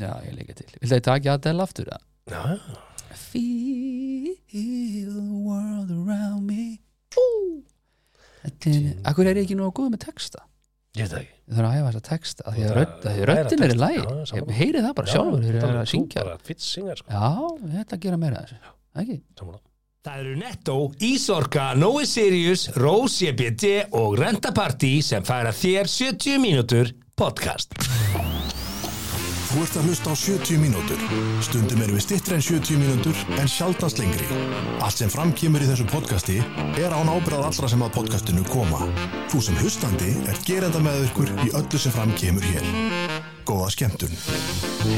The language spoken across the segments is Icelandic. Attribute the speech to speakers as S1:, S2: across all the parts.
S1: Já, ég líka til Viltu að ég taki Adele aftur það?
S2: Já,
S1: Feel the world around me Akkur er ég ekki nú að góða með texta?
S2: ég veit það ekki
S1: Ég þarf að æfa þessa texta af Því að
S2: Þú
S1: rödd-
S2: þarf
S1: af
S2: að
S1: því að
S2: læra
S1: röddin er í
S2: texta.
S1: lægi
S2: Já, sammála.
S1: Ég heyri það bara sjálfur Þegar ég um er að syngja
S2: Bara fyrst syngar sko
S1: Já, ég ætla að gera meira af þessu Ekki?
S2: Sammála.
S3: Það eru Netto, Ísorka, Nói Sirius, Rose EBD og Renta Party sem færa þér 70 mínútur podcast.
S4: Þú ert að hlusta á 70 mínútur. Stundum erum við stittri en 70 mínútur en sjaldast lengri. Allt sem framkýmur í þessu podcasti er án ábyrðað allra sem að podcastinu koma. Þú sem hlustandi er gerenda með ykkur í öllu sem framkýmur hér. Góða skemmtun.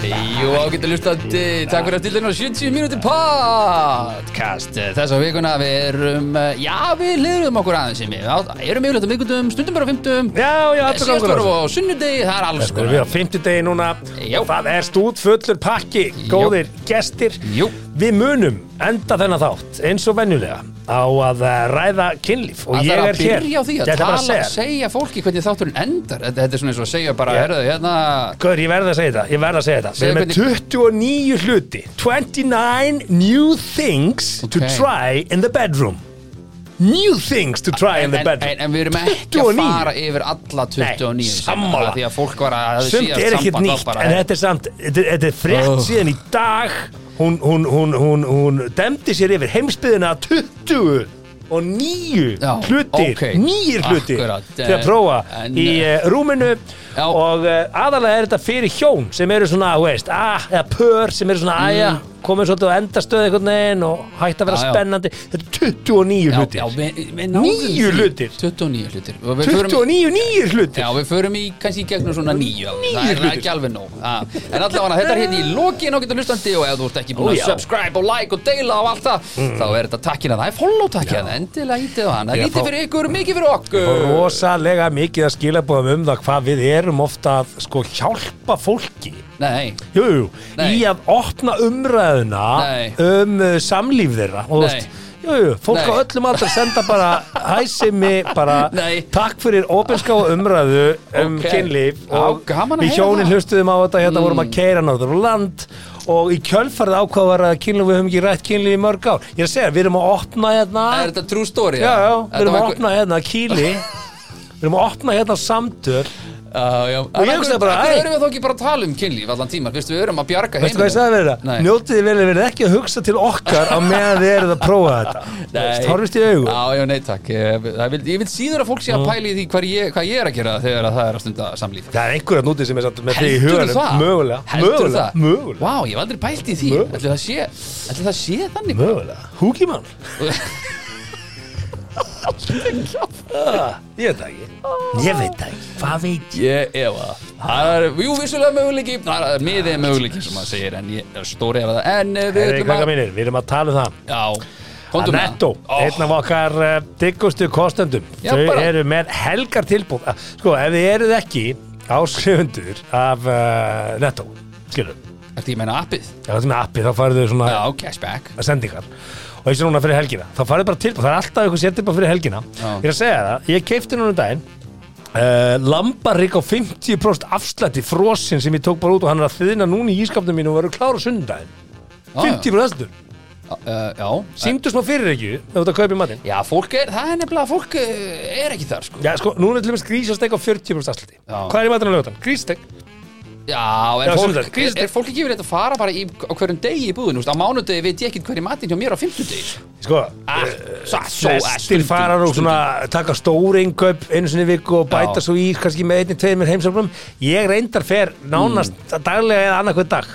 S1: Jú, ágættu hlustandi, takk fyrir að stilla inn á 70 mínútur podcast Þessa vikuna við erum, eh, já við liðum okkur aðeins sem við á- erum yfirleitt á miðgundum, stundum bara á fimmtum
S2: Já, já, alltaf
S1: Síðast
S2: gangur á
S1: vorum við á
S2: þessu.
S1: sunnudegi, það er alls
S2: Sko,
S1: sko
S2: Við erum á fimmtudegi núna
S1: Já.
S2: og það er stút fullur pakki, góðir gestir.
S1: Jú.
S2: Við munum enda þennan þátt eins og venjulega á að eh, ræða kynlíf og
S1: Það
S2: ég
S1: þarf
S2: er
S1: að
S2: hér.
S1: byrja á því að
S2: Ég ætla bara
S1: tala,
S2: að segja.
S1: segja. fólki hvernig þátturinn endar Þetta, þetta er svona eins og að segja bara,
S2: Já.
S1: herðu, hérna
S2: Guður, ég verði að segja þetta, ég verði að segja þetta. Við
S1: Segðu
S2: erum með 29 hluti, 29 new things to
S1: Ok.
S2: try in the bedroom. New things to try
S1: En,
S2: in the
S1: en,
S2: bedroom.
S1: en, en við erum ekki að
S2: 29.
S1: fara yfir alla 29 sem-
S2: sammála.
S1: af Því að fólk var að hafði
S2: Sumt
S1: síðast
S2: er ekkert
S1: samband var
S2: nýtt,
S1: bara,
S2: en þetta er samt, þetta er- þetta er frétt
S1: Oh.
S2: síðan í dag, hún, hún, hún, hún, hún demdi sér yfir heimsbyðina 20 og nýju
S1: Já,
S2: hlutir,
S1: ok.
S2: nýjir hlutir
S1: Akkurat,
S2: til
S1: eh,
S2: að prófa
S1: en, eh,
S2: í uh, rúminu
S1: Já.
S2: og uh, aðalega er þetta fyrir hjón sem eru svona, þú veist, ah, eða pör sem eru svona, aðja, komið svolítið á endastöð einhvern veginn og hætt að vera
S1: Mm. Já, já.
S2: spennandi þetta er 29
S1: Já,
S2: hlutir
S1: já, við, við náðum
S2: Níu
S1: því.
S2: hlutir.
S1: 29 hlutir Og við förum-
S2: 29 nýjir hlutir
S1: Já, við förum í kannski í gegnum svona nýju af þeim. Það er
S2: hlutir.
S1: ekki alveg nóg ja. En allavega, þetta er hérna í lokin ágættu hlustandi og ef þú ert ekki
S2: Ó,
S1: búin að
S2: já. Mm.
S1: subscribe og like og deila og allt það þá er þetta takkin að það er follow takkin að endilega ítið á hann Það
S2: Ég
S1: er
S2: fá-
S1: lítið fyrir ykkur, mikið fyrir
S2: og
S1: okkur
S2: rosalega mikið að skila búðum um það hvað við erum ofta að sko hjálpa fólki
S1: Nei,
S2: jú, jú,
S1: Nei.
S2: í að opna umræðuna
S1: Nei.
S2: um uh, samlíf þeirra og þú
S1: Nei.
S2: veist Jú, jú, fólk
S1: Nei.
S2: á öllum aldrei senda bara hæsimi, bara
S1: Nei.
S2: takk fyrir opinská umræðu um
S1: Ok.
S2: kynlíf
S1: Já,
S2: og
S1: gaman að
S2: við
S1: heyra það.
S2: hjónin
S1: Mm.
S2: hlustuðum á þetta hérna vorum að keira norður á land og í kjölfarið ákvaðar að kynlíf við höfum ekki rætt kynlíf í mörg ár ég er að segja, við erum að opna hérna
S1: er þetta true story?
S2: Já, já,
S1: Þetta
S2: við erum
S1: var
S2: að
S1: einhver-
S2: opna hérna kýli Við erum að opna hérna samtöl
S1: Já, já
S2: ég hugsaði bara,
S1: Það
S2: æ.
S1: erum við þá ekki bara að tala um kynlíf allan tíma Vistu, við erum að bjarga
S2: Veistu hvað ég sagði verið það?
S1: Nei.
S2: Njótið þið vel að verið ekki að hugsa til okkar á meðan þið eruð að prófa þetta
S1: Nei.
S2: Horfist í augu Mm.
S1: Já, já, nei, takk Ég, það vil, ég vil síður að fólk sé að pæli því hvað ég, hvað ég er að gera þegar að það er að stunda samlíf
S2: Það er einhverjum nútið sem er samt með því í
S1: Heldurðu
S2: huganum Mögulega,
S1: Heldurðu
S2: mögulega,
S1: það?
S2: mögulega
S1: Vá, ég hef aldrei pælt í því
S2: Mögulega.
S1: Ætli það sé, ætli það sé þannig
S2: Mögulega, húkimann Ah, Ég veit það ekki Ég veit það ekki, hvað veit ég?
S1: Ég efa það. Það er, jú, vissulega möguleiki Það er miðið möguleiki sem maður segir En ég er stóri efa það En eh, við
S2: Herri, krakkar mínir, Við erum að tala um það
S1: Já, komdu með
S2: Netto,
S1: Ó,
S2: einn af okkar uh, diggustu kostendum
S1: Já,
S2: Þau
S1: bara.
S2: eru með helgar tilbúð Ah, Sko, ef þið eruð ekki áskrifundur af uh, Netto Skilur,
S1: Ertu ég meina appið?
S2: ef þetta er með appi þá farið þau svona
S1: Já, cashback
S2: sendingar Og eins og núna fyrir helgina, þá farið bara tilbúð Það er alltaf einhver sér tilbúð fyrir helgina
S1: Já.
S2: Ég er að segja það, ég keipti núna um daginn Uh, lambarík á 50% afslætti frosinn sem ég tók bara út og hann er að þiðna núna í ískapnum mínu og verður klára sundaginn
S1: Já,
S2: 50% afslættur,
S1: Uh, já,
S2: símdu smá fyrir ekki ef þú ert að kaupa í matinn
S1: Já, fólk er, það er nefnilega, fólk eh, er ekki þar, sko
S2: Já, sko, núna er til dæmis grísastek á 40% afsluti.
S1: Já.
S2: Hvað er í maturinn á lögutan? Grísastek.
S1: Já, en
S2: Já,
S1: fólk,
S2: sunnudag,
S1: er,
S2: krísuteg.
S1: er fólk ekki verið að fara bara í, á hverjum degi í búðinu, þú veist, á mánudegi veit ég ekkert hverju matinn hjá mér á fimmtudegi sko.
S2: Sko,
S1: Ah, svo, svo, eh,
S2: flestir
S1: stundum,
S2: fara nú
S1: stundum.
S2: svona, taka stór innkaup einu sinni í viku og bæta
S1: Já.
S2: svo í, kannski með einni, tveimur heimsöfnum. Ég reyndar fer nánast daglega eða annað hver dag.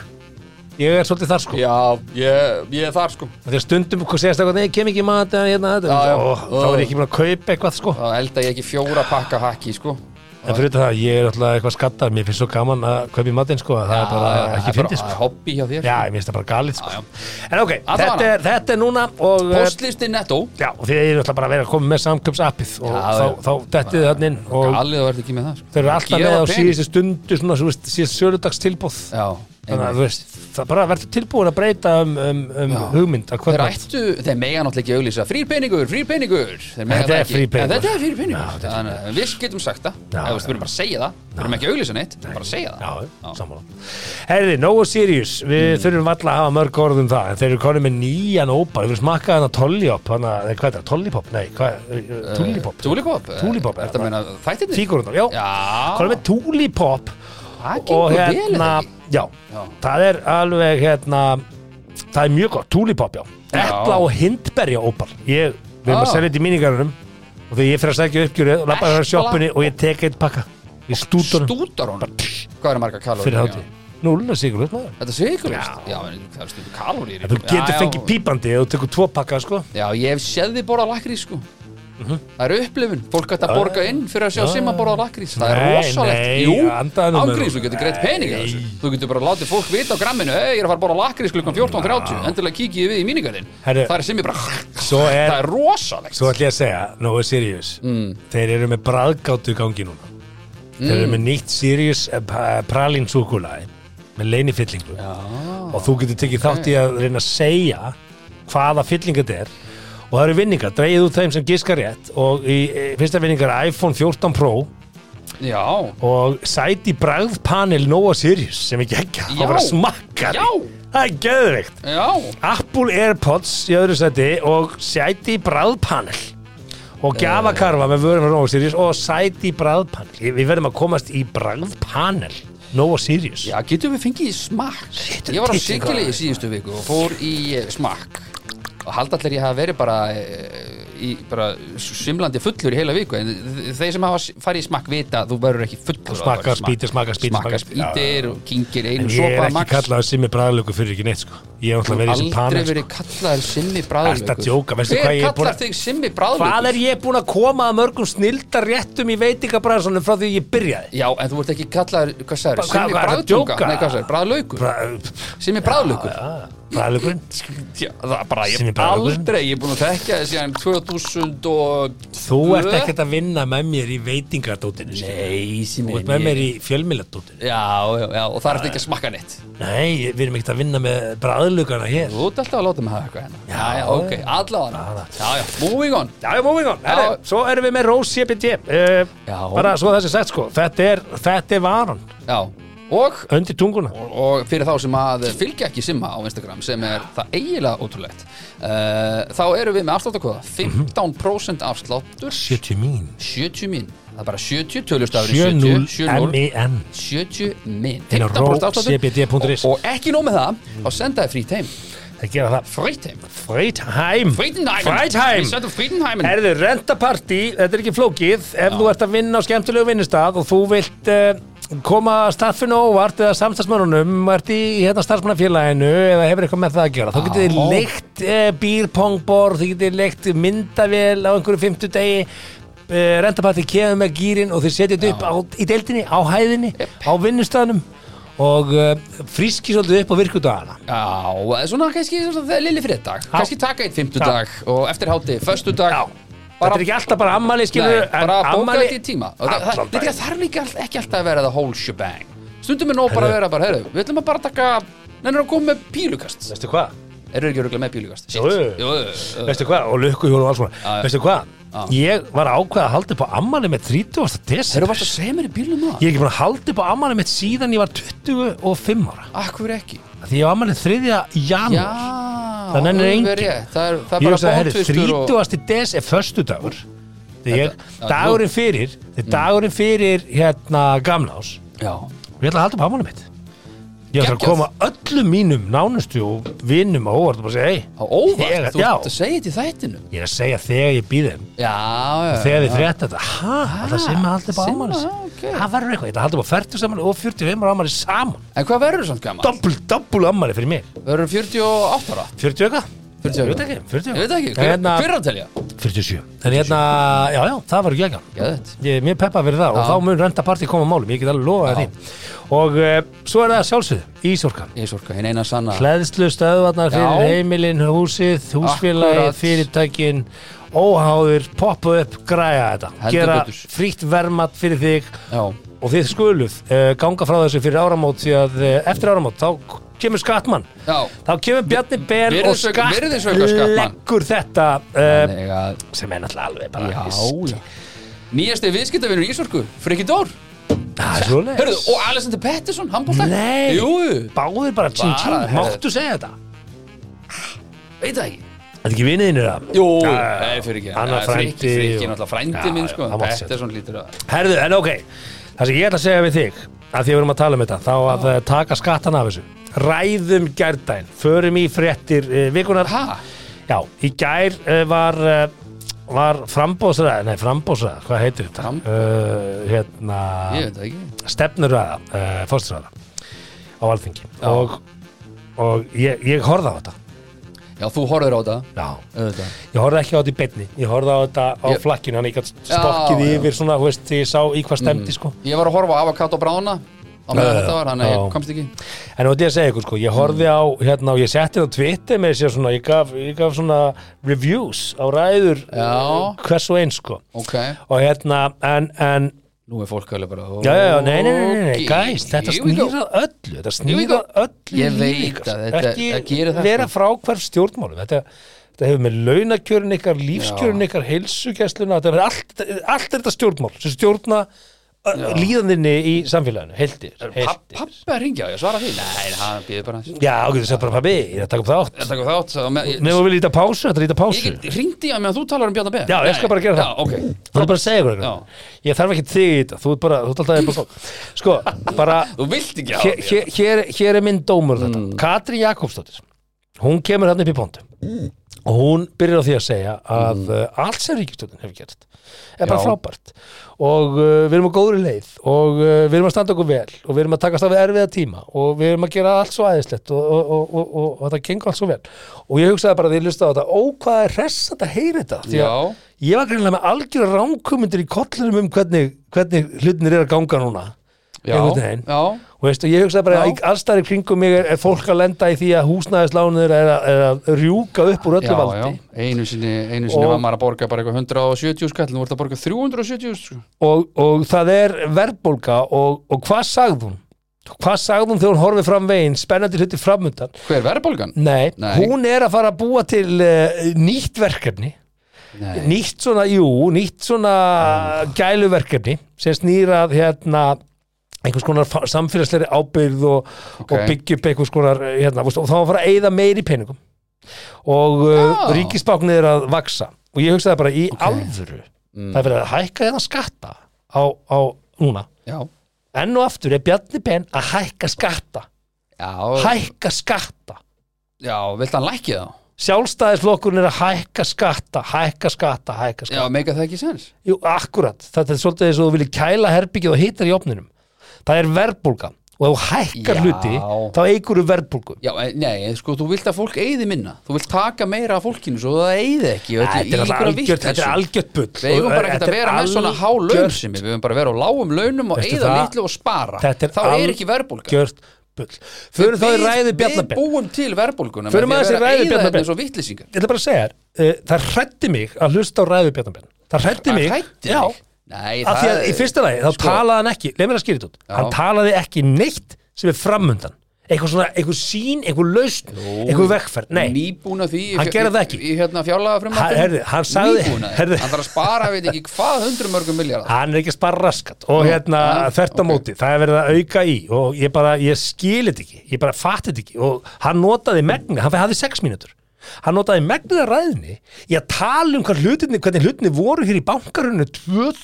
S2: Ég er svolítið þar, sko.
S1: Mm. Já, ég, ég er þar sko
S2: Þegar stundum hvað segist eitthvað, nei, ég kem ekki í mat eða hérna þetta.
S1: Já, já.
S2: Ó, Þá
S1: Ó.
S2: er ég ekki búin að kaupa eitthvað, sko.
S1: Þá elda ég ekki fjóra pakka haki sko
S2: En fyrir þetta það, ég er alltaf eitthvað skattar. Mér finnst svo gaman að kaupa í matinn, sko. að Það er bara ekki fyndið,
S1: Það
S2: sko.
S1: er hobby hjá þér
S2: Já, ég finnst það bara galið, sko.
S1: Já, já.
S2: En ok,
S1: Allavega.
S2: þetta er, þetta er núna og... eh,
S1: Postlisti netto
S2: Já, og þið eru alltaf bara að vera að koma með samkjöpsappið og
S1: Já,
S2: þá,
S1: já.
S2: þá dettið þið hann inn og
S1: Gallið að verða ekki með það sko
S2: þeir eru alltaf
S1: Gefa
S2: með á
S1: pening.
S2: síðustu stundu svona, svo veist, síðast söludags tilbúð
S1: Já
S2: þannig að þú veist, það bara verður tilbúin að breyta um, um, um
S1: Já.
S2: hugmynd að
S1: Þeir
S2: hvernig
S1: ættu, þeir mega náttúrulega ekki auglýsa Frýr peningur, frýr peningur Þeir mega
S2: Þetta
S1: það
S2: er
S1: ekki.
S2: frýr
S1: En
S2: peningur.
S1: Þetta er frýr
S2: Já,
S1: peningur
S2: þetta er
S1: Þannig að við getum sagt það
S2: Já,
S1: Eða, þú veist, Við erum bara að segja það Við erum ekki að auglýsa neitt, bara að segja það
S2: Já, sammála Herði, Nóa Sirius, við
S1: Mm.
S2: þurfum alltaf að hafa mörg orð um það en þeir eru konið með nýjan ópar, við smakkaði hana Tollipop hana, nei, hvað er það, Tollipop, nei, hvað er
S1: Eh,
S2: Tullipop,
S1: Túlipop
S2: Tulipop,
S1: Er þetta
S2: já.
S1: að meina þættirnir?
S2: fígurundar, já, konið
S1: Já
S2: með Tullipop
S1: Það
S2: og
S1: gengur vel er
S2: hérna,
S1: það ekki?
S2: já,
S1: Já.
S2: það er alveg hérna, það er mjög gott, Tullipop, já, Ah.
S1: Já.
S2: epla og hindberja ópar, ég, við erum
S1: Já.
S2: að selja þetta í mínigarunum og þegar ég fyrir að segja uppgjörið, lappa
S1: Epla-
S2: það í sjoppunni og ég tek eitt pakka í stúdunum
S1: Stútar honum Hvað eru marga kalóri?
S2: fyrir hátíð, núlna sigurlust maður
S1: Þetta er sigurlust Já, en það er stundum kalóri
S2: En Þú getur fengið pípandi ef þú tekur tvo pakka, sko.
S1: Já, ég hef séð þið borða lakrís sko
S2: Mhm.
S1: Það er upplifun, fólk ætti að borga inn fyrir að sjá sem að borða lakrís Það er
S2: Nei,
S1: rosalegt,
S2: nei,
S1: jú,
S2: andaðu nú með-
S1: ángriðs, þú getur greitt pening af þessu. Þú getur bara látið fólk vita á gramminu "Hey, Ég er að fara að borða lakrís klukkan 14.30 Endilega kíkið við í míningarinn
S2: Herru,
S1: Það er sem ég bara,
S2: Svo
S1: það
S2: er,
S1: er rosalegt
S2: svo ætlum ég að segja, Nóa Sirius,
S1: Mm.
S2: þeir eru með bræðgáttu í gangi núna. Þeir eru með nýtt Sirius eh, pralinsúkulaði með leinifyllingu. Og þú getur tekið þátt í að reyna að segja hvaða fyllinga þetta er. Og það eru vinningar, dreigið út þeim sem giskar rétt og í e, fyrsta vinningar er iPhone 14 Pro
S1: Já,
S2: og sæti bræðpanel Nóa Sirius sem er geggja
S1: Já.
S2: og bara smakkar.
S1: Já.
S2: Það er geðveikt.
S1: já,
S2: Apple AirPods í öðru sæti og sæti bræðpanel og
S1: Eh.
S2: gjafakarfa með vörum frá Nova Sirius og sæti bræðpanel Ég- við verðum að komast í bræðpanel Nova Sirius
S1: já, getum við fengið í smakk Ég var á
S2: titling,
S1: Sigli
S2: hvað
S1: í síðustu viku og fór í eh, smakk og halda allir ég hafa verið bara, eh, í, bara svimlandi fullur í heila viku en þ- þeir sem hafa s- farið í smakk vita að þú verður ekki fullur
S2: Smakkar, spýtir, smakkar, spýtir,
S1: smakkar
S2: smakkar,
S1: spýtir og kingir
S2: En
S1: einu
S2: ég er
S1: sopa
S2: ekki
S1: max
S2: kallaður sem er bræðlöku fyrir ekki neitt sko. ég er alltaf verið í þessum
S1: aldrei
S2: panel
S1: verið
S2: sko.
S1: kallaður simmi bræðlöku
S2: Ertu að djóka? Veistu hvað
S1: hver
S2: ég er búin að-
S1: kallar þig simmi bræðlöku?
S2: Hvað er ég búin að koma að mörgum snildar réttum í veitingabræðsónum frá því ég byrjaði?
S1: Já, en þú ert ekki kallaður, hvað sagður,
S2: Hvað-
S1: simmi
S2: hvað ertu að
S1: bræðlöku?
S2: djóka?
S1: Nei, hvað sagður, bræðlöku? Simmi bræðlöku?
S2: Bræðlökun?
S1: Já, það er bara,
S2: Simmi
S1: ég
S2: Bræðlaukur.
S1: aldrei, ég er búin að þekkja þessi hann 2000 og...
S2: Þú ert ekkert að vinna með mér í veitingadótinu skilurðu.
S1: Nei, Simmi.
S2: Þú ert með mér í fjölmiðladótinu
S1: Já, já, já, og það er ekki að smakka neitt.
S2: Nei, við erum ekkert að vinna með bræðlugana hér
S1: Þú ert alltaf að láta mig hafa eitthvað hérna.
S2: Já,
S1: Já, já, ok, allavega. Já, já, moving on.
S2: Já, já, moving on,
S1: Já.
S2: Herri, svo erum við með Rose CBD uh,
S1: Já.
S2: Bara svo þessi sagt sko, þetta er, þetta er varan
S1: Já, og,
S2: Undir tunguna
S1: og fyrir þá sem að fylgja ekki Simma á Instagram, sem er það eiginlega ótrúlegt, uh, þá erum við með afsláttakóða, 15% afsláttur,
S2: 70 mín
S1: 70 mín. Það er bara 70, tölustafurinn 70,
S2: 70 M-I-N
S1: 70 minn
S2: Inn á
S1: 15% afsláttur.
S2: ró.cbd.is.
S1: og, og ekki nóg með það þá sendaði frýtt heim
S2: Það gera það
S1: frýtt heim
S2: Freitheim
S1: Frítenheim Við
S2: Freitheim
S1: sendum Frítenheimen
S2: Erðu, rentapartí, þetta er ekki flókið Ef þú ert að vinna á skemmtilegu vinnustaf og þú vilt uh, koma staffinu óvart eða samstagsmörunum ert í hérna starfsmannafélaginu eða hefur eitthvað með það að gera þá getið þið
S1: Já.
S2: leikt uh, býrpongborð þið getið leikt myndavél á einhverju fimmtu degi uh, rentapartí kemur með gýrin og þið setjum upp á, í deildinni, á hæðinni á vinnustafnum og uh, fríski svolítið upp á virkudagana
S1: Já, svona kannski svona þegar lilli frétdag Kannski taka eitt fimmtudag og eftir háti föstudag
S2: Já.
S1: Bara-
S2: Þetta er ekki alltaf bara ammali skilur
S1: Nei, bara að bóka þetta í tíma Og það-
S2: Allan
S1: það- Þetta
S2: daginn.
S1: þarf líka all- ekki alltaf að vera the whole shebang Stundum er nóg bara að vera bara, heyrðu, við ætlum að bara taka Nennir að koma með pílukast
S2: Veistu hvað?
S1: Eru ekki örgulega með pílukast? Shit.
S2: Jú, jú.
S1: Jú, jú, jú.
S2: Veistu hvað? Og lukkuhjól og alls svona
S1: já.
S2: Veistu hvað? Ég var að ákveða að halda upp á ammali með
S1: Þeir
S2: 30.
S1: eru
S2: desember
S1: vart að segja mér í bílum það
S2: Ég er ekki búin að halda upp á ammali mitt síðan ég var 25 ára
S1: Akkur ekki
S2: Því ég var ammali 3.
S1: Já,
S2: janúar Það nennir
S1: alveg
S2: enginn.
S1: rétt. Það er, það er
S2: Ég
S1: bara
S2: hugsa að herri,
S1: bóttvistur
S2: 30. des er föstudagur Þegar
S1: já,
S2: ég,
S1: Mm.
S2: dagurinn fyrir Þegar dagurinn fyrir hérna gamlás
S1: Já,
S2: og ég ætla að halda upp afmálið mitt ég ætla að
S1: Geggjað.
S2: koma öllum mínum nánustu og vinnum á óvart og bara segja,
S1: Á
S2: hei,
S1: óvart,
S2: Þegar-
S1: þú
S2: já.
S1: ert að segja þetta í þættinu
S2: ég er að segja þegar ég býð þeim
S1: Já, já
S2: þegar þið frétta þetta, hæ, alltaf sem að halda upp
S1: Simma,
S2: afmálið
S1: já, ok.
S2: það verður eitthvað, ég ætla að halda upp á 40 saman og 45 ára afmálið saman
S1: En hvað verður samt gaman?
S2: dobbul, dobbul afmálið fyrir mig
S1: Verður 48 ára?
S2: 40 eitthvað?
S1: 40
S2: Ég
S1: eitthvað.
S2: veit ekki, 40
S1: Ég veit ekki,
S2: En
S1: hver,
S2: hérna,
S1: hver er að telja?
S2: 47 En hérna, já, já, það var ekki ekki
S1: Geðveikt.
S2: Ég er mjög peppa fyrir það og
S1: Já.
S2: þá mun renda partí koma að málum, ég get alveg lofa því Og uh, svo er það sjálfsögð, Ísorkan
S1: Ég sorka, hinn eina sanna
S2: Hleðslu stöðvarnar fyrir
S1: Já.
S2: heimilin, húsið, húsfélagi,
S1: Akkurat.
S2: fyrirtækin, óháður, poppa upp, græja þetta.
S1: Heldur
S2: Gera
S1: betur.
S2: frítt vermat fyrir þig
S1: Já,
S2: og þið skuluð uh, ganga frá þessu fyrir áramót því að uh, eftir áramót þá k- kemur skattmann
S1: Já.
S2: þá kemur Bjarni Ben og
S1: virðisauka- virðisaukaskattsmann.
S2: skattleggur þetta uh,
S1: Þannig að,
S2: sem er náttúrulega alveg bara
S1: já, já. Nýjasti viðskiptavinur Ísorku, Friki Dór
S2: það er svoleiðis.
S1: Hörðu, og Alexander Pettersson, handbólta
S2: Nei.
S1: Jú,
S2: báðir bara tjing
S1: Bara,
S2: tjing,
S1: herðu.
S2: máttu segja þetta
S1: veit það ekki
S2: Þetta er ekki viniðinir það
S1: Jú,
S2: Já,
S1: nei, fyrir ekki
S2: annar frændi
S1: Friki, Friki,
S2: og-
S1: náttúrulega frændi
S2: Já,
S1: minn,
S2: já,
S1: sko
S2: það mátti segja.
S1: Pettersson lítur að
S2: Herðu, en ok Það sem ég ætla að segja við þig að því að við erum að tala um þetta þá að oh. taka skattan af þessu ræðum gærdæn, förum í fréttir uh, vikunar
S1: Ha?
S2: Já, í gær uh, var uh, var frambóðsræða, nei frambóðsræða hvað heitir þetta?
S1: Framboð?
S2: Uh, hérna,
S1: Ég veit það ekki
S2: stefnuræða, uh, fórsturæða á Alþingi og, og ég, ég horfði á þetta
S1: Já, þú horfður á þetta
S2: Já,
S1: auðvitað.
S2: ég horfði ekki á þetta í betni ég horfði á þetta á
S1: Ég-
S2: flakkinu hann ég gætt
S1: Já,
S2: stokkið
S1: já. Mm.
S2: yfir svona, þú veist, þegar ég sá í hvað stemdi sko
S1: Ég var að horfa á Avocado Brána á meðan
S2: Já,
S1: þetta var, þannig að
S2: já.
S1: ég komst ekki
S2: En nú ætlum ég að segja ykkur sko, ég horfði á hérna og ég setti það á Twitter með sér svona, ég gaf, ég gaf svona reviews á ræður
S1: Já.
S2: hvers og eins sko.
S1: Ok,
S2: Og hérna, en, en,
S1: nú er fólk alveg bara
S2: já, já, já, nei, nei, nei, nei, nei,
S1: ok,
S2: guys, þetta
S1: here we go.
S2: snýra öllu, þetta
S1: Here we
S2: snýra
S1: go. Ég
S2: öllu í
S1: veit að
S2: líka, sko.
S1: þetta-
S2: Ekki
S1: það gerir það,
S2: vera frá hver stjórnmálum, þetta, þetta hefur með launakjörin ykkar, lífskjörin ykkar, heilsugæsluna, þetta er allt, allt er þetta stjórnmál, sem stjórna ö, líðaninni í samfélaginu, heildir,
S1: Papp- Pabbi að ringja, ég svara því Nei, hann býður bara aðeins.
S2: Já, ok, þú sagði bara pabbi, ég er að taka upp þátt
S1: Ég taka þátt svo með-
S2: Nei,
S1: Ég
S2: þú vil líta pásu, þetta er líta pásu
S1: ég get hringt í að meðan þú talar um Bjarnar B
S2: Já, ég skal bara gera það.
S1: Já, ok
S2: Þú er bara að segja ykkur eitthvað Ég þarf ekki þig í þetta, þú ert bara, þú ert alltaf eitthvað fólk Sko, bara
S1: Þú Mm. vilt ekki
S2: hér,
S1: hafa
S2: hér, hér, hér er minn dómur þetta Katrín Jakobsdóttir Hún kemur hann upp í pontu Og hún byrjar á því að segja að mm. allt sem ríkistöndin hefur gert er bara
S1: Já.
S2: frábært og uh, við erum á góðri leið og uh, við erum að standa okkur vel og við erum að takast á við erfiða tíma og við erum að gera allt svo aðeinslegt og, og, og, og, og, og þetta gengur allt svo vel og ég hugsaði bara að ég lustaði á þetta ó hvað er hress að þetta heyri þetta því að
S1: Já.
S2: ég var greinlega með algjör ránkumundir í kollinum um hvernig, hvernig hlutinir er að ganga núna
S1: Já,
S2: einhvern veginn
S1: já
S2: og veist, og ég hugsaði bara
S1: Já.
S2: að allstæri kringum mig er, er fólk að lenda í því að húsnæðislánir er, að- er að rjúka upp úr öllu
S1: Já, já,
S2: valdi
S1: einu sinni, einu sinni
S2: Og-
S1: var maður að borga bara eitthvað 170 skall, nú ert að borga 370 sko.
S2: og, og það er verðbólga og, og hvað sagði hún? Hvað sagði hún þegar hún horfið fram veginn spennandi hluti framundan?
S1: Hver verðbólgan?
S2: Nei,
S1: Nei.
S2: hún er að fara að búa til uh, nýtt verkefni
S1: Nei,
S2: nýtt svona, jú, nýtt svona gæluverkefni sem snýrað hérna einhvers konar fa- samfélagslegri ábyrgð og,
S1: Ok.
S2: og byggja upp einhvers konar eh, hérna, veist, og þá var að fara að eyða meiri peningum og uh,
S1: Já.
S2: ríkisbáknið er að vaksa og ég hugsaði bara í alvöru
S1: Mm.
S2: það er verið að hækka hérna skatta á, á núna
S1: já,
S2: enn og aftur er Bjarni Ben að hækka skatta
S1: já,
S2: hækka skatta
S1: já, vilt hann lækki þá?
S2: sjálfstæðisflokkurinn er að hækka skatta hækka skatta, hækka skatta
S1: Já, meika það ekki sens?
S2: Jú, akkurat, þetta er svolítið eins og þú viljið kæla herbyggið og hitar í opninum það er verðbólgan og ef þú hækkar
S1: Já.
S2: hluti þá eigur þú verðbólgu
S1: Já, eh, nei, sko, þú vilt að fólk eyði minna Þú vilt taka meira af fólkinu svo það eyði ekki og
S2: Þetta er
S1: í
S2: alltaf
S1: einhverja
S2: algjört, þetta er
S1: vitleysu.
S2: algjört bull
S1: Við eigum bara ekki
S2: Þetta
S1: að
S2: er
S1: vera með svona há laun
S2: algjört-
S1: sem við höfum bara að vera á lágum launum og
S2: Veistu
S1: eyða
S2: það?
S1: litlu og spara
S2: Þetta er
S1: Þá er ekki verðbólga
S2: algjört bull Förum þá í
S1: Við-
S2: ræðu
S1: Við
S2: Bjarnabenn
S1: búum til verðbólguna
S2: Förum aðeins í ræðu Bjarna Ben.
S1: eins og vitlýsingar
S2: Ég ætla bara að segja þér, uh, það hrætti mig að hlusta á ræðu Bjarnabenn Það hrætti mig
S1: Hætti
S2: Já,
S1: Nei,
S2: af því að í fyrsta lagi þá talaði hann ekki, leið mér að skýra þetta út
S1: Sko- Já.
S2: hann talaði ekki neitt sem er framundan eitthvað svona, eitthvað sín, eitthvað lausn eitthvað vegferð, nei
S1: Nýbúna því í
S2: Hann
S1: fjö-
S2: gerði það ekki.
S1: Í hérna fjárlaga
S2: Hann- heyrðu, hann sagði-
S1: Nýbúna því.
S2: heyrðu.
S1: Hann þarf að spara, veit ekki hvað, hundru mörgum miljardar
S2: hann er ekki að spara raskat og hérna
S1: já,
S2: þvert á
S1: ok.
S2: móti, það er verið að auka í og ég bara, ég skil þetta ekki ég bara fatti þetta ekki og hann notaði megna, hann hafði sex mínútur hann notaði megnið að ræðinni í að tala um hvað hlutinni, hvernig hlutinni voru hér í bankarunni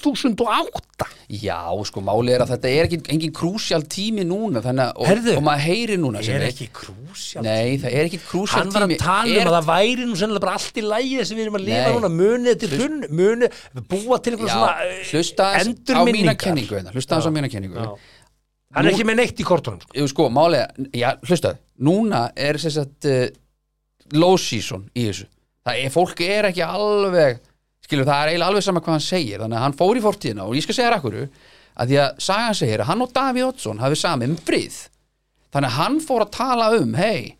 S2: 2008
S1: Já, sko, máli er að þetta er ekki engin krúsjál tími núna þannig að, og,
S2: Heyrðu.
S1: og maður heyri núna sem
S2: er
S1: við-
S2: ekki krúsjál
S1: Nei, það er ekki krúsjál
S2: hann
S1: tími
S2: var að tala um
S1: Er-
S2: að það væri nú sennilega bara allt í lægi sem við erum að lifa
S1: Nei.
S2: núna munið til hrun, munið búa til einhverjum
S1: Já,
S2: svona
S1: hlusta
S2: eh,
S1: aðeins á mína
S2: endurminningar.
S1: kenningu hérna, hlusta aðeins á mína kenningu
S2: Já. hann er ekki með neitt í kortunum sko.
S1: Jú, sko, málega, já, hlustaðu núna er sem sagt uh, low season í þessu það er, fólk er ekki alveg skilur, það er eiginlega alveg sama hvað hann segir þannig að hann fór í fortíðina og ég skal segja rakkur að því að sagan segir að hann og Davíð Oddsson hafi samið um frið þannig að hann fór að tala um, hei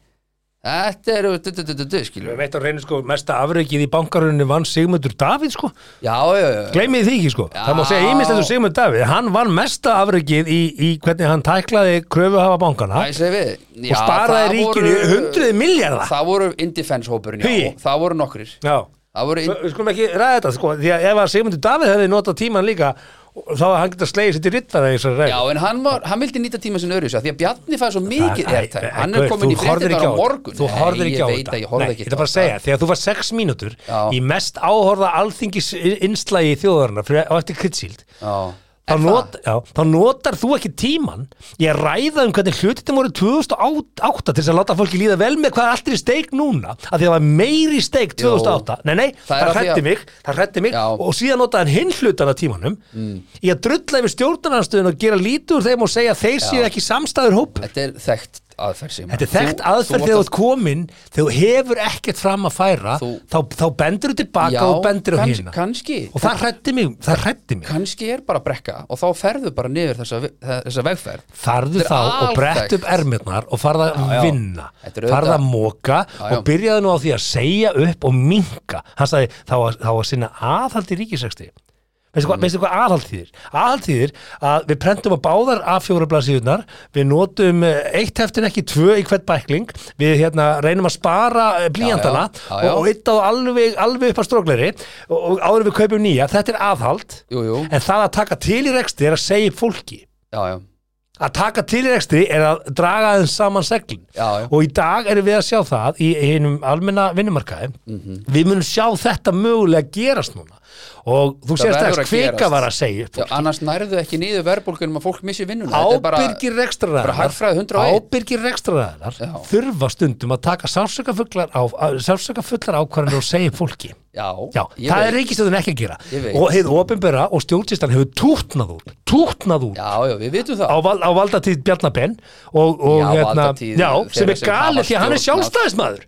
S1: Þetta eru, du- du- du- du- du, skilur
S2: Við veitum að reyna sko mesta afreikið í bankarunni vann Sigmundur Davíð sko
S1: Já, já, já
S2: Gleimið því ekki sko Það má segja ímest þetta Sigmundur Davíð Hann vann mesta afreikið í, í hvernig hann tæklaði kröfuhafa bankana
S1: Æ, segi við
S2: og sparaði ríkinu voru... hundruð miljardar
S1: Það voru indefense hópurinn, já
S2: Hugi.
S1: Það voru nokkrir
S2: Já
S1: Það voru,
S2: Við
S1: in-
S2: við skulum ekki ræða þetta sko Því að ef að Sigmundur Davíð hefði notað tíman líka þá hefði hann getað slegið sér til rittara í þessari
S1: já,
S2: ræðu
S1: en hann, var, hann vildi nýta tíma sinni öðru Því að Bjarni fæði svo mikið
S2: Æ,
S1: airtime
S2: æ,
S1: Hann
S2: Guð,
S1: er komin
S2: þú
S1: í
S2: horfir
S1: fréttinnar á
S2: ekki á
S1: morgun
S2: þetta. Þú horfir
S1: Nei,
S2: ekki á
S1: Ég veit
S2: þetta
S1: að ég horfði
S2: Nei,
S1: ekki
S2: Ég ætla bara að segja, þegar þú var sex mínútur
S1: Já.
S2: í mest áhorða alþingis innslagi þjóðarinnar fyrir, á eftir kritsíld þá, not, já, þá notar þú ekki tíman ég ræða um hvernig hlutin voru 2008 til þess að láta fólki líða vel með hvað allt er í steik núna að því að það var meiri í steik 2008 nei, nei,
S1: Það er
S2: það, það
S1: af því að-
S2: hrætti mig, það hrætti mig
S1: Já. Mm.
S2: og síðan notaði hann hinn hlutan af tímanum í að drulla yfir stjórnarnarstöðun og gera lítur þeim og segja að þeir séu ekki samstæður hópur
S1: Þetta er þekkt aðferð Sigmar.
S2: Þetta er þekkt
S1: Þú-
S2: aðferð
S1: þú
S2: þegar þú
S1: mátt
S2: ert komin þegar þú hefur ekkert fram að færa
S1: Þú-
S2: þá, þá bendur þú tilbaka
S1: Já,
S2: og bendur á
S1: kanns-
S2: hérna
S1: kannski.
S2: og það hrætti mig, það hrætti mig
S1: kannski er bara brekka og þá ferðu bara niður þessa, þessa vegferð
S2: farðu
S1: Þetta
S2: þá
S1: er
S2: og
S1: alþekkt.
S2: brett upp ermirnar og farða að
S1: já.
S2: vinna
S1: Þetta er auðvitað-
S2: farða að
S1: Já,
S2: móka
S1: já.
S2: og byrjaði nú á því að segja upp og minka hann sagði þá að, þá að sinna aðhaldi ríkisæksti veistu
S1: Mm.
S2: hvað, veistu hvað aðhald þýðir aðhald þýðir að við prentum á báðar A4 blaðsíðunar við notum eh, eitt heftin ekki tvö í hvert bækling við hérna reynum að spara eh,
S1: Já,
S2: blýjantana
S1: já, já, já.
S2: og, og ytta á alveg, alveg upp að strókleri og, og áður en við kaupum nýja þetta er aðhald
S1: Jú, jú,
S2: en það að taka til í reksti er að segja upp fólki
S1: já, já,
S2: að taka til rekstri er að draga þeim saman seglin
S1: Já, já.
S2: og í dag erum við að sjá það í einum almenna vinnumarkaði
S1: Mhm.
S2: við munum sjá þetta mögulega gerast núna og þú sér
S1: verður
S2: strax
S1: að gerast.
S2: kvika var að segja upp
S1: já annars nærðu ekki niður verðbólkunum að fólk missi vinnuna Þetta er bara-
S2: ábyrgir
S1: bara hagfræði
S2: rekstraræðar
S1: 101.
S2: ábyrgir rekstraræðar
S1: Já.
S2: þurfa stundum að taka sásökafullar sásökafullar ákvarðanir og segja upp fólki
S1: Já,
S2: Já,
S1: ég
S2: það
S1: veit.
S2: er ríkistöðun ekki að gera
S1: Ég veit.
S2: og hefur opinbera og stjórnsýslan hefur tútnað út tútnað út
S1: Já, já, við vitum það
S2: á, val, á valdatíð Bjarnabenn og, og
S1: Já,
S2: hérna,
S1: valdatíð
S2: já,
S1: þeirra
S2: sem er
S1: sem hafa
S2: galið því að hann er
S1: stjórnað.
S2: sjálfstæðismæður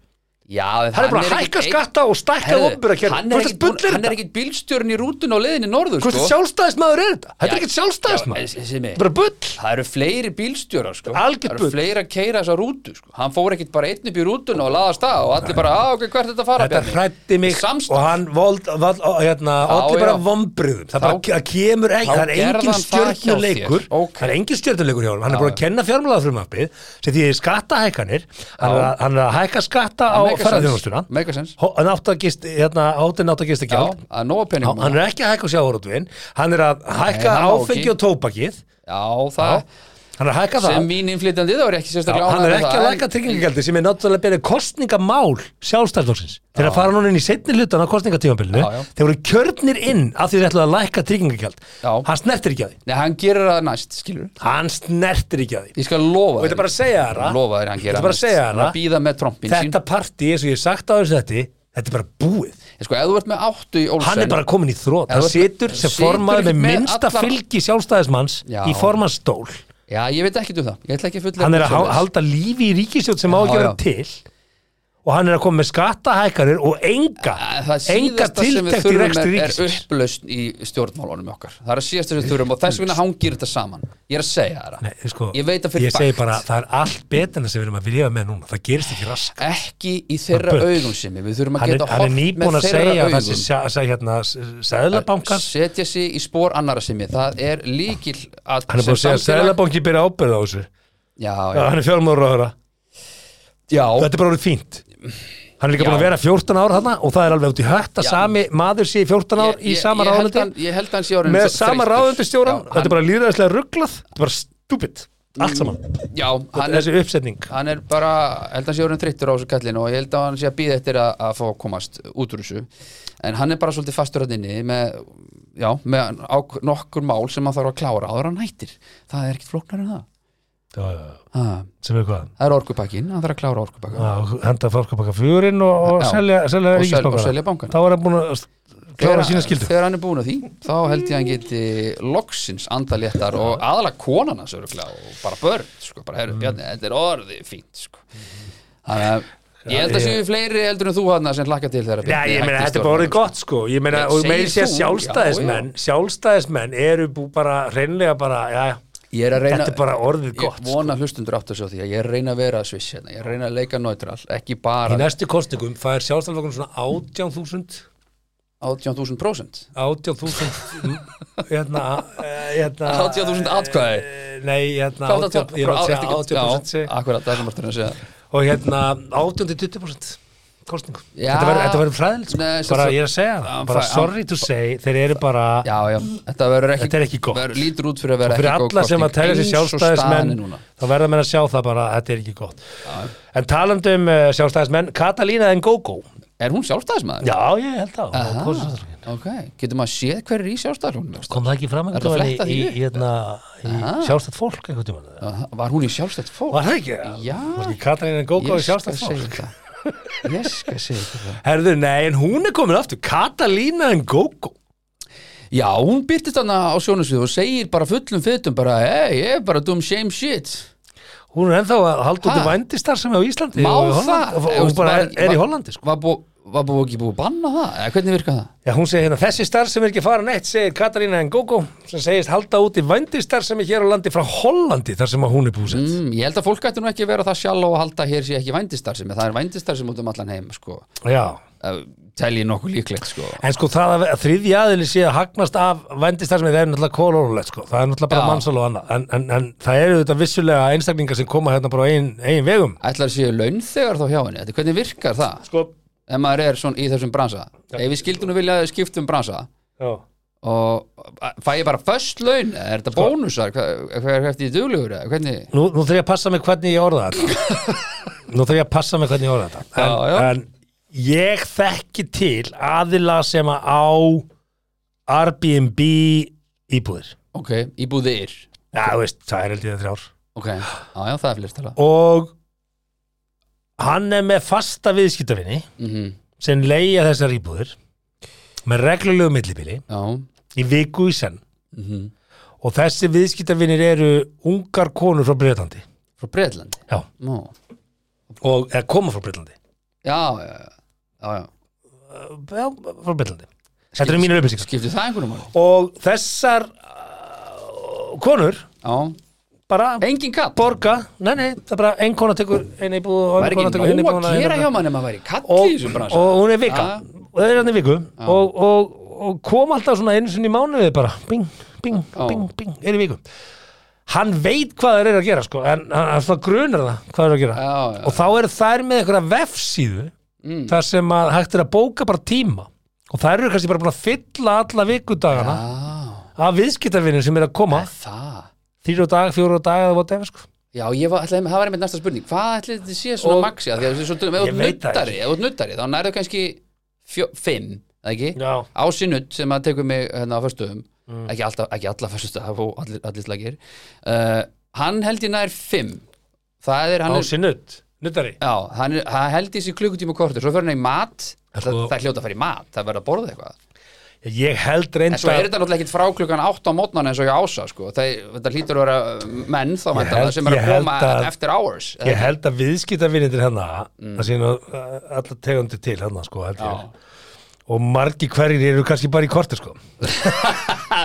S1: Já, en
S2: hann er bara að
S1: ekki
S2: hækka
S1: einn-
S2: skatta og stækka
S1: Heyrðu,
S2: opinbera
S1: Hann er ekkit búinn- hann er
S2: kerfi
S1: ekkit bílstjórn í rútun á leiðinni norður
S2: hvort
S1: sko.
S2: sjálfstæðismæður er þetta þetta
S1: Já,
S2: er ekkert
S1: já,
S2: sjálfstæðismæður
S1: en- Simmi,
S2: bara bull
S1: Það eru fleiri bílstjórar sko.
S2: Algjör
S1: Það eru
S2: bull.
S1: fleiri að keira þessa rútu sko. Hann fór ekkit bara einn upp í rútuna og laðast það og allir bara, að ok, hvert er þetta að fara
S2: þetta
S1: Bjarni?"
S2: hrætti mig
S1: Samstarf.
S2: og hann vold, vold, ó,
S1: Já,
S2: hérna, allir bara
S1: já.
S2: vombriðum það
S1: Þá-
S2: bara ke- kemur ekki,
S1: þá
S2: það er
S1: gerði hann
S2: engin
S1: það hjá
S2: stjörnuleikur
S1: þér. Ókei.
S2: það er engin stjörnuleikur hjá hann, hann er búin að kenna fjármálaðafrumafið sem því skattahækanir hann er að- hann er að hækka skatta á
S1: Mega sense.
S2: ferðarþjónustuna
S1: Mega sense.
S2: Hó- hann átti að gist, hérna, hóttinn átti að gista
S1: Já,
S2: gjald
S1: það er nóg af
S2: Já,
S1: peningum
S2: hann er ekki að hækka sjávarútveginn hann er að hækka
S1: hann má
S2: áfengi
S1: ekki.
S2: og tópakið
S1: Já, það
S2: hann er að hækka
S1: sem
S2: það
S1: mín innflytjandi þá er ég ekki
S2: Já,
S1: sérstaklega
S2: hann
S1: ánægður
S2: er
S1: með
S2: ekki
S1: það,
S2: að
S1: en-
S2: læka tryggingagjaldi sem er náttúrulega berið kostningamál sjálfstæðslóksins þegar að fara núna inn í setni hlutan á kostningatífambilinu
S1: Já, já.
S2: þeir voru kjörnir inn af því þeir ætlaði að lækka tryggingagjald
S1: Já.
S2: hann snertir ekki að því
S1: Nei, hann gerir það næst, skilur
S2: hann snertir ekki að því
S1: Ég skal lofa
S2: og þetta bara að segja þarna
S1: Lofa þér að hann
S2: Ég
S1: gera
S2: ætla bara að segja þér
S1: Hann býða með trompin sín
S2: þetta partí eins og ég hef sagt á þessu þetta þetta er bara búið
S1: Sko, ef þú ert með áttu í Olsen
S2: hann er bara komin í þrótt
S1: Já,
S2: hann
S1: þú-
S2: situr sem
S1: situr
S2: formaður
S1: ekkert
S2: með
S1: með
S2: minnsta
S1: allar-
S2: fylgi sjálfstæðismanns
S1: Já.
S2: í formanstól
S1: Já, ég veit ekki um það Ég ætla ekki fulla
S2: hann er að há- halda lífi í ríkisjótt sem á
S1: Já,
S2: ekki að vera
S1: já.
S2: til og hann er að koma með skattahækanir og enga,
S1: Það
S2: enga
S1: síðasta sem við
S2: tiltekt í
S1: þurfum
S2: rekstu
S1: er, er
S2: ríkisjótt
S1: upplausn í stjórnmálunum okkar Það er að síðasta sem við þurfum og þess vegna hangir þetta saman Ég er að segja þér það
S2: sko,
S1: Ég veit það fyrir
S2: ég segi
S1: fakt.
S2: bara, það er allt betur en það sem við erum að vilja með núna, það gerist ekki rask
S1: Ekki í þeirra
S2: Það er bull.
S1: augum sem við þurfum að
S2: hann er,
S1: geta
S2: hann er
S1: horft
S2: nýbúin
S1: með
S2: að
S1: þeirra
S2: segja að
S1: augum.
S2: þessi sa- sa- hérna, sæðlabankans
S1: setja sig í spór annara sem ég það er líkil að
S2: hann er búin að segja að sæðlabanki byrja ábyrða á þessu
S1: já,
S2: Já,
S1: já,
S2: hann er fjármóður á þeirra,
S1: já,
S2: þetta er bara orðið fínt hann er líka
S1: Já.
S2: búin að vera 14 ár hann og það er alveg út í hött að
S1: Já.
S2: sami maður sé í 14 ár í sama
S1: ég, ég, held
S2: ráðuneyti
S1: hann, ég held hann sé orðinn
S2: með
S1: svo
S2: sama
S1: þreyttur.
S2: ráðundustjóran
S1: Já,
S2: þetta er bara líðræðislega rugglað þetta er bara stúpid, allt saman
S1: hann, já, hann, er,
S2: þessi uppsetning
S1: hann er bara held hann sé orðin þreyttur á þessu kallinu og ég held að hann sé að býða eftir að, að fá að komast út úr þessu en hann er bara svolítið fastur að inni með, já, með á, nokkur mál sem hann þarf að klára áður en hann hættir það er ekkit flóknar en það ha,
S2: sem er hvað
S1: það er orkupakkin, hann þarf að klára orkupakkin
S2: Já, henda fólkabaka fjörinn og, og
S1: Já.
S2: selja, selja
S1: Og sel-
S2: ríkisbankana
S1: og selja bankana.
S2: þá er hann búin að klára sína skildu
S1: þegar hann er búin að því þá held ég að hann geti loksins andaléttar og aðalega konan hans örugglega og bara börn sko, bara
S2: Mm.
S1: herru Bjarni, þetta er orði fínt sko. þannig að ég held að séu fleiri eldur en þú hann sem hlakka til þeirra
S2: Já, ég meina, þetta er bara orðið gott sko ég meina,
S1: Já,
S2: og meiri
S1: segir
S2: sé
S1: þú,
S2: sjálfstæðismenn sjálfstæðismenn eru bú bara, reynlega bara já, já,
S1: Ég er að reyna
S2: Þetta er bara orðið gott, sko.
S1: Ég vona hlustundur átt að sjá því að ég er að reyna að vera að sviss hérna Ég er að reyna að leika neutral, ekki bara
S2: Í næstu kostningum fær sjálfstæðanflokkurinn svona 18.000
S1: 18.000%
S2: 18.000 hérna, eh, hérna
S1: 80.000 atkvæði.
S2: eh, Nei, hérna
S1: Hvað var
S2: 80
S1: það?
S2: Ég var að
S1: Frá-
S2: segja
S1: ekki-
S2: 80%
S1: Já,
S2: segi-
S1: akkurat, það er sem vartur að segja
S2: og hérna 18-20% kostningu
S1: Já.
S2: þetta verður- þetta verður fræðilegt sko.
S1: Nei,
S2: bara
S1: svo-
S2: ég er að segja
S1: Já,
S2: það bara
S1: fræ-
S2: sorry to say þeir eru bara
S1: Já, já, þetta verður ekki
S2: Þetta er ekki gott.
S1: verður, Lítur út fyrir að vera
S2: og fyrir
S1: ekki góð
S2: alla sem
S1: kosning,
S2: að telja sér
S1: eins og staðan er
S2: sjálfstæðismenn
S1: núna.
S2: þá verða menn að sjá það bara að þetta er ekki gott en talandi um uh, sjálfstæðismenn Katalína Ngogo
S1: Er hún sjálfstæðismæður?
S2: já ég held það Hún var kosningssamtökin.
S1: ok, getur maður séð hver er í sjálfstæðismæður?
S2: kom það ekki fram
S1: Er það
S2: einhvern veginn
S1: flettað
S2: í,
S1: því
S2: í, hérna, í sjálfstætt fólk einhvern tímann eða?
S1: Var hún í sjálfstætt fólk?
S2: var það ekki
S1: Já.
S2: var ekki Katalína Ngogo í sjálfstætt fólk
S1: segja þetta Ég skal segja þetta
S2: herðu nei en hún er komin aftur Katalína Ngogo
S1: Já, hún byrtist hann á sjónusvið og segir bara fullum fytum bara, hei, ég er bara dum shame shit
S2: Hún er ennþá að halda út
S1: Ha?
S2: í vændistarfsemi á Íslandi
S1: Má
S2: og,
S1: það?
S2: í Hollandi. og, og hún bara er, er í Hollandi sko.
S1: Var búið var bú, ekki búið að banna það? Eða hvernig virka það?
S2: Já, hún segir hérna, þessi starfsemi er ekki að fara neitt segir Katarína Ngogo sem segist halda út í vændistarfsemi hér á landi frá Hollandi þar sem að hún er búsett
S1: Mm, ég held að fólk ætti nú ekki að vera það sjálf og halda að hér sé ekki vændistarfsemi, það er vændistarfsemi út um allan heim sko,
S2: Já,
S1: Eh, tel ég nokkuð líklegt sko
S2: en sko það að að þriðji aðili sé að hagnast af vændistarfsemi það er náttúrulega kólórulegt sko, það er náttúrulega bara
S1: Já.
S2: mannsal og annað en, en, en það eru þetta vissulega einstaklingar sem koma hérna bara á ein, ein vegum
S1: Ætlar séu launþegar þá hjá henni, Þetta- hvernig virkar það?
S2: Sko,
S1: Ef maður er svona í þessum bransa Ef við skildum nú vilja skiptum um bransa
S2: já
S1: og fæ ég bara föst laun, eða er þetta bónusar hver, hver, hver eftir í duglegur, eða hvernig
S2: Nú, nú þarf ég að passa mig hvernig ég orða þetta Nú þarf ég að passa mig hvernig ég orða þetta en,
S1: Já, já.
S2: en ég þekki til aðila sem að á Airbnb íbúðir
S1: Ok, íbúðir
S2: Já, þú veist, það er held ég það þrjár
S1: Ok, já, já, það er flertala
S2: Og hann er með fasta viðskiptafinni
S1: mm -hmm.
S2: sem leiga þessar íbúðir með reglulegu millibili
S1: Já
S2: í viku í senn
S1: mm
S2: og þessi viðskiptafinir eru ungar konur frá Breitlandi
S1: Frá Breitlandi
S2: Já,
S1: Nú.
S2: og eða koma frá Breitlandi
S1: Já, já, já, já, já.
S2: Já, frá Breitlandi Þetta eru mínir upplýsingar
S1: Skiptir það einhverjum máli?
S2: og þessar uh, konur
S1: Já,
S2: bara
S1: engin kall
S2: borga, nei nei, það er bara ein kona tekur eina íbúð og
S1: Það er
S2: ein kona tekur
S1: ekki
S2: hinn
S1: nóg
S2: íbúð
S1: að gera hjá mann ef maður væri kall í
S2: hérna og,
S1: þessum bransa
S2: og hún er vika
S1: Ah.
S2: og það er hann í viku og, og, og kom alltaf svona einu sinni í mánuði bara, bing, bing,
S1: Já.
S2: bing, bing er í viku hann veit hvað það er að gera sko, en hann, hann svona grunar það hvað það er að gera
S1: Já, já.
S2: og þá eru þær með einhverja vefsíðu
S1: Mm.
S2: þar sem að hægt er að bóka bara tíma og þær eru kannski bara búin að fylla alla vikudagana
S1: Já,
S2: af viðskiptarvinnin sem er að koma
S1: það
S2: þrjú dag, fjóru dag eða whatever sko.
S1: Já, ég var, ætlaði, það var einmitt næsta spurning Hvað ætlaði þetta sé svona
S2: Og-
S1: maxi Af Því að þú svo dömum, ef
S2: Ég
S1: þú
S2: veit það
S1: nuttari Ef þú nuttari, þá nærðu kannski fjó, fimm, eða ekki?
S2: Já.
S1: Ásinutt sem að tekur mig hérna á föstum
S2: Mm.
S1: ekki, alltaf, ekki alla föstum, allir, allir slagir uh, Hann held ég nær fimm Það er, hann er
S2: Ási nutt, nuttari
S1: Já, hann, er, hann held í sig klukkutíma og kortur Svo fer hann í mat það,
S2: Sko-
S1: það er hljóta að fara í mat, það verður að borða eitthvað
S2: Ég held
S1: En svo
S2: reynda
S1: er þetta náttúrulega ekkit frá klukkan 8 á mótnan eins og ég ása sko. það, Þetta hlýtur að vera menn þá væntanlega,
S2: held-
S1: sem er
S2: ég
S1: að
S2: held
S1: koma
S2: að-
S1: eftir hours eða
S2: Ég held að viðskiptarvinnindir hérna það sé nú uh, alla tegundir til hérna sko, held
S1: Mm. Já.
S2: ég og margi hverjir eru kannski bara í korti sko.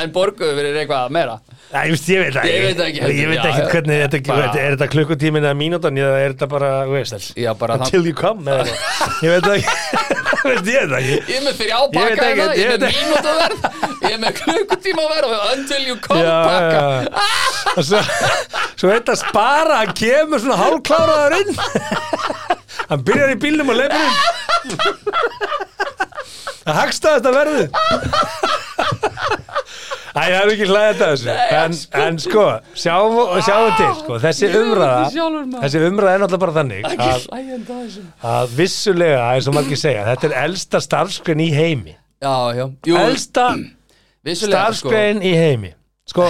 S1: en borguðu fyrir eitthvað meira
S2: Nei, ég veist, ég veit það
S1: Ég veit það ekki heldur,
S2: Ég veit
S1: já,
S2: ekki
S1: já.
S2: hvernig þetta
S1: Bara-
S2: bara... er þetta klukkutímin eða mínútan eða er þetta bara, þú veist þess
S1: Já, bara það-
S2: Until you come eða eitthvað. Ég veit það ekki Veist, Ég veit það ekki
S1: ég er með fyrir
S2: Ég
S1: ápakka
S2: veit ekki,
S1: hérna, ég
S2: ég
S1: er
S2: veit
S1: með
S2: ekki.
S1: mínúta verð ég er með klukkutíma verð until you come
S2: Já,
S1: pakka
S2: já, já. Og svo, svo þetta spara hann kemur svona hálkláraður inn hann byrjar í bílnum og leifur inn það hagstaðast að verðu Æ, ég hef ekki hlæðið þetta að þessu en, en sko, sjáum, sjáum til sko, þessi
S1: Ég er
S2: umræða
S1: ekki sjálfur maður.
S2: þessi umræða er náttúrulega bara þannig
S1: ekki
S2: að,
S1: hlægjandi að þessu
S2: að vissulega, eins og margir segja þetta er elsta starfskrin í heimi
S1: já, já, jú,
S2: elsta
S1: vissulega sko.
S2: starfskrin í heimi sko,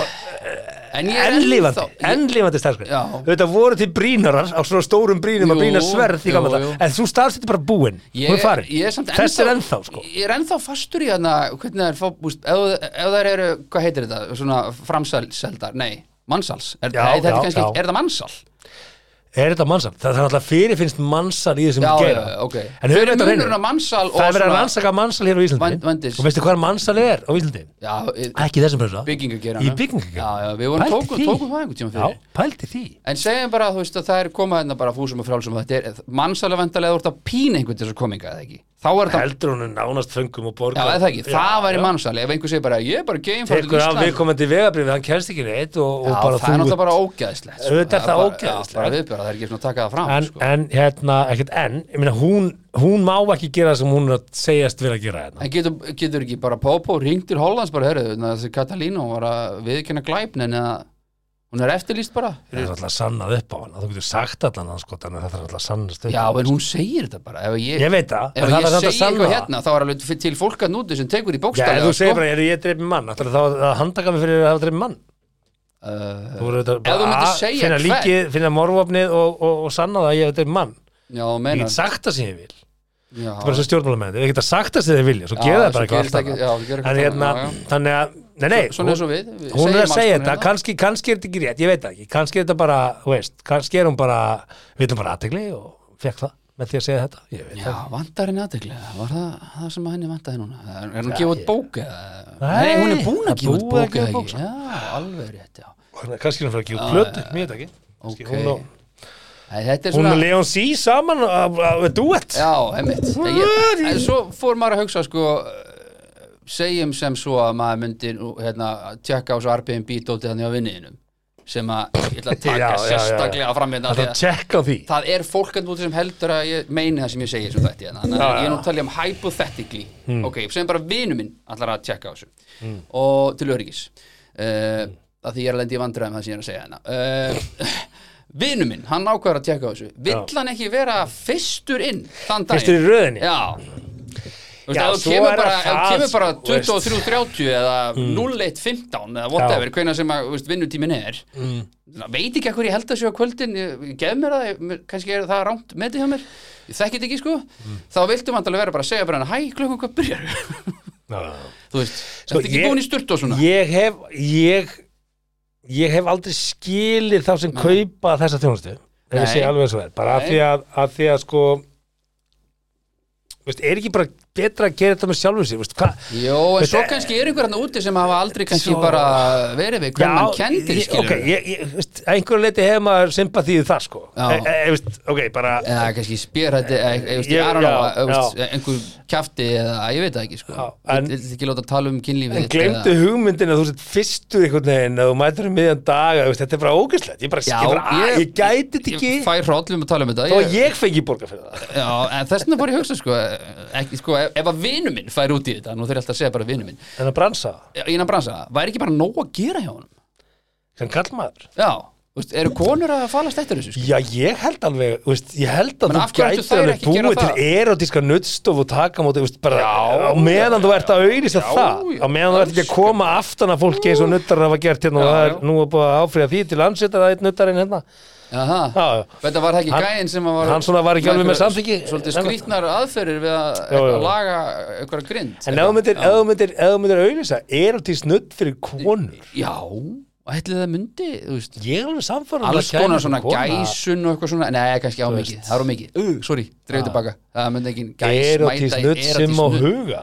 S1: en ég er
S2: enn lífandi,
S1: ennþá-
S2: enn lífandi starfskrein
S1: Já.
S2: þetta voru til brínarar á svona stórum brínum
S1: Jú,
S2: að brína sverð í
S1: jú,
S2: gamla
S1: jú.
S2: dag en þú starfst bara búinn, hún er farin
S1: ég er samt
S2: þess er ennþá sko
S1: ég er ennþá fastur í hérna hvernig það er fá, búst, ef, ef það eru, hvað heitir þetta svona framselseldar, nei, mannsals er,
S2: Já,
S1: nei, þetta er
S2: já,
S1: kannski,
S2: já.
S1: er það mannsal?
S2: er þetta mannsal? Það, það er alltaf fyrirfinnst mannsal í þessum
S1: Já,
S2: geira.
S1: já, ok.
S2: En höfum
S1: Hver er
S2: þetta á hreinu.
S1: munurinn á mansal og
S2: Það er verið að
S1: svona-
S2: rannsaka mannsal hér á Íslandi.
S1: Vænd- vændis.
S2: Og veistu hvað mannsal er á Íslandi?
S1: Já, í-
S2: Ekki í þessum pressa.
S1: byggingageirana.
S2: Í byggingageiranum.
S1: Já, já, við vorum-
S2: Pældu
S1: tókum-
S2: því.
S1: tókum það einhvern tímann fyrir.
S2: Já, pælti því.
S1: En segjum bara, þú veist, að það er koma hérna bara fúsum og frálsum og þetta er mannsalvendalega þú ert að pína einhvern til þess að kominga, eða ekki? Þá er það,
S2: Heldur hún er nánast fengum og
S1: já,
S2: borgar.
S1: eða ekki, það
S2: Já,
S1: væri
S2: já.
S1: mannsal ef einhver segir bara, ég er bara geim frá til
S2: Tekur af
S1: Ísland
S2: viðkomandi vegabrifið, hann kennst ekki neitt og,
S1: Já,
S2: og bara
S1: það er náttúrulega
S2: út.
S1: bara ógæðslegt sko.
S2: Auðvitað er það
S1: bara-
S2: ógeðslegt.
S1: Já, bara viðbjörða, það er ekki svona að taka það fram
S2: en,
S1: sko.
S2: en hérna, ekkert en ég meina, hún, hún má ekki gera það sem hún er að segjast vera að gera hérna.
S1: En getur, getur ekki bara Popo ringt til Hollands bara, herrðu, þessi Katalín hún var að viðkenna glæpn en að hún er eftirlýst bara
S2: það er alltaf sannað upp á hann þú getur sagt allan hans sko, þannig að þetta er alltaf sannast upp
S1: Já,
S2: á hana. sko.
S1: en hún segir þetta bara Ef ég,
S2: ég veit það,
S1: ef
S2: en
S1: ég
S2: það er
S1: segi
S2: alltaf sannað
S1: eitthvað
S2: hérna,
S1: hérna, sko. þá er alveg f- til fólk að núti sem tekur í
S2: já, ef
S1: bókstæðlega
S2: þú segir bara, ég, ég dreipi mann ætlarðu þá að- að handtaka mig fyrir að hafa dreipi mann
S1: uh,
S2: þú verður
S1: ef þú
S2: þetta
S1: myndir
S2: bara að
S1: segja
S2: finna
S1: hvern-
S2: líkið, finna morfopnið og, og, og sanna það að ég hafa dreipi mann
S1: Já,
S2: ég
S1: meina
S2: get sagt það sem ég vil, það er bara
S1: Já,
S2: svo stjórnmálamenn ég get að sagt það sem þið vilja, svo gera það bara
S1: svo
S2: eitthvað
S1: gerist
S2: allt
S1: ekki-
S2: annað.
S1: já, þú gerir
S2: en
S1: eitthvað
S2: hérna,
S1: annað,
S2: þannig að nei, nei,
S1: Svona
S2: hún-
S1: eins og við, við segjum
S2: hún er að
S1: alls
S2: segja
S1: konar
S2: þetta,
S1: hérna.
S2: kannski, kannski er þetta ekki rétt, ég veit það ekki, kannski er þetta bara, þú veist, kannski er hún bara, við viljum bara aðtegli og fekk það með því að segja þetta, ég veit
S1: Já, vantar henni aðteglega, var það það sem að henni vantaði núna? Er er hún að gefa út bók? eða-
S2: Nei,
S1: Nei, hún er búin
S2: það
S1: að gefa út
S2: búið að
S1: bók,
S2: gefa
S1: eða
S2: bók, sko.
S1: ekki? Já, alveg rétt, já.
S2: það, kannski er hún fyrir að gefa út plötu, mér veit það ekki, Kannski
S1: Ok.
S2: hún og,
S1: Nei, Þetta er
S2: hún og
S1: svona...
S2: Leon C saman að að- að duett,
S1: Já, emmitt.
S2: What?
S1: En svo fór maður að hugsa, sko, eh, segjum sem svo að maður myndi nú, hérna, tjekka á svo Airbnb-dótið þannig á vinniðinum, sem að ég ætla að
S2: Já,
S1: taka
S2: já, já.
S1: sérstaklega fram hérna. af
S2: það
S1: því að
S2: er að tjekka á því,
S1: Það er fólk enn út sem heldur að ég meini það sem ég segi sem þetta hérna. Þannig
S2: Já,
S1: að
S2: Hmm. já.
S1: ég er nú að tala um hypothetically Ok, sem bara vinu minn allar að tjekka á þessu
S2: Hmm.
S1: Og til öryggis uh, að Því ég er að lendi í vandræðum það sem ég er að segja hérna uh, Vinu minn, hann ákveður að tjekka á þessu Vill hann ekki vera fyrstur inn þann daginn?
S2: Fyrstur í röðinni?
S1: Já Þú veist,
S2: Já,
S1: ef þú
S2: svo
S1: kemur
S2: er
S1: bara,
S2: það Mm.
S1: ef þú
S2: það,
S1: kemur bara
S2: sko,
S1: 23.30 eða 01.15 eða whatever, hvenær sem að, þú veist, vinnutímin er mm. veit ekki að hverju ég held að séu á kvöldin ég, ég gef mér það, ég, mér- kannski er það rámt með hjá mér, ég þekki þetta ekki sko
S2: Mm.
S1: þá viltum við vera bara að segja bara hæ, klukkan hvað byrjar þú veist,
S2: Sko,
S1: þetta ekki
S2: ég-
S1: búin í sturt og svona
S2: ég hef, ég, ég hef aldrei skilið þá sem kaupa þessa þjónustu, ef
S1: Nei.
S2: ég segja alveg svo er, bara að
S1: Nei.
S2: því að, að því að sko, Veist, er ekki bara betra að gera þetta með sjálfum sér veist, hvað,
S1: Jó, en
S2: Veist,
S1: svo
S2: eh,
S1: kannski er einhver hann úti sem hafa aldrei kannski
S2: Svo-
S1: bara verið við hvernig hann kendir
S2: ég-
S1: skilur
S2: ok, ég, ég, veist, að einhverju leiti hefur maður sympatíð það sko
S1: Já.
S2: e, e, veist, ok, bara
S1: eða kannski spjörhætti
S2: Ég- já, já.
S1: einhver kjafti eða ég veit það ekki sko
S2: Já,
S1: Ég
S2: en-
S1: vil ekki láta tala um kynlífið
S2: en
S1: þitt
S2: glemdu
S1: eða-
S2: hugmyndin að þú sett fyrstur einhvern veginn að þú mætur um miðjan dag að, veist, þetta er bara ógæslegt ég, bara,
S1: Já,
S2: ég, bara, "Ah,
S1: ég-
S2: ég, ég gæti þetta ekki
S1: ég fæ hróllum að tala um þetta
S2: þó
S1: ég-
S2: að ég fengi borga fyrir það
S1: Já, en þess vegna fór ég að hugsa sko, ekki, sko, ef, ef að vinur minn fær út í þetta nú þeir alltaf að segja bara vinur minn
S2: en að bransa,
S1: innan bransa, væri ekki bara nóg að gera hjá honum
S2: sem kallmaður
S1: Já, þú veist, eru konur að falast eftir þessu sko?
S2: Já, ég held alveg, þú veist, ég held að
S1: Men af
S2: þú
S1: hverju ættu
S2: gætir
S1: þær
S2: alveg
S1: ekki að gera
S2: búið
S1: það?
S2: til erotíska nuttstof og taka á móti, þú veist, bara
S1: Já,
S2: á meðan þú ert að auðvisa
S1: já,
S2: það,
S1: já,
S2: á meðan þú ert ekki að koma aftan að fólki eins og nuttarinn hafa gert hérna og
S1: Já,
S2: það er
S1: já.
S2: nú að búið að áfriða því til ansetta það eitt nuttarinn hérna.
S1: Aha,
S2: Já, já.
S1: þetta var ekki
S2: Hann-
S1: gæinn sem að var
S2: hann svona var ekki alveg með samþykki.
S1: Svolítið skrýtnar aðferðir við að
S2: Já, já.
S1: að laga einhverja grind
S2: En ef þú myndir, ef þú myndir, ef þú myndir auðvisa erotísk nutt fyrir konur,
S1: Já, ætli það myndi, þú veist
S2: ég er alveg um samfærum
S1: Alls konar svona gæsun og eitthvað svona Nei, kannski á mikið, það er á mikið uh, Sorry, dreifðu tilbaka Það myndi ekki gæs
S2: Erotísk
S1: mæta í
S2: nutt Ah. sem á
S1: erotísk nudd.
S2: huga.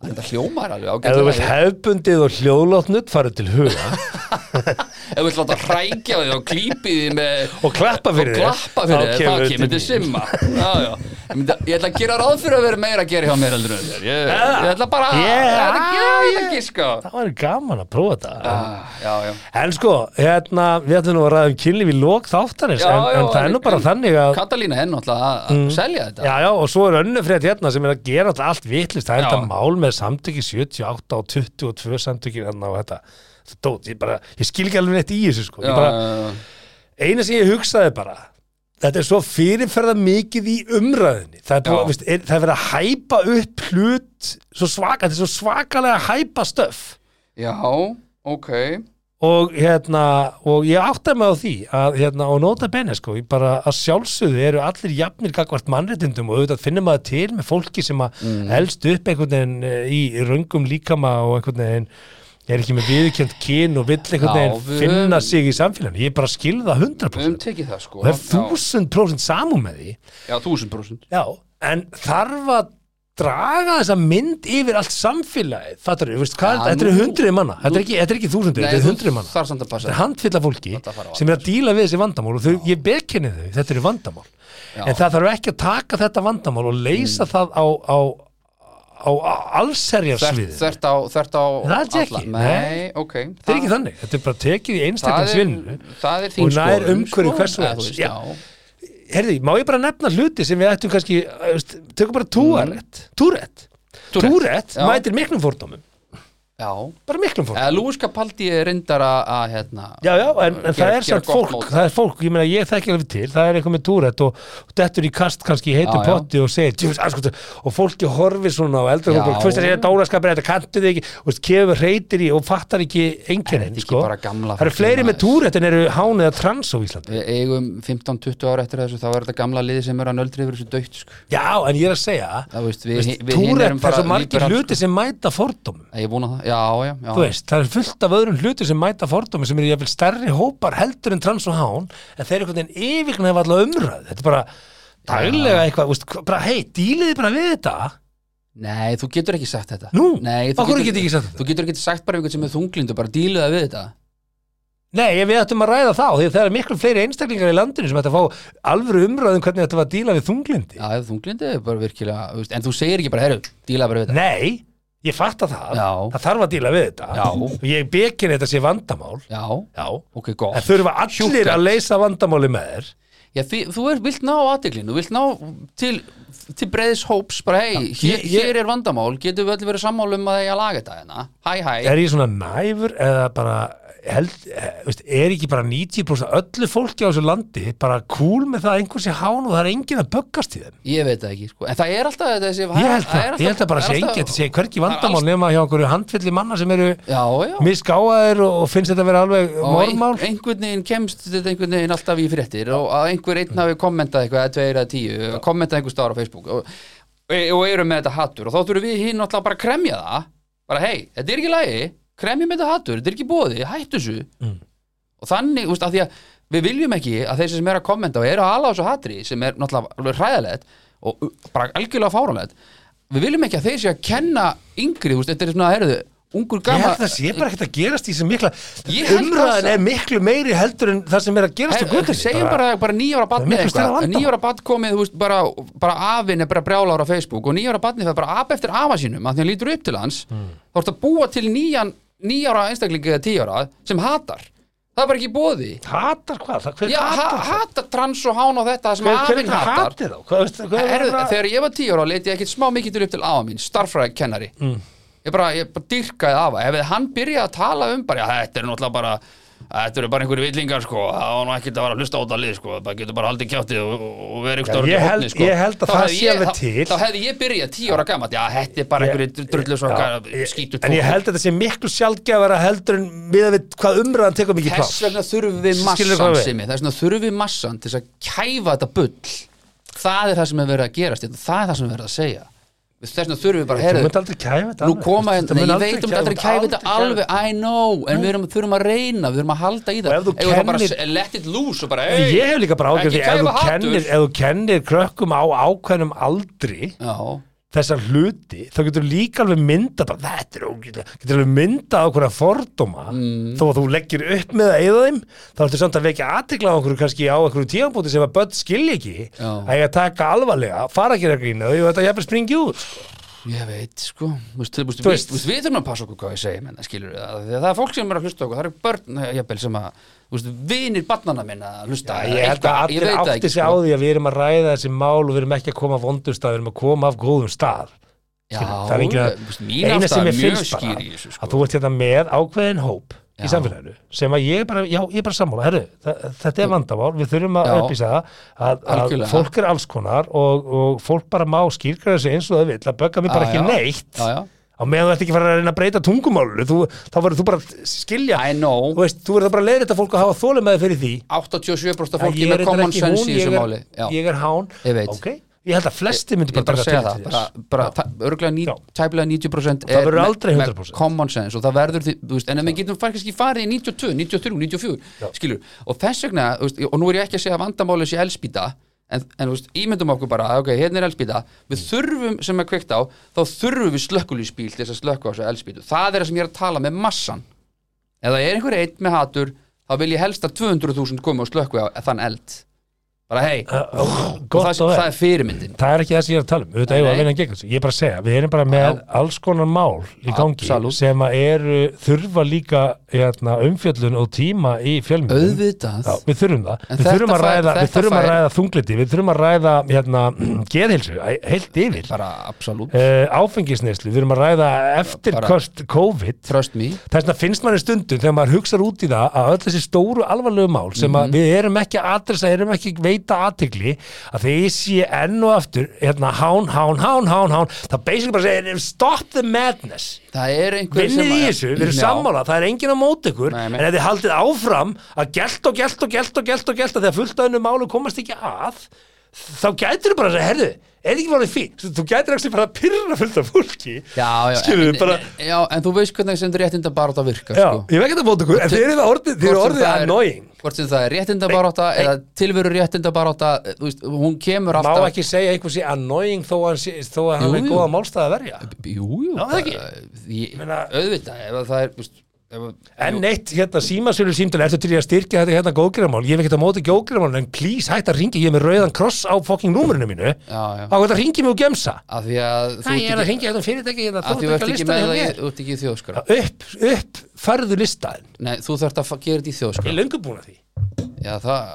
S1: Þetta hljómar alveg
S2: Ef þú
S1: ágætlega
S2: vilt hefbundið og hljóðlátt nutt farið til huga
S1: Ef þú vilt láta hrækja þig og klípi þig með
S2: og klappa fyrir
S1: og
S2: þér,
S1: klappa fyrir þig, þá kemur til
S2: mín.
S1: simma Já, já Ég myndi- Ég ætla að gera ráð fyrir að vera meira að gera hjá mér heldur en þér Ég ég ætla bara að Það
S2: Yeah. Ah.
S1: er ekki að ég ekki sko
S2: Það var gaman að prófa þetta
S1: Já, já
S2: En sko, hérna, við ætlum nú að ræða um kynlíf í lók þáttanins
S1: Já,
S2: en,
S1: já,
S2: en það er
S1: en-
S2: nú bara
S1: en-
S2: þannig að
S1: Katalína er náttúrulega að- að selja þetta
S2: Ah. Mm. Já, já, og svo er önnu frétt hérna sem er að gera alltaf allt vitlist, það er
S1: Já.
S2: þetta mál með samtöki 78 og 22 samtöki hérna og þetta, þetta dót, ég bara ég skil ekki alveg neitt í þessu sko
S1: Já,
S2: Ég bara,
S1: já, já.
S2: eina sem ég hugsaði bara þetta er svo fyrirferða mikið í umræðinni það er, búið,
S1: Já.
S2: veist, er, það er verið að hæpa upp hlut svo svaka, þetta er svo svakalega hæpa stöf
S1: já, ok
S2: og hérna og ég áttaði mig á því að hérna og nota benni sko, ég bara að sjálfsögðu eru allir jafnir gagvart mannréttindum og auðvitað finnum maður
S1: Mm.
S2: til með fólki sem að elst upp einhvern veginn eh, í röngum líkama og einhvern veginn er ekki með viðkjönd kyn og vill einhvern
S1: Já,
S2: veginn
S1: við
S2: finna
S1: höfum-
S2: sig í samfélaginu ég er bara að skilða 100%
S1: Við höfum tekið það sko
S2: og það er þúsund prósent samum með því
S1: Já, þúsund prosent
S2: já, en þarf að draga þessa mynd yfir allt samfélagið fattar þú, veist, hvað,
S1: Já,
S2: þetta eru
S1: nú-
S2: hundrið manna þetta er ekki, þetta er ekki þúsundir, þetta er hundrið manna
S1: þarf samt að
S2: þetta
S1: passa
S2: er handfylla fólki
S1: Þetta þarf að
S2: sem er að díla við þessi vandamál og þau, ég bekenni þau, þetta eru vandamál
S1: Já. Mm.
S2: en það þarf ekki að taka þetta vandamál og leysa það á, á, á, á
S1: Þvert-
S2: allserjarsviði það
S1: Þvert á, þvert á
S2: Það er ekki,
S1: alla. Nei, ok
S2: er ekki þannig, þetta er bara tekið í
S1: Það er,
S2: einstaklingsvinnu
S1: það er þín
S2: Og nær
S1: skoðun,
S2: umhverfi
S1: sko.
S2: hvers og
S1: Eða,
S2: eins.
S1: þú veist,
S2: Já.
S1: Já,
S2: Herði, má ég bara nefna hluti sem við ættum kannski, eh, veist, tökum bara túarett túrett,
S1: Tourette.
S2: túrett
S1: Mm. Já.
S2: mætir miklum fórtómum
S1: já
S2: bara miklum fórtómum
S1: Eða Lúis Capaldi er reyndar að- að hérna
S2: Já, já, en, en það
S1: gera- gera
S2: er samt
S1: gott
S2: fólk,
S1: mót.
S2: það er fólk, ég meina ég þekki alveg til, það er eitthvað með túrætt og, og dettur í kast kannski í
S1: Já,
S2: heitum
S1: já.
S2: potti og segir, tjófis, anskotu, og fólki horfir svona á eldra
S1: Já.
S2: fólk, og fyrst að segja dóraskapir, þetta kantu þið ekki, og veist, kefur reytir í og fattar ekki
S1: Er þetta
S2: einkennin,
S1: ekki
S2: sko.
S1: bara gamla
S2: það eru
S1: fólkið,
S2: fleiri með
S1: maður?
S2: túrætt en eru hán eða trans á Íslandi.
S1: Við eigum 15-20 ára eftir þessu þá er þetta gamla liði sem er að nöldri yfir þessu dögt sko.
S2: Já, en ég er að segja,
S1: Það veist, við,
S2: veist,
S1: hin- við hin erum
S2: túrætt
S1: bara
S2: er svo margir
S1: liberal,
S2: hluti sem mæta fordómum.
S1: sko. Ég vona það, já, já, já
S2: Þú veist, það er fullt af öðrum hluti sem mæta fordómi sem eru jafnvel stærri hópar heldur en trans og hán en þeir eru einhvern veginn yfirgna hef allavega umræð þetta er bara daglega eitthvað veist, hva- bara hei, díliði bara við þetta
S1: Nei, þú getur ekki sagt þetta
S2: Nú?
S1: Nei, þú
S2: Af hverju get ég ekki sagt þetta?
S1: Þú getur ekki sagt bara við einhvern sem er þunglindu bara díluðu það við þetta
S2: Nei, við ættum að ræða þá því að það eru miklu fleiri einstaklingar í landinu sem ættu að fá alvöru umræðum hvernig þetta var að díla við þunglindi
S1: Já, ef þunglindi er bara virkilega þú veist, En þú segir ekki bara, herru, dílaðu bara við þetta
S2: Nei, ég fatta það
S1: Já.
S2: það þarf að díla við þetta
S1: Já.
S2: og ég bekin þetta sé vandamál
S1: Já,
S2: Já.
S1: ok, gott
S2: það þurfa allir
S1: Sjúkdómur.
S2: að leysa vandamáli með þér
S1: Já, því, þú er, vilt ná aðteklin, þú vilt ná til, til breiðis hóps, bara hei, hér,
S2: ég- ég-
S1: hér er vandamál, getum við öll verið sammála um að ég að laga þetta hérna, hæ hæ,
S2: er ég svona næfur eða bara held, eh, veist, er ekki bara 90% af öllu fólki á þessu landi bara cool með það að einhver sé hán og það er enginn að böggast í þeim
S1: ég veit það ekki, sko, en það er alltaf þessi,
S2: ég held það, ég held það bara að sé enginn þetta sé hverki vandamál nema hjá einhverju handfylli manna sem eru
S1: Já, já,
S2: misgáðaðir og, og finnst þetta að vera alveg
S1: og
S2: mormál
S1: ein- einhvern veginn kemst þetta einhvern veginn alltaf í fréttir og að einhver einn hafi kommentað eitthvað, eða tveir eða tíu, kommentað einhver stára á Facebook og, og eru með þetta hattur og þá þurfum við hinn alltaf bara að kremja það, bara hei, þetta er ekki lægi, kremjum þetta hattur, þetta er ekki bóði, hættu þessu.
S2: Mm.
S1: og þannig, þú veist, af því að við viljum ekki að þeir sem er að kommenta og eru að ala á þessu hatri sem er náttúrulega alveg hræðilegt og uh, bara algjörlega fáránlegt við viljum ekki að þeir sé að kenna yngri, þú veist, þetta er svona, heyrðu, ungur
S2: ég
S1: gama
S2: held það sé bara ekkert að gerast í þessu mikla
S1: Ég held
S2: umræðan
S1: það-
S2: er miklu meiri heldur en það sem er að gerast á göttinni
S1: segjum bara, bara nýjára
S2: Það er
S1: batni
S2: miklu stærra vandamál.
S1: nýjára batni komið, þú veist, bara, bara afinn er bara brjálar á Facebook og nýjára batni fyrir bara af eftir afa sínum, að því hann lítur upp til hans
S2: Hmm.
S1: þá ertu að búa til nýjan nýjára einstaklingi eða tíjára sem hatar það er bara ekki bóði
S2: hatar hvað, það, hver
S1: Já, ha
S2: hatar það
S1: hata trans og hán og þetta sem
S2: hver, hver
S1: afinn hatar
S2: hatar þá hvað, veist, hvað,
S1: Herðu,
S2: hvað-
S1: þegar ég var tíu ára leiti ég ekkert smá mikið til upp til afa mín, starffræðikennari
S2: Mm.
S1: ég bara, ég bara dyrkaði afa ef hann byrjaði að tala um bara, já, þetta er náttúrulega bara þetta eru bara einhverju villingar sko það var nú ekkert að vara að hlusta á þetta lið sko það getur bara haldið kjáttið og, og- og verið
S2: Já,
S1: einhverju
S2: ég held-
S1: sko.
S2: ég held að
S1: Þá
S2: það
S1: hefði
S2: sé
S1: ég-
S2: alveg
S1: þá-
S2: til.
S1: þá hefði ég byrjað tíu ára gammalt, já, þetta er bara einhverju drullu
S2: Já,
S1: svona
S2: ég-
S1: skítu
S2: En ég held að þetta sé miklu sjálfgæfara heldur en við að við hvað umræðan tekur mikið
S1: þess
S2: pláss
S1: vegna þurfum við
S2: Skilurðu
S1: massan
S2: hvað við?
S1: Simmi, þess vegna þurfum við massan til þess að kæfa þetta bull það er það sem er verið að gerast hérna, það er það sem er verið að segja þess vegna þurfum við bara,
S2: Þú
S1: heyrðu
S2: myndi aldrei kæfa þetta
S1: nú
S2: alveg.
S1: koma
S2: Þetta
S1: hérna,
S2: mun
S1: ég
S2: aldrei
S1: veit um þetta aldrei
S2: þú
S1: kæfi
S2: munt
S1: þetta
S2: aldrei
S1: alveg I know, en við erum, þurfum að reyna við erum að halda í það
S2: Og ef þú
S1: Eigum við þá bara
S2: kennir-
S1: að se- let it loose og bara,
S2: En
S1: hey,
S2: Ég hef líka bara
S1: Ekki
S2: ágjörð því ef þú
S1: kæfa hatur.
S2: kennir, ef þú kennir krökkum á ákveðnum aldri
S1: já,
S2: þessar hluti, þá getur þú líka alveg mynda bara, þetta er ógæðlega, getur alveg mynda á hverja fordóma,
S1: Mm.
S2: þó að þú leggir upp með að eða þeim, þá ertu samt að vekja aðtekla á okkur kannski á okkur tíðanbúti sem að börn skilja ekki,
S1: Já.
S2: að ég að taka alvarlega, fara ekki að grína og þetta jafnir springi út.
S1: ég veit sko þú veist, þú veist,
S2: Þú
S1: við,
S2: veist-
S1: þú veist, við þurfum að passa okkur hvað ég segi menna, skilur við það, Þegar það er fólk sem er að hlusta okkur það eru börn, eh, jafnvel, sem að þú veist, vinir barnana minna að hlusta
S2: Ég
S1: Eitthvað,
S2: held að
S1: ég
S2: allir
S1: veit það
S2: átti
S1: ekki,
S2: sig á
S1: sko.
S2: því að við erum að ræða þessi mál og við erum ekki að koma af vondum stað, við erum að koma af góðum stað.
S1: Já,
S2: Skilur, það er engin
S1: þú
S2: að,
S1: veist, mín
S2: eina
S1: afstaða
S2: sem
S1: er
S2: ég
S1: mjög
S2: finnst bara
S1: skýr í þessu, sko.
S2: að þú ert hérna með ákveðin hóp
S1: Já.
S2: í samfélaginu sem að ég bara, já, ég bara sammála, herru, þa- þetta er vandamál, við þurfum að
S1: Já.
S2: upplýsa það að, að
S1: Algjörlega.
S2: fólk er alls konar og, og fólk bara má skýrgræða sig eins og það vill, að bögga mig bara
S1: Já,
S2: ekki
S1: já.
S2: neitt.
S1: já, já
S2: Á meðan þú ert ekki fara að reyna að breyta tungumálinu, þú, þá verður þú bara að skilja,
S1: I know.
S2: þú veist, þú verður að bara leiðir þetta fólk að hafa þólum fyrir því
S1: 87% af
S2: Já,
S1: fólki
S2: ég er
S1: með
S2: reyndar
S1: common
S2: ekki
S1: sense
S2: hún,
S1: í þessu
S2: ég er-
S1: máli Já.
S2: ég er hán
S1: Ég veit.
S2: Ok, ég held að flesti myndi
S1: Ég er
S2: bara
S1: bara að segja
S2: taka
S1: það,
S2: tillit til
S1: bara,
S2: þess.
S1: bara tæ- örugglega ní-
S2: Já.
S1: tæplega 90%
S2: Það
S1: er
S2: verður
S1: með-
S2: aldrei
S1: með
S2: 100%.
S1: common sense og það verður því, þú veist, en ef við getum fær- kannski farið í 92, 93, 94 skilur, og þess vegna, þú veist, og nú er ég ekki að segja að vandamáli sé elspýta en, en þú veist, ímyndum okkur bara, ok, hérna er elspýta
S2: Mm.
S1: við þurfum, sem er kveikt á þá þurfum við slökkulísbíl til þess að slökka á þessu elspýtu, það er það sem ég er að tala með massan ef það er einhver eitt með hatur þá vil ég helst að 200.000 komi og slökku á þann eld bara hei,
S2: Ö, ö,
S1: og
S2: Gott
S1: það,
S2: og
S1: það
S2: vel
S1: er fyrirmyndin
S2: Það er ekki það sem ég er að tala um, auðvitað
S1: Nei,
S2: eigum við
S1: nei.
S2: að vinna gegn þessu Ég er bara að segja, við erum bara með alls konar mál í gangi
S1: Absolutt.
S2: sem að eru, þurfa líka hérna, umfjöllun og tíma í fjölmiðum
S1: auðvitað
S2: Já, við þurfum það,
S1: En
S2: við
S1: þetta
S2: þurfum, að
S1: fær-
S2: ræða, við
S1: þetta
S2: þurfum að
S1: fær-
S2: ræða þungliti, við þurfum að ræða hérna, geðhilsu, æ- heilt yfir uh,
S1: bara absolutt,
S2: áfengisneslu, við þurfum að ræða eftirkost COVID
S1: trust me
S2: Þess vegna finnst manni stundum þegar maður hugsar út í það að öll þessi stóru alvarlegu mál sem
S1: Mhm.
S2: að við erum ekki að adressa, erum ekki að veita aðtegli að þegar ég sé enn og aftur hérna hán, hán, hán, hán, hán það basically bara segir stop the madness
S1: það er einhver
S2: vinnið
S1: sem
S2: í
S1: að-
S2: þessu, við erum
S1: Já.
S2: sammála það er enginn að móta ykkur,
S1: Nei, nei.
S2: en ef þið haldið áfram að gælt og gælt og gælt og gælt og gælt að þegar fullt aðinu málu komast ekki að þá gætir þið bara að segja, herðu er ekki bara fín, Þú- þú gætir ekki bara að pyrra fullt af fólki
S1: já, já,
S2: Skilurðu,
S1: en,
S2: bara-
S1: já, en þú veist hvernig sem réttinda barátta virkar
S2: Já,
S1: sko.
S2: ég veit ekki að móta ykkur, en þið eru orðið, þið eru
S1: Hvort sem
S2: orðið
S1: það er-
S2: annoying
S1: hvort sem það er réttinda barátta eða tilveru réttinda barátta veist, hún kemur
S2: Má
S1: alltaf
S2: ekki segja eitthvað sé annoying þó að hann, sé, þó að
S1: Jú,
S2: hann er
S1: jú.
S2: góða málstæð að verja
S1: jú, jú,
S2: Já, það ekki.
S1: ég,
S2: Meina-
S1: auðvitað ef að það er veist, ef, að-
S2: En neitt, hérna, símasölu símtali, ertu til í að styrkja þetta hérna góðgreðamál? Ég hef ekkert að móti góðgreðamál, en please hætt að ringi, ég er með rauðan kross á fucking númurinu mínu.
S1: já, já,
S2: Á hvað það ringi mig og gemsa?
S1: af því að þú
S2: Æ, ég er
S1: ert
S2: að
S1: ekki,
S2: ringi hérna fyrirtæki, hérna,
S1: af
S2: þú
S1: því þú
S2: ert
S1: ert
S2: ekki að
S1: ekki
S2: lista
S1: með
S2: hérna
S1: það í-
S2: mér.
S1: þú ert ekki í þjóðskra
S2: Upp, upp, farðu listaðin.
S1: nei, þú þarft að fa- gera þetta í
S2: Ég
S1: þjóðskra
S2: er löngu búin að því.
S1: já, það,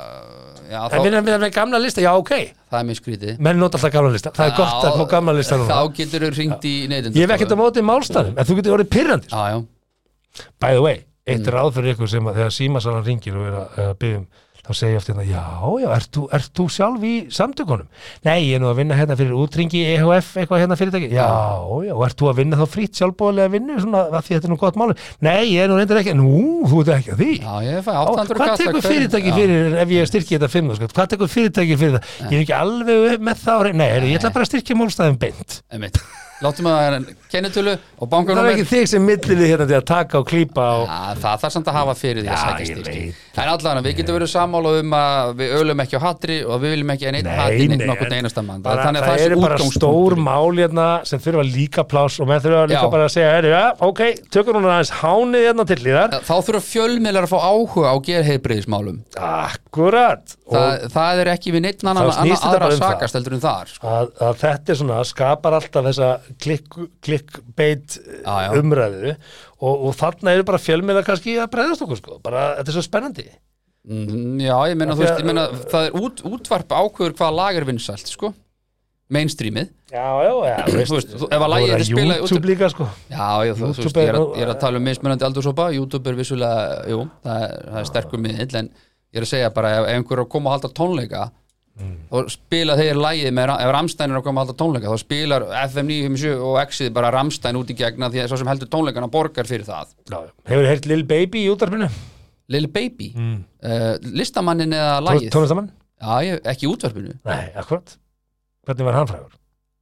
S1: já, þá,
S2: En minna með með gamla lista, já, ok.
S1: það er mjög skrítið
S2: Menn nota alltaf gamla lista. Það er gott að fá gamla lista núna.
S1: þá getur þú ringt í neytinda
S2: Ég hef ekkert að móti málstæðum, en þú getur orðið pyrrandi.
S1: já, já,
S2: By the way, eitt
S1: Mm.
S2: ráð fyrir ykkur sem að þegar símasalan ringir og er að uh, byggjum þá segja ég oft hérna, já, já, ert þú, ert þú sjálf í samtökunum? Nei, ég er nú að vinna hérna fyrir útringi, EHF, eitthvað hérna fyrirtæki. Já, já, og ert þú að vinna þá frýtt sjálfbóðlega vinnu, svona, að því þetta er nú gott málum. Nei, ég er nú reyndar ekki, nú, þú ert ekki að því.
S1: já, ég fæ
S2: Á,
S1: 800
S2: Hvað
S1: kall að
S2: tekur
S1: hverju-
S2: fyrirtæki
S1: Já.
S2: fyrir ef ég styrki þetta fimm, sko? hvað tekur fyrirtæki fyrir það? Ég er ekki alveg upp með það, á hreinu. nei, heyrðu, ég ætla bara að styrkja málstæðum beint.
S1: Einmitt. Látum að það er kennitölu og bankanum
S2: Það er ekki þig sem millilið hérna til að taka og klípa og
S1: það þarf samt að hafa fyrir því að
S2: Já,
S1: sækja
S2: ég
S1: styrki
S2: veit.
S1: En allan, við getum verið sammála um að við ölum ekki á hatri og við viljum ekki að neitt hati neitt nokkurn
S2: en
S1: einasta mann
S2: bara,
S1: Þannig að
S2: það,
S1: það
S2: eru
S1: er
S2: bara stór
S1: útgangspunktur
S2: mál hérna sem þurfa líka pláss og menn þurfa líka
S1: Já.
S2: bara að segja er, ja, ok, tökum hún aðeins hánið hérna til líðar
S1: Þá þurfa fjölmiðlar að fá áhuga á gerheilbreyðismálum
S2: akkurat og
S1: það, það er ekki við neitt annan,
S2: Þá
S1: annan
S2: snýst þetta
S1: aðra
S2: bara um það.
S1: sakast heldur en þar sko.
S2: að, að þetta er svona skapar alltaf þessa klikk, klikkbeit
S1: Já, já.
S2: umræðu og, og þarna eru bara fjölmiðar kannski að breyðast okkur sko, bara þetta er svo spennandi
S1: Mm, Já, ég meina,
S2: Af
S1: þú
S2: því
S1: veist,
S2: að-
S1: ég meina það er út, útvarp ákveður hvað lag er vinsælt, sko mainstreamið,
S2: já, já, já,
S1: þú veist, þú- ef að lagið
S2: og
S1: er
S2: það
S1: spilað í
S2: YouTube
S1: útvarp-
S2: líka sko
S1: Já, já þú, þú veist,
S2: YouTube
S1: ég er,
S2: er
S1: að,
S2: nú-
S1: ég er að tala um mismunandi aldursópa, YouTube er vissulega, jú, það er, það er sterkur miðill, en ég er að segja bara ef, ef einhver er að koma að halda tónleika þá spila þeir lægið með, Ra- ef Ramstein er að koma að halda tónleika, þá spilar FM 957 og Exið bara Ramstein út í gegna því að sá sem heldur tónleikana borgar fyrir það
S2: Já, já. hefur heyrt Lil Baby í útarpinu
S1: Lil Baby, mm. listamannin eða lægið,
S2: tónlistamann?
S1: já, ég, ekki í útvarpinu
S2: Nei, akkurat hvernig var hann frægur?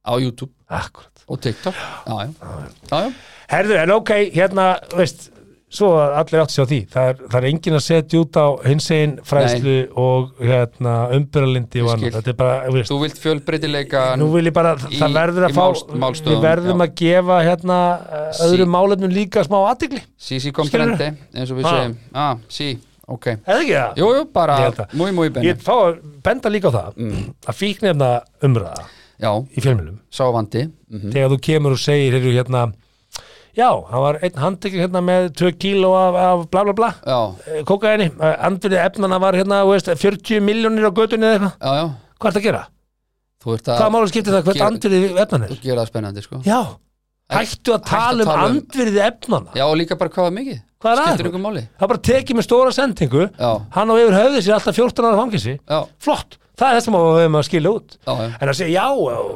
S1: á YouTube
S2: Akkurat
S1: og TikTok já, já, já, já.
S2: Herðu, en ok, hérna, veist svo að allir átti sig á því, það er, það er engin að setja út á hinsegin fræðslu og hérna, umbyrralindi
S1: Ég
S2: og annað,
S1: skil.
S2: þetta er bara, þú veist
S1: þú vilt fjölbreytileika
S2: nú vil ég bara,
S1: í-
S2: það verður
S1: í
S2: að fá
S1: málst- málstöðum,
S2: við verðum
S1: já.
S2: að gefa hérna eh, öðrum málefnum líka smá aðtigli,
S1: Sisi komprendi, eins og við
S2: Ha.
S1: segjum ah, sí, ok
S2: eða ekki það?
S1: Jú, jú, bara
S2: Ég held það.
S1: múi múi benni Mm.
S2: Ég fá að benda líka á það að fíknefna umræða
S1: Já,
S2: í fjölmjölum
S1: sá vandi Mhm.
S2: þegar þú kemur og segir, heyrðu, hérna já, hann var einn handtekir hérna með 2 kíló af, af bla bla bla
S1: Já,
S2: kókaðinni, andrið efnana Eh, var hérna, þú veist, 40 miljónir á götunni eða eitthvað,
S1: já, já
S2: hvað er það að gera?
S1: Þú ert að
S2: Hvað máli skiptir það hvert
S1: gera-
S2: andrið efnana er?
S1: gera það spennandi, sko
S2: Já, hættu að tala um andrið efnana,
S1: Já, og líka bara hvað er mikið
S2: hvað er
S1: Skiptir
S2: aðeins?
S1: ykkur máli
S2: Það er bara tekið með stóra sendingu,
S1: Já,
S2: hann á yfir höfðið sér alltaf 14 ára fanginsi,
S1: já,
S2: flott, það er það sem við höfum að skilja út.
S1: já, já
S2: En að segja, já,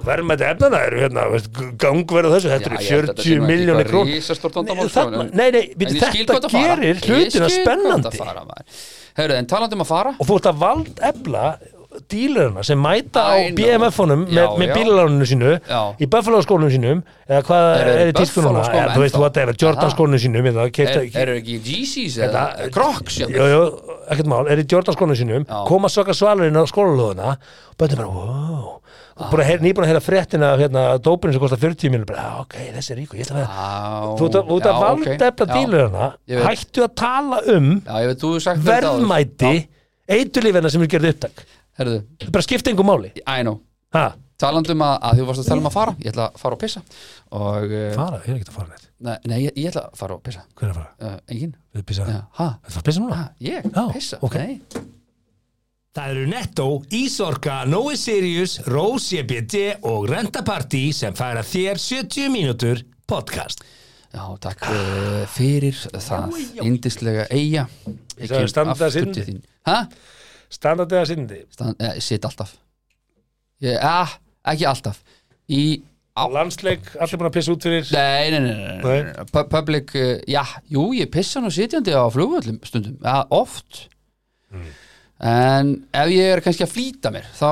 S2: verðum þetta efnana eru hérna, veist, gangverð á þessu, þetta
S1: Já, ég
S2: eru
S1: held að þetta sé
S2: 40
S1: nú ekki
S2: miljónir
S1: eitthvað
S2: krón.
S1: risastórt vandamál, sko,
S2: Þarna-
S1: en-
S2: Nei, nei,
S1: En
S2: veit,
S1: ég skil hvað
S2: þetta
S1: það fara.
S2: gerir
S1: Ég skil
S2: hlutina
S1: hvað það
S2: spennandi.
S1: fara, maður. Heyrðu, en talandi um að fara
S2: og þú ert að vald efla dílurina sem mæta á
S1: I know.
S2: BMF-unum
S1: Já,
S2: með, með
S1: já.
S2: bílalánunum sínu
S1: Já.
S2: í Buffalo skólunum sínum eða hvað
S1: Eru
S2: er,
S1: þeir
S2: er í tískunum
S1: Buffalo-skónum
S2: eða þú veist
S1: ennþá?
S2: whatever, Jordan
S1: Aha.
S2: skólunum sínum eða
S1: Er,
S2: keipta
S1: eru ekki Yeezys eða
S2: Þetta-
S1: Crocs
S2: Jú, jú, ekkert mál, er í Jordan skónu sínum
S1: Já.
S2: koma svaka svalurinn á skólalóðuna og bætti bara, wow
S1: Ah.
S2: og bara heyr, nýbúin að heyra fréttina af hérna, dópinu sem kostar 40 miljonir, bara, "Ah, ok, þessi er ríku ég ætla að vera, þú ert að- þú ert að valda eftir dílurina,
S1: Ég veit.
S2: hættu að tala um
S1: Já, ég veit, þú hefur sagt þetta áður.
S2: verðmæti eiturlífina sem eru gerði upptak
S1: Herðu,
S2: Þetta bara skipta engu máli
S1: I know
S2: ha,
S1: Talandum að, að þú varst að tala um að fara Ég ætla að fara og pissa Og, eh,
S2: fara, ég er ekkert að fara neitt
S1: nei, nei, ég, ég ætla að fara og pissa
S2: hver er að fara,
S1: uh, Engin,
S2: við pissa
S1: Já,
S2: ja.
S1: ha,
S2: það fara að pissa núna
S1: ha, ég,
S2: Já,
S1: pissa
S2: ok.
S1: Nei,
S3: Það eru Netto, Ísorka, Nói Sirius, Rós EBD og Renta Party sem færa þér 70 mínútur podcast.
S1: Já, takk uh, fyrir það Indislega eiga Ég
S2: sagði
S1: kem
S2: standa
S1: aftur
S2: sinni.
S1: til þín. Ha?
S2: standart eða sinni,
S1: Stand, eh, Sitt alltaf ég, eh, Ekki alltaf Í á,
S2: landsleik, allir búin að pissa út fyrir
S1: Nei, nei, nei, nei, nei. nei. Pu- Public, eh, já, jú, ég pissa nú sitjandi á flugvöllum stundum, ja, oft
S2: Mm.
S1: En ef ég er kannski að flýta mér þá,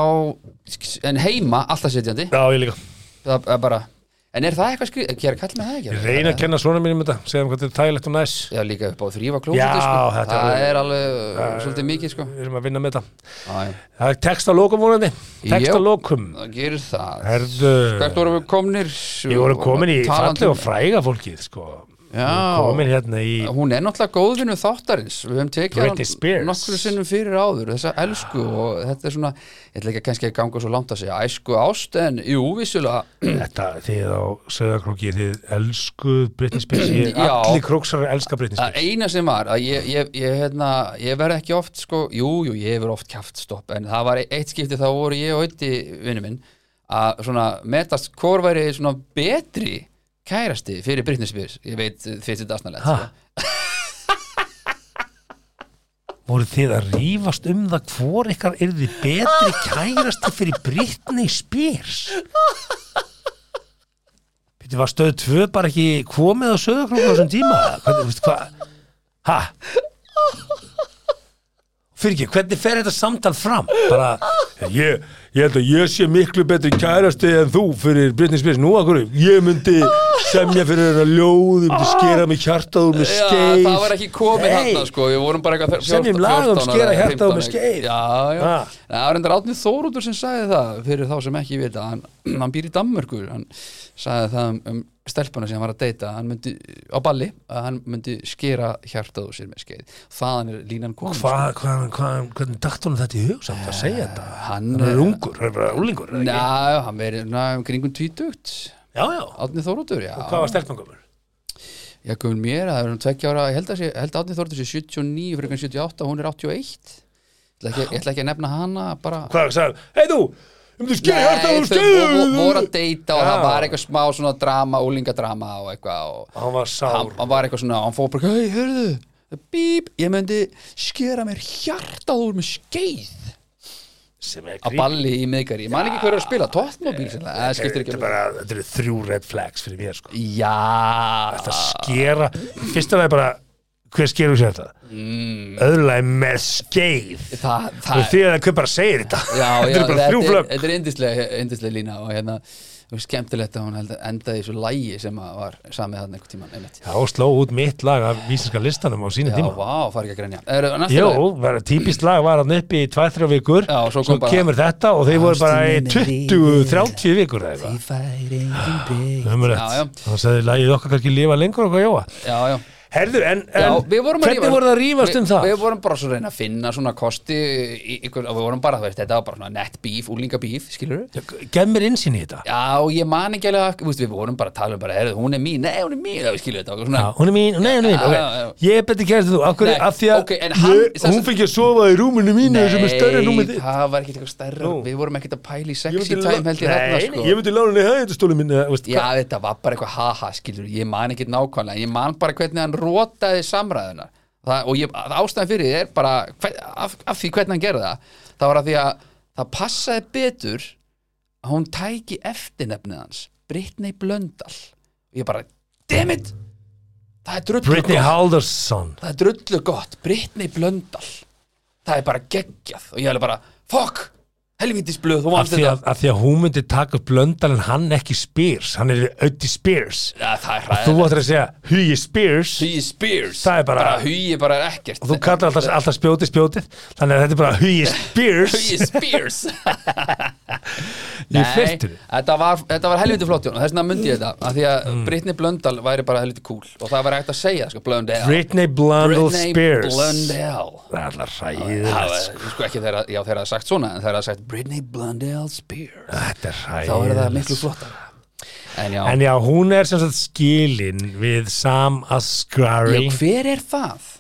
S1: en heima alltaf sitjandi
S2: já, ég líka
S1: það er bara, en er það eitthvað skrið gera kall með það ekki?
S2: Ég reyna að kenna svona mínum þetta, segja um hvað þetta er tægilegt og næs
S1: Já, líka upp á þrýfa
S2: Já,
S1: klósiti, sko
S2: þetta
S1: það
S2: er-
S1: er alveg uh, svolítið mikið, sko
S2: Við erum að vinna með þetta
S1: Æ,
S2: Það er text að lokum vonandi, text
S1: Jú.
S2: að lokum
S1: það gerir það
S2: Herðu,
S1: Hvert vorum við komnir?
S2: ég voru komin í
S1: Talandi- um-
S2: falli og fræga fólkið, sko
S1: Já.
S2: Komin hérna í
S1: hún er náttúrulega góðvinnu þáttarins við höfum tekið
S2: Britney Spears. Ah.
S1: nokkru sinnum fyrir áður þessa elsku og þetta er svona ég ætla ekki að kannski að ganga svo langt að segja æsku ást en jú, vissulega
S2: þetta, þið á Söðakróki, þið elskuð Britney Spears, ég,
S1: Já.
S2: allir króksar elska Britney Spears
S1: að eina sem var að ég, ég, ég, hérna, ég verð ekki oft sko, jú, jú, ég verð oft kjaft stopp en það var eitt skipti þá voru ég og eitti vinnu minn að svona metast hvort væri svona betri kærasti fyrir Britney Spears ég veit fyrir þetta aðsnarlegt
S2: Ha?
S1: sko.
S2: voru þið að rífast um það hvor ykkar er þið betri kærasti fyrir Britney Spears Þetta var stöð tvö bara ekki komið á söðaklokku á þessum tíma hvernig, veistu hvað ha fyrir ekki, hvernig fer þetta samtal fram bara, ég, ég held að ég sé miklu betri kærasti en þú fyrir Britney Spears nú akkur, ég myndi semja fyrir hennar ljóð, ég myndi skera mig hjartað úr með
S1: Já,
S2: skeið
S1: það var ekki komið
S2: Nei.
S1: hérna sko, við vorum bara eitthvað fjórtán-
S2: Semjum lag um
S1: 14
S2: skera
S1: eða
S2: hjartað
S1: 15
S2: með skeið. Ah.
S1: Já, já,
S2: Ha.
S1: Nei, það var reyndar Átni Þórútur sem sagði það fyrir þá sem ekki vita, hann, hann býr í Danmörku hann sagði það um, um stelpuna sem hann var að deyta, hann myndi á balli, að hann myndi skera hjartað úr sér með skeið, þaðan er línan komin
S2: Hva, hva, hva, hvernig dagt honum þetta í hug samt að segja þetta?
S1: sko. hann-
S2: hann er ungur, hann er bara úlingur er það ekki?
S1: Já, hann verið na, um kringum tvítugt
S2: Já, já,
S1: Átni Þórútur, já
S2: hvað var stelpangumur?
S1: Ég komin mér að það er um tveggja ára ég held að, sé, ég held að Átni Þórútur sé 79 fyrir 78, hún er 81 Ég ætla ekki, ég ætla ekki að nefna hana bara
S2: Hvað sagði, hei þú, um þú skilja
S1: Nei,
S2: hjarta úr
S1: þau
S2: skeiðu
S1: vo- vo- voru að deyta og
S2: Já.
S1: það var eitthvað smá svona drama, úlingadrama og eitthvað og
S2: Hann var
S1: hann,
S2: sár
S1: hann var eitthvað svona, hann fór bara, hei, hörðu bíp, ég myndi skera mér hjartað úr með skeið
S2: sem er
S1: á
S2: grín
S1: balli í miðgari, ég man ekki hverju að spila Tottenmobíl, sem það það skiptir
S2: Þetta
S1: ekki
S2: er
S1: máli.
S2: bara, þetta eru þrjú red flags fyrir mér sko
S1: Já
S2: Þetta skera, fyrsta það er bara hver skerur sér þetta? Mm. Öðrulega með skeið
S1: Það, það
S2: og því að hver bara segir þetta
S1: já, já,
S2: Þetta eru bara
S1: þetta
S2: þrjú
S1: er-
S2: flögg
S1: þetta er indislega, indislega lína og hérna, og skemmtilegt að hún held að endaði í svo lægi sem að var samið þarna einhvern tímann einmitt.
S2: Já, sló út mitt lag af vísinska listanum á sínu
S1: Já,
S2: tíma
S1: vá, fari ekki að grenja Er það næsta lag?
S2: Jó, verið típist lag var hann upp í 2-3 vikur
S1: Já, svo kom bara-
S2: kemur þetta og þeir voru bara í
S5: Ástin minni
S2: 20-30 vikur eða eitthvað
S5: fær engin breytt
S1: Já, já.
S2: Ömurlegt. Þannig sagði lagið okkar kannski lifa lengur okkar jóa
S1: Já, já
S2: Herðu, en,
S1: Já,
S2: en
S1: við vorum að
S2: hvernig
S1: rífast-
S2: voru það að rífast
S1: við,
S2: um það?
S1: Við vorum bara svo að reyna að finna svona kosti í, ykkur, og við vorum bara, þú veist, þetta var bara svona nett bíf, úlinga bíf, skilur við?
S2: Gef mér innsýn í þetta
S1: Já, og ég man ekki alveg, þú veist, við vorum bara að tala um bara, heyrðu, hún er mín, nei, hún er mín, það skilur við þetta, og svona,
S2: Já, hún er mín, nei, hún er mín,
S1: Já, já, já.
S2: ok Ég er betur kærið þú, af hverju,
S1: Nei,
S2: af því að
S1: ok, en hann-
S2: ég,
S1: það
S2: hún
S1: sem-
S2: fengi að sofa í rúminu mínu sem er stærri en rúmið
S1: nei,
S2: þitt
S1: það var ekkert eitthvað stærra,
S2: Nú.
S1: við vorum ekkert að pæla í
S2: Ég
S1: sexy
S2: myndi
S1: time,
S2: lá-
S1: held ég þarna,
S2: Nei,
S1: sko.
S2: Ég myndi lána henni hæðindastóli mín eða, veist,
S1: Já, þetta var bara eitthvað haha, skilur, ég man ekkert nákvæmlega, ég man bara hvernig hann rótaði samræðuna það, og ég, að ástæðan fyrir því er bara hver, af, af því hvernig hann gerði það það var að því að það passaði betur að hún tæki eftirnefnið hans Brittany Blöndal ég bara, damn it það er drullu
S2: Britney
S1: gott
S2: Haldarsson
S1: það er drullu gott, Brittany Blöndal það er bara geggjað og ég hefði bara, fuck helvítisblöð og
S2: af
S1: vannst
S2: því,
S1: þetta
S2: að, af því að hún myndi taka upp blöndal en hann ekki Spears, hann er Ötti Spears
S1: Ja, það er
S2: þú
S1: hræðilegt
S2: áttir að segja Hugi Spears
S1: Hugi Spears
S2: Það er bara-
S1: Hugi bara er ekkert
S2: og þú kallar alltaf, alltaf spjótið spjótið þannig að þetta er bara Hugi Spears
S1: Hugi Spears
S2: í fyrtir
S1: þetta var, þetta var helviti flott Jón og þess vegna myndi ég þetta af því að
S2: Mm.
S1: Brittany Blöndal væri bara helviti cool og það væri hægt að segja sko, Blöndal
S2: Britney Blundell
S1: Brittany
S2: Spears
S1: Blundell
S2: það er alltaf
S1: Það
S2: ræðilegt
S1: var,
S2: sko.
S1: sko ekki þegar, já, þegar það er sagt svona en þegar það er sagt Brittany Blundell Spears
S2: þetta er
S1: þá er það
S2: ræðilegt
S1: miklu flottara en já,
S2: en já, hún er sem sagt skilin við Sam Asghari
S1: já hver er það?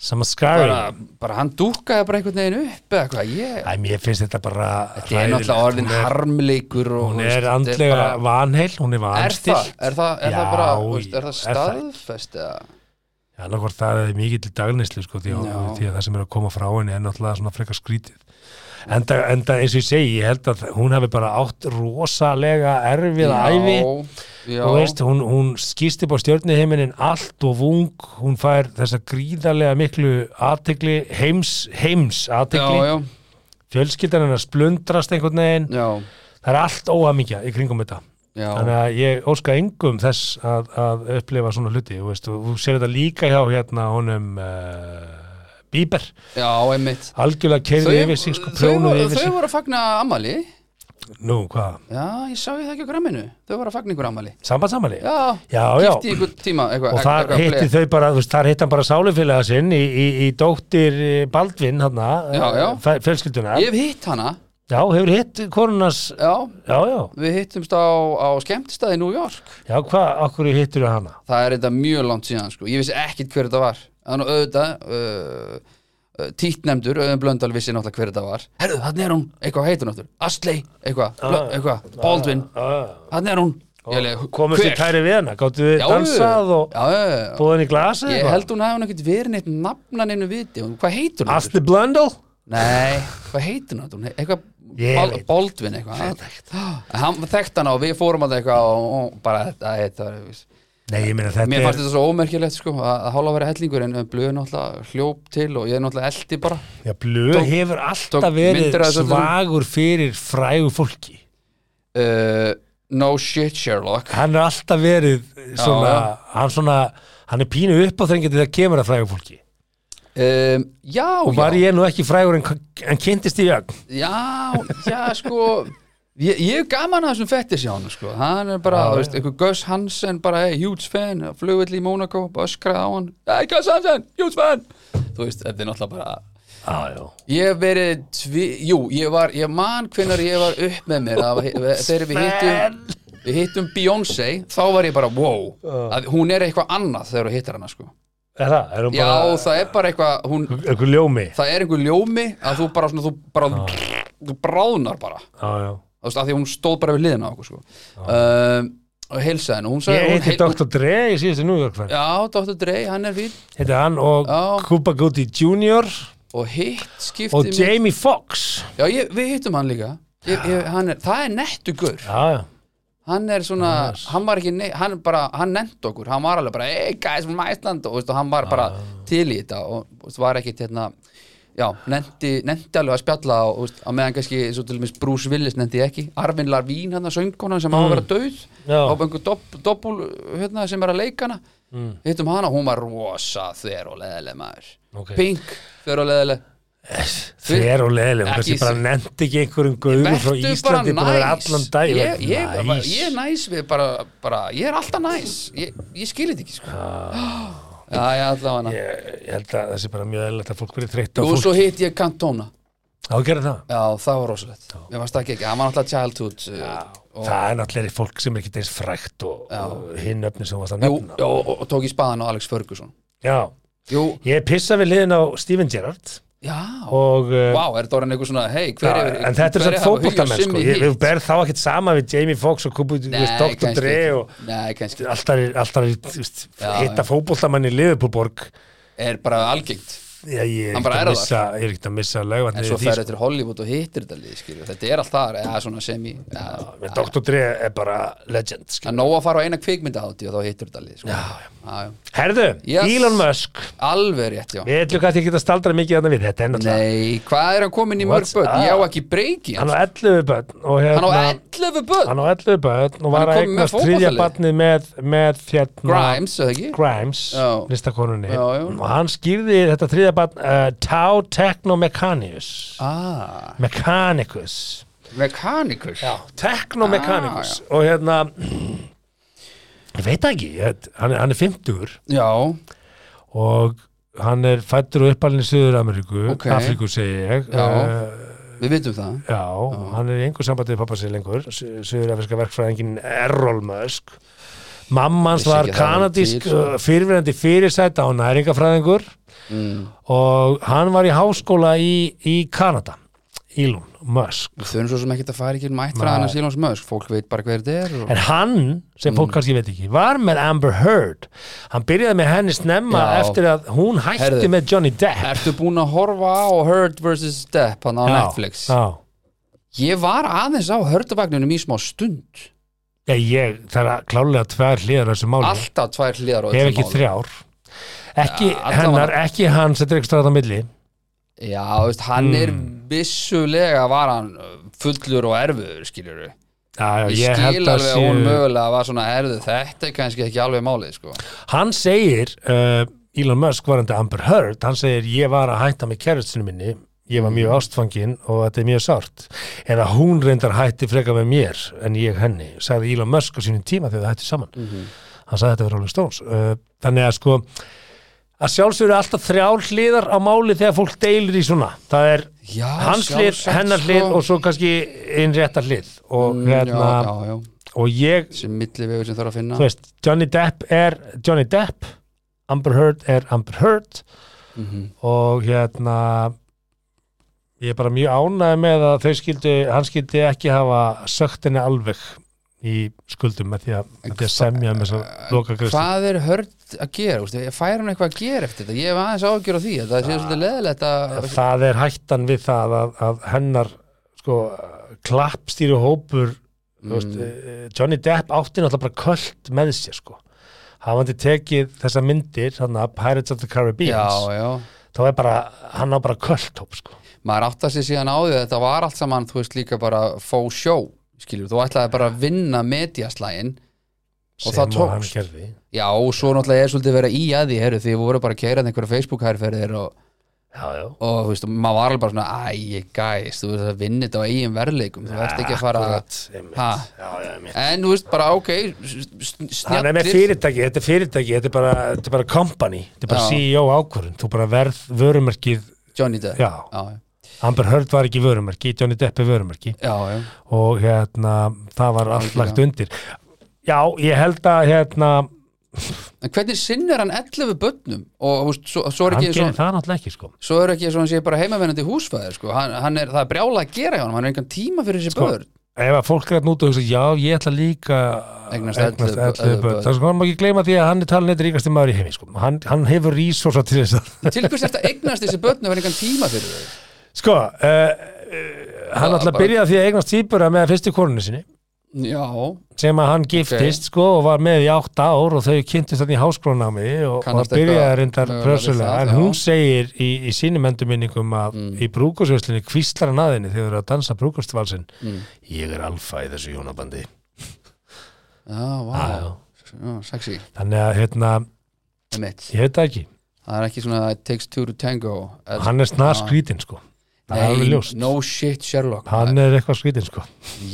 S2: Sam Asghari
S1: Bara, bara hann dúkkaði bara einhvern veginn upp eða hvað, ég
S2: Æ, mér finnst þetta bara
S1: Þetta er náttúrulega orðin
S2: Hún er-
S1: harmleikur og, þú
S2: hún
S1: veist,
S2: er
S1: þetta
S2: andlega
S1: bara-
S2: vanheil, hún er
S1: Er
S2: vanstil
S1: það, er það, er það
S2: Já,
S1: bara, þú veist, er það
S2: er það-
S1: staðfest eða?
S2: Já, annarkvort það er mikið til dagnislu sko, því, að,
S1: Já.
S2: því að það sem er að koma frá henni er náttúrulega svona frekar skrítið enda, enda eins og ég segi, ég held að hún hafi bara átt rosalega erfið æfi
S1: Já, já,
S2: og veist, hún, hún skýst upp á stjörnuheiminin allt og vung, hún fær þessa gríðarlega miklu aðtegli heims, heims
S1: já,
S2: aðtegli
S1: já,
S2: fjölskyldan hennar splundrast einhvern veginn,
S1: já,
S2: það er allt óhamingja í kringum þetta
S1: já,
S2: Þannig að ég óska engum þess að, að upplifa svona hluti þú veist, og þú sér þetta líka hjá hérna honum uh, Bíber
S1: já, einmitt.
S2: algjörlega keirði
S1: Þau,
S2: yfir sig sko,
S1: þau,
S2: prjónuði
S1: voru,
S2: yfir
S1: þau
S2: sig
S1: voru að fagna ammali,
S2: Nú, hvað?
S1: já, ég sá ég það ekki á gramminu, þau voru að fagna ykkur ammali,
S2: Sambandsamali?
S1: já,
S2: Já, já.
S1: gifti ykkur tíma, eitthvað,
S2: og þar
S1: eitthvað
S2: hitti
S1: ble-
S2: þau bara, þú veist, þar hitti hann bara sálufélaga sinn í, í, í dóttir eh, Baldvin hann
S1: Já, já.
S2: fjölskylduna
S1: Ég hef hitt hana,
S2: Já, hefur hitt konunas
S1: já,
S2: Já, já,
S1: við hittumst á, á skemmtistaði í New York,
S2: já, hvað, okkur hittur þú hana?
S1: það er þetta mjög langt síðan, sko, ég vissi ekkit hver þetta var, þannig að auðvitað, uh, títnemdur, auðvitað blöndal vissi náttúrulega hver þetta var, herðu, þannig er hún, eitthvað heitur náttúrulega, Astley, eitthvað, blö- eitthvað, Baldwin,
S2: Ah,
S1: Þannig er hún Ég
S2: komust þið tæri við hana, gáttu þið dansað og
S1: já, já, já.
S2: búið henni í glasa
S1: Ég held hún hefði hún ekkert verið neitt nafna neinu viti hún, Hvað heitir hún?
S2: Asli Blöndal
S1: Nei, hvað heitir hún? Hún he- Eitthvað
S2: Ég
S1: Bal-
S2: veit.
S1: Baldvin eitthvað En Hann þekkti hann og við fórum að eitthvað og, og bara þetta, þetta var-
S2: Nei, ég meina þetta
S1: Mér fannst
S2: er
S1: þetta svo ómerkilegt sko að, að hálfa verið hellingur en blöðu náttúrulega hljóp til og ég náttúrulega eldi bara
S2: Já, blöð
S1: Tók-
S2: hefur alltaf
S1: tók
S2: verið
S1: myndir af þessu öllu.
S2: svagur fyrir frægu fólki
S1: uh, No shit Sherlock
S2: Hann er alltaf verið svona, hann svona hann er pínu upp á þrengjandi þegar kemur að frægu fólki
S1: um, Já,
S2: og var
S1: já
S2: ég nú ekki frægur en, en kynntist í ögn
S1: Já, já, sko Ég, ég hef gaman að þessum fettis hjá hann sko. hann er bara, þú veist, einhver Gus Hansen bara, hey, huge fan, flugvill í Monaco bara öskraði á hann, hey, Gus Hansen huge fan, þú veist, þetta er náttúrulega bara
S2: Já, já
S1: ég hef verið tvi, jú, ég var, ég man hvenar ég var upp með mér, það var, þegar við hittum við hittum Beyoncé, þá var ég bara, wow, að hún er eitthvað annað þegar þú hittar hana, sko
S2: Er það, er hún
S1: já,
S2: bara
S1: það er bara eitthvað, hún
S2: einhver ljómi
S1: það er einhver ljómi að þú bara svona, þú bara, þú bráðnar bara
S2: Já, já
S1: þú veist, af því að hún stóð bara við liðina á okkur sko. um, og heilsaði henni og hún sagði
S2: Ég
S1: hún
S2: heiti Dr. Dre í síðustu New York fær
S1: já, Dr. Dre, hann er fín
S2: Heiti hann og
S1: Já.
S2: Cuba Goody Jr.
S1: og hitt skipti
S2: og
S1: mig-
S2: Jamie Foxx
S1: já, ég, við hittum hann líka ég, ég, hann er, það er nettugur
S2: Já, já
S1: hann er svona, hann var ekki nei, hann bara, hann nefndi okkur, hann var alveg bara hey guys from Iceland og, veist, og hann var bara
S2: Ah.
S1: til í þetta og veist, var ekkit hérna já, nefndi, nefndi alveg að spjalla og veist, að meðan kannski, svo til dæmis Bruce Willis nefndi ég ekki, Arvin Larvín hann að söngkonan sem á að vera döð
S2: Mm. Já.
S1: á einhver dopp, doppul hérna, sem er að leika hana
S2: Mm.
S1: hittum hana, hún var rosa þver og leðileg maður
S2: Ok.
S1: pink, þver og leðileg
S2: Þver og leðileg, hún
S1: Ekki
S2: kannski bara
S1: sem-
S2: nefndi ekki einhverjum gauðum frá
S1: Vertu
S2: Íslandi bara verið
S1: næs.
S2: allan dag
S1: ég, ég, bara,
S2: Næs.
S1: ég er næs við bara, bara ég er alltaf næs ég, ég skilir þetta ekki sko. já, já, allavega yeah,
S2: Ah. ég, ég held að það sé bara mjög eðlilegt að fólk verið þreytt á
S1: og
S2: fólk
S1: svo hitt ég Cantona
S2: á að gera það
S1: já, það var rosalegt mér varst það ekki ekki, hann var alltaf childhood uh, já, og,
S2: það er náttúrulega fólk sem er ekki eins frækt og, og hinn öfni sem þú varst að
S1: jú,
S2: nefna
S1: já, og, og tók í spaðan á Alex Ferguson
S2: já,
S1: jú,
S2: ég pissa við liðin á Steven Gerrard
S1: já,
S2: og uh,
S1: vá, er þetta orðin eitthvað svona hei, hver
S2: já,
S1: er
S2: en þetta er
S1: hver
S2: svona
S1: hafa Hugi og
S2: fótboltamenn sko.
S1: Simmi
S2: ég, ég
S1: hitt?
S2: ber þá ekkert sama við Jamie Foxx og Kubu,
S1: Nei,
S2: Dr.
S1: kannski
S2: Dre
S1: ekki.
S2: og
S1: Nei, kannski
S2: alltaf, er- alltaf er, þú veist,
S1: Já,
S2: hitta fótboltamenn í Liverpoolborg
S1: er bara algengt
S2: já, ég er
S1: Hann bara er
S2: ekkert að
S1: að
S2: missa, ég er ekkert að missa lögvarnir
S1: En svo ferðu til Hollywood og hittir þetta lið, skilju. Þetta er allt þar, eða svona sem í...
S2: Men Dr. sko. Dre er bara legend sko. skil.
S1: Það er nóg að fara á eina kvikmyndahátti og þá hittir þetta lið, sko. Já, já.
S2: Herðu,
S1: Yes.
S2: Elon Musk
S1: Alveg rétt, já.
S2: Við ætlum kannski ekki að staldra mikið þarna við Þetta er náttúrulega
S1: Nei, hvað er hann komin í mörg
S2: What's
S1: börn? Ég á
S2: up?
S1: ekki breyki
S2: Hann
S1: hann.
S2: á 11 börn og
S1: Hann á
S2: hérna
S1: 11 börn.
S2: Hann á 11 börn og var
S1: Hann er kominn
S2: að
S1: með
S2: eignast þriðja
S1: fótboltalið.
S2: barnið með, með hérna,
S1: Grimes, eða ekki?
S2: Grimes
S1: Já.
S2: listakonunni
S1: Já, já.
S2: og hann skýrði þetta þriðja barn uh, Tau Technomechanius
S1: Ah,
S2: Mechanicus
S1: mechanikus. Já. Ah,
S2: Technomechanius og hérna ég veit það ekki, ég, hann, er- hann er 50
S1: Já,
S2: og hann er fættur og uppalinn í Suður-Ameríku
S1: Ok.
S2: Afríku segi ég
S1: Já.
S2: Eh,
S1: við vitum það.
S2: Já, hann er í einhver sambandi við pappa sér lengur Suðurafriska verkfræðingin Errol Musk Mamma hans
S1: Vissi
S2: var
S1: ekki það var
S2: kanadísk
S1: til, sko.
S2: fyrirverandi fyrirsæta og næringafræðingur
S1: Mm.
S2: og hann var í háskóla í, í Kanada Elon Musk
S1: Við þurfum svo sem ekkert að fara ekki um ætt frá hann að sílans mösk. Fólk veit bara hver þetta er. Og...
S2: En hann, sem
S1: Mm.
S2: fólk kannski veit ekki, var með Amber Heard. Hann byrjaði með henni snemma
S1: Já.
S2: eftir að hún hætti
S1: Herðu.
S2: með Johnny Depp.
S1: Ertu búin að horfa á Heard vs. Depp hann á
S2: Já,
S1: Netflix?
S2: Já,
S1: Ég var aðeins á Heard-vagnunum í smá stund.
S2: Já, ég, það er að- klárlega tvær hliðar á þessu máli.
S1: Alltaf tvær hliðar á
S2: Ef
S1: öllum
S2: ekki
S1: málum.
S2: þrjár. Ekki
S1: Ja, allavega.
S2: hennar, ekki hann sem dregur stráðan á milli.
S1: Já, þú veist, hann er
S2: Hmm.
S1: vissulega var hann fullur og erfiður, skiljur við.
S2: Já, já,
S1: Ég,
S2: ég
S1: skil
S2: held að
S1: alveg að hún
S2: séu...
S1: mögulega var svona erðu, þetta er kannski ekki alveg málið, sko.
S2: Hann segir, uh, Elon Musk varandi Amber Heard, hann segir, ég var að hætta með kærustinu minni, ég var
S1: Mm.
S2: mjög ástfangin og þetta er mjög sárt. En að hún reyndar hætti freka með mér en ég henni, sagði Elon Musk á sínum tíma þegar það hætti saman.
S1: Mhm.
S2: Hann sagði þetta verið Rolling Stones. Uh, þannig að sko, að sjálfsögur er alltaf þrjár hliðar á máli þegar fólk deilur í svona. Það er
S1: Já,
S2: hans hlið,
S1: sjálfsagt,
S2: hennar
S1: sko. Mm,
S2: hlið og svo kannski einn réttar hlið og,
S1: Já,
S2: hérna,
S1: já, já,
S2: og ég
S1: sem millivegu sem þarf að finna.
S2: þú veist, Johnny Depp er Johnny Depp, Amber Heard er Amber Heard
S1: Mhm.
S2: og hérna ég er bara mjög ánægð með að þau skildu, hann skildi ekki hafa sökt henni alveg í skuldum með því að, með því að semja um með þessar loka
S1: Hvað er Heard að gera, úst, fær hann eitthvað að gera eftir þetta? Ég hef aðeins ágjör á því, að
S2: Ah.
S1: það sé svolítið leðilegt að...
S2: það er hættan við það að, að hennar sko klappstýri hópur mm. veist, eh, Johnny Depp átti náttúrulega bara köld með sér sko hafandi tekið þessa myndir hana, Pirates of the Caribbean
S1: Já, já.
S2: þá er bara, hann á bara köld hóp sko.
S1: maður átt að sér síðan á því að þetta var allt saman þú veist líka bara faux show skilur, þú ætlaði bara að vinna mediaslægin og það
S2: Sem hann
S1: tókst
S2: gerði
S1: já og svo náttúrulega er svolítið verið í að því heru, því við vorum bara að keira einhverja Facebook hærferðir og,
S2: já, já.
S1: og þú veist, og maður var alveg bara svona æj, gæs, þú veist að vinna þetta á eigin verðleikum þú veist ekki að fara að
S2: Akkurat, einmitt.
S1: Ha.
S2: já, já, einmitt.
S1: en þú veist bara ok
S2: hann er
S1: snjattir
S2: með fyrirtæki, þetta er fyrirtæki þetta er bara, þetta er bara company, þetta er bara
S1: Já.
S2: CEO ákvörðun þú bara verð vörumarkið
S1: Johnny Depp
S2: já,
S1: já,
S2: Amber Heard var ekki vörumarki Johnny Depp er vörumarki
S1: já, já.
S2: og hérna, það var allt
S1: Algjörlega.
S2: lagt undir já, ég held að hérna,
S1: en hvernig sinnir hann 11 börnum og þú veist, svo, svo er
S2: hann
S1: ekki
S2: gerir
S1: eins og
S2: það náttúrulega ekki sko
S1: svo er ekki eins og hann sé bara heimavennandi húsfæðir sko. hann, hann er, það er brjála að gera hjá hann hann er engan tíma fyrir þessi
S2: Sko,
S1: börn
S2: ef að fólk er að núta og hugsa, já, ég ætla líka að
S1: Eignast ellefu-
S2: ellefu
S1: ellefu
S2: börn.
S1: börn.
S2: það er sko, hann má ekki gleyma því að hann er talin eitt ríkasti maður í heimi, sko, hann, hann hefur rísorsa til þess að,
S1: til hvers þetta eignast þessi börn og hann er engan tíma fyrir þau
S2: sko uh, uh, hann
S1: Já,
S2: ætla að
S1: bara-
S2: byrja því að eignast týpura með fyrstu konunni sinni
S1: já,
S2: sem að hann giftist sko og var með í átt ár og þau kynntist þannig í háskrónámi og, og
S1: Kannast
S2: byrjaði
S1: eitthvað
S2: reyndar
S1: mögulega við
S2: pröfsulega
S1: það, já.
S2: en
S1: Mm.
S2: hún segir í, í sínum endurminningum að í brúkosjöfslinni kvíslar hann að henni þegar þau eru að dansa brúkostvalsin
S1: Mm.
S2: ég er alfa í þessu hjónabandi
S1: já, vá
S2: Já, já.
S1: já, sexy,
S2: þannig að hérna,
S1: emitt
S2: ég veit það ekki
S1: það er ekki svona it takes two to tango Eh,
S2: hann er snar skrítinn sko það er alveg
S1: nei,
S2: ljóst
S1: no shit Sherlock
S2: hann er eitthvað skrítinn sko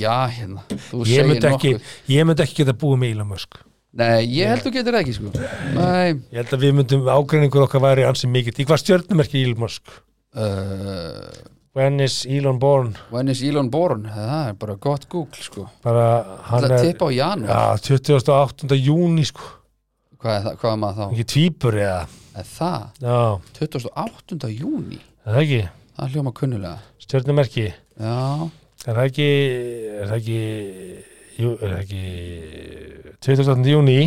S1: já, hérna, þú
S2: ég
S1: segir
S2: myndi ekki,
S1: nokkuð
S2: ég myndi ekki geta búið með Elon Musk
S1: nei, ég held þú getur það ekki sko nei,
S2: ég held að við myndum ágreiningur okkar væri ansið mikið í hvað stjörnum er ekki Elon Musk
S1: uh,
S2: when is Elon born
S1: when is Elon born Eh, það er bara gott Google sko
S2: bara hann
S1: það
S2: er
S1: tippa á janúar,
S2: Já, 28. júni sko
S1: hvað er það- hvað er maður þá
S2: ekki tvípur eða
S1: er það
S2: Já,
S1: 28. júni
S2: er það ekki,
S1: það hljóma kunnulega
S2: stjörnumerki
S1: já,
S2: er það ekki er það ekki jú, er það ekki 28. júni
S1: já,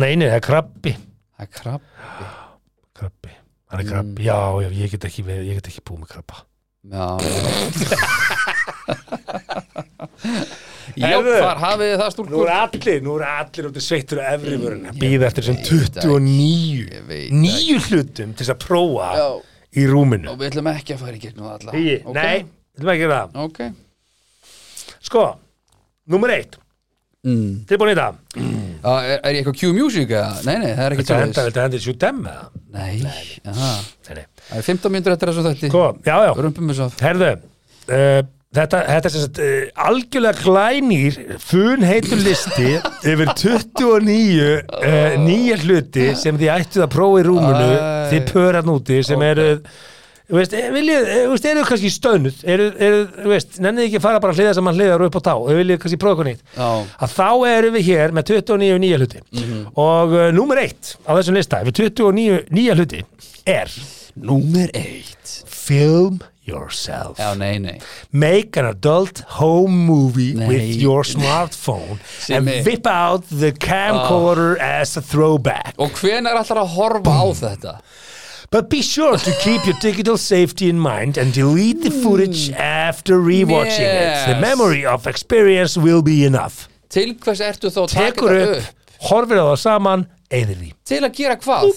S2: Nei, nei, það er krabbi
S1: það er krabb
S2: krabbi hann
S1: Mm.
S2: er krabbi, já, já, ég get ekki, verið- ég get ekki búið með krabba
S1: Já Já,
S2: Heyrðu,
S1: þar hafið þið það
S2: Nú
S1: stúlkur
S2: er allir, nú er allir út í sveittur og efri vörun að býða eftir sem 29
S1: veit
S2: nýju hlutum til þess að prófa
S1: Já,
S2: í rúminu
S1: og við ætlum ekki að fara í gegnum alla
S2: Eigi,
S1: Ok,
S2: Nei, þetta var ekki það
S1: Ok
S2: Sko, nummer eitt mm. Tilbúin í það
S1: Á, Er er ég eitthvað Q-music eða? Nei, nei, það er ekki
S2: Þetta henda, þetta henda í sjúdem með það
S1: Nei, aha.
S2: Nei, nei.
S1: það er 15 mínútur eftir þessu þætti
S2: Sko, já, já,
S1: Rumpum þess að
S2: herðu uh, Þetta, þetta er sem sagt uh, algjörlega glænýr fun heitur listi yfir 29 uh, nýja hluti sem þið ættuð að prófa í rúminu
S1: Æ.
S2: þið pöran úti sem
S1: Ok.
S2: eru Þú veist, eh, viljið, eh, þú veist, eru kannski stöðnud eru, eru, þú veist, nennið ekki að fara bara hliða saman hliðar og upp á tá, þau viljið kannski prófa eitthvað nýtt
S1: Já. Mhm.
S2: að þá erum við hér með 29 nýja hluti og uh, númer eitt á þessum lista við 29 nýja hluti er
S1: Númer 1
S2: Film Yourself
S1: Já, nei, nei
S2: Make an adult home movie
S1: Nei.
S2: with your smartphone and
S1: Simmi.
S2: whip out the camcorder
S1: Ah.
S2: as a throwback
S1: Og hvenær ætlar að horfa á þetta?
S2: But be sure to keep your digital safety in mind and delete the footage after rewatching it. The
S1: Hmm. Yes.
S2: memory of experience will be enough.
S1: Til hvers ertu þá að taka
S2: Tekur
S1: þetta
S2: upp, horfir á það saman, eðir því.
S1: Til að gera hvað?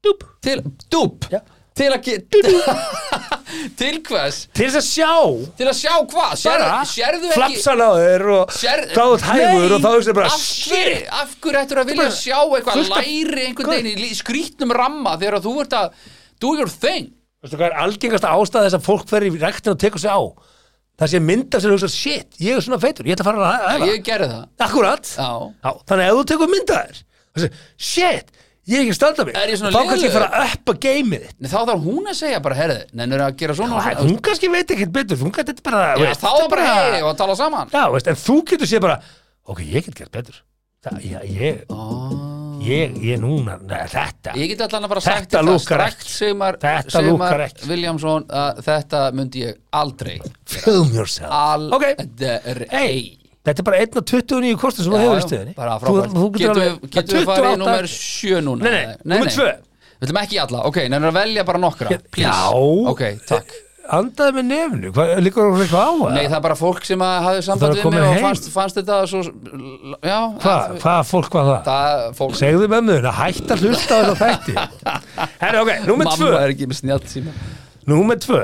S2: Dúp.
S1: Til, dúp
S2: Já.
S1: Til að gera Til hvers?
S2: Til þess að sjá,
S1: Til að sjá hvað? Sérðu,
S2: bara,
S1: sérðu ekki
S2: flapsan á þér og
S1: Sér-
S2: gáðut hægur
S1: Nei,
S2: og þá hugsaðu bara,
S1: af hverju,
S2: shit,
S1: af hverju ættur að vilja
S2: bara
S1: sjá eitthvað
S2: fullt af-
S1: læri einhvern veginn í lí- skrýtnum ramma þegar þú ert að do your thing
S2: veistu hvað er algengasta ástæð þess að fólk fer í rektin og tekur sig á? Það sé mynda sem hugsa, shit, ég er svona feitur, ég ætla að fara að hæða.
S1: ég gerði það
S2: Akkurat.
S1: Já.
S2: þannig að ef þú tekur myndaðir, shit, ég er ekki að standa mig.
S1: Er ég svona
S2: Þá kannski
S1: lélegur?
S2: fara að uppa gameið þitt.
S1: Nei, þá þarf hún að segja bara, herði, nennur að gera svona og
S2: Æ,
S1: svona
S2: hún kannski veit ekkert betur, hún gæti þetta bara
S1: Já,
S2: veist,
S1: þá
S2: þetta
S1: er bara hei og að tala saman
S2: Já, veist, en þú getur séð bara ok, ég get gert betur það, já, ég, ég, ég núna neð, þetta,
S1: Ah. Ég get allan að bara sagt
S2: Þetta
S1: þér það
S2: lúkkar
S1: strakt
S2: ekki.
S1: Sigmar,
S2: Þetta lúkkar
S1: Sigmar
S2: ekki.
S1: Viljámsson að þetta myndi ég aldrei
S2: film yourself
S1: aldrei
S2: ok, þetta er bara 1 og 29 kostum sem þú hefur í stöðinni
S1: bara frábært
S2: þú, þú
S1: Getum
S2: getur alveg
S1: við- getum við farið í númer 7 núna?
S2: Nei, nei, númer tvö.
S1: Við ætlum ekki í alla, ok, nennur að velja bara nokkra please.
S2: já.
S1: Ok, takk
S2: andaði með nefnu, hvað, líkur hún eitthvað á það?
S1: Nei, það er bara fólk sem að hafði
S2: Það er
S1: samband við
S2: komin
S1: mig og
S2: heim.
S1: fannst, fannst þetta svo Já,
S2: hvað,
S1: að-
S2: hvað fólk var það?
S1: það fólk
S2: segðu með mjög, að hætta að hlusta á þetta þætti herri, ok, númer 2
S1: Mamma er Mm. ekki með snjátt síma
S2: Númer tvö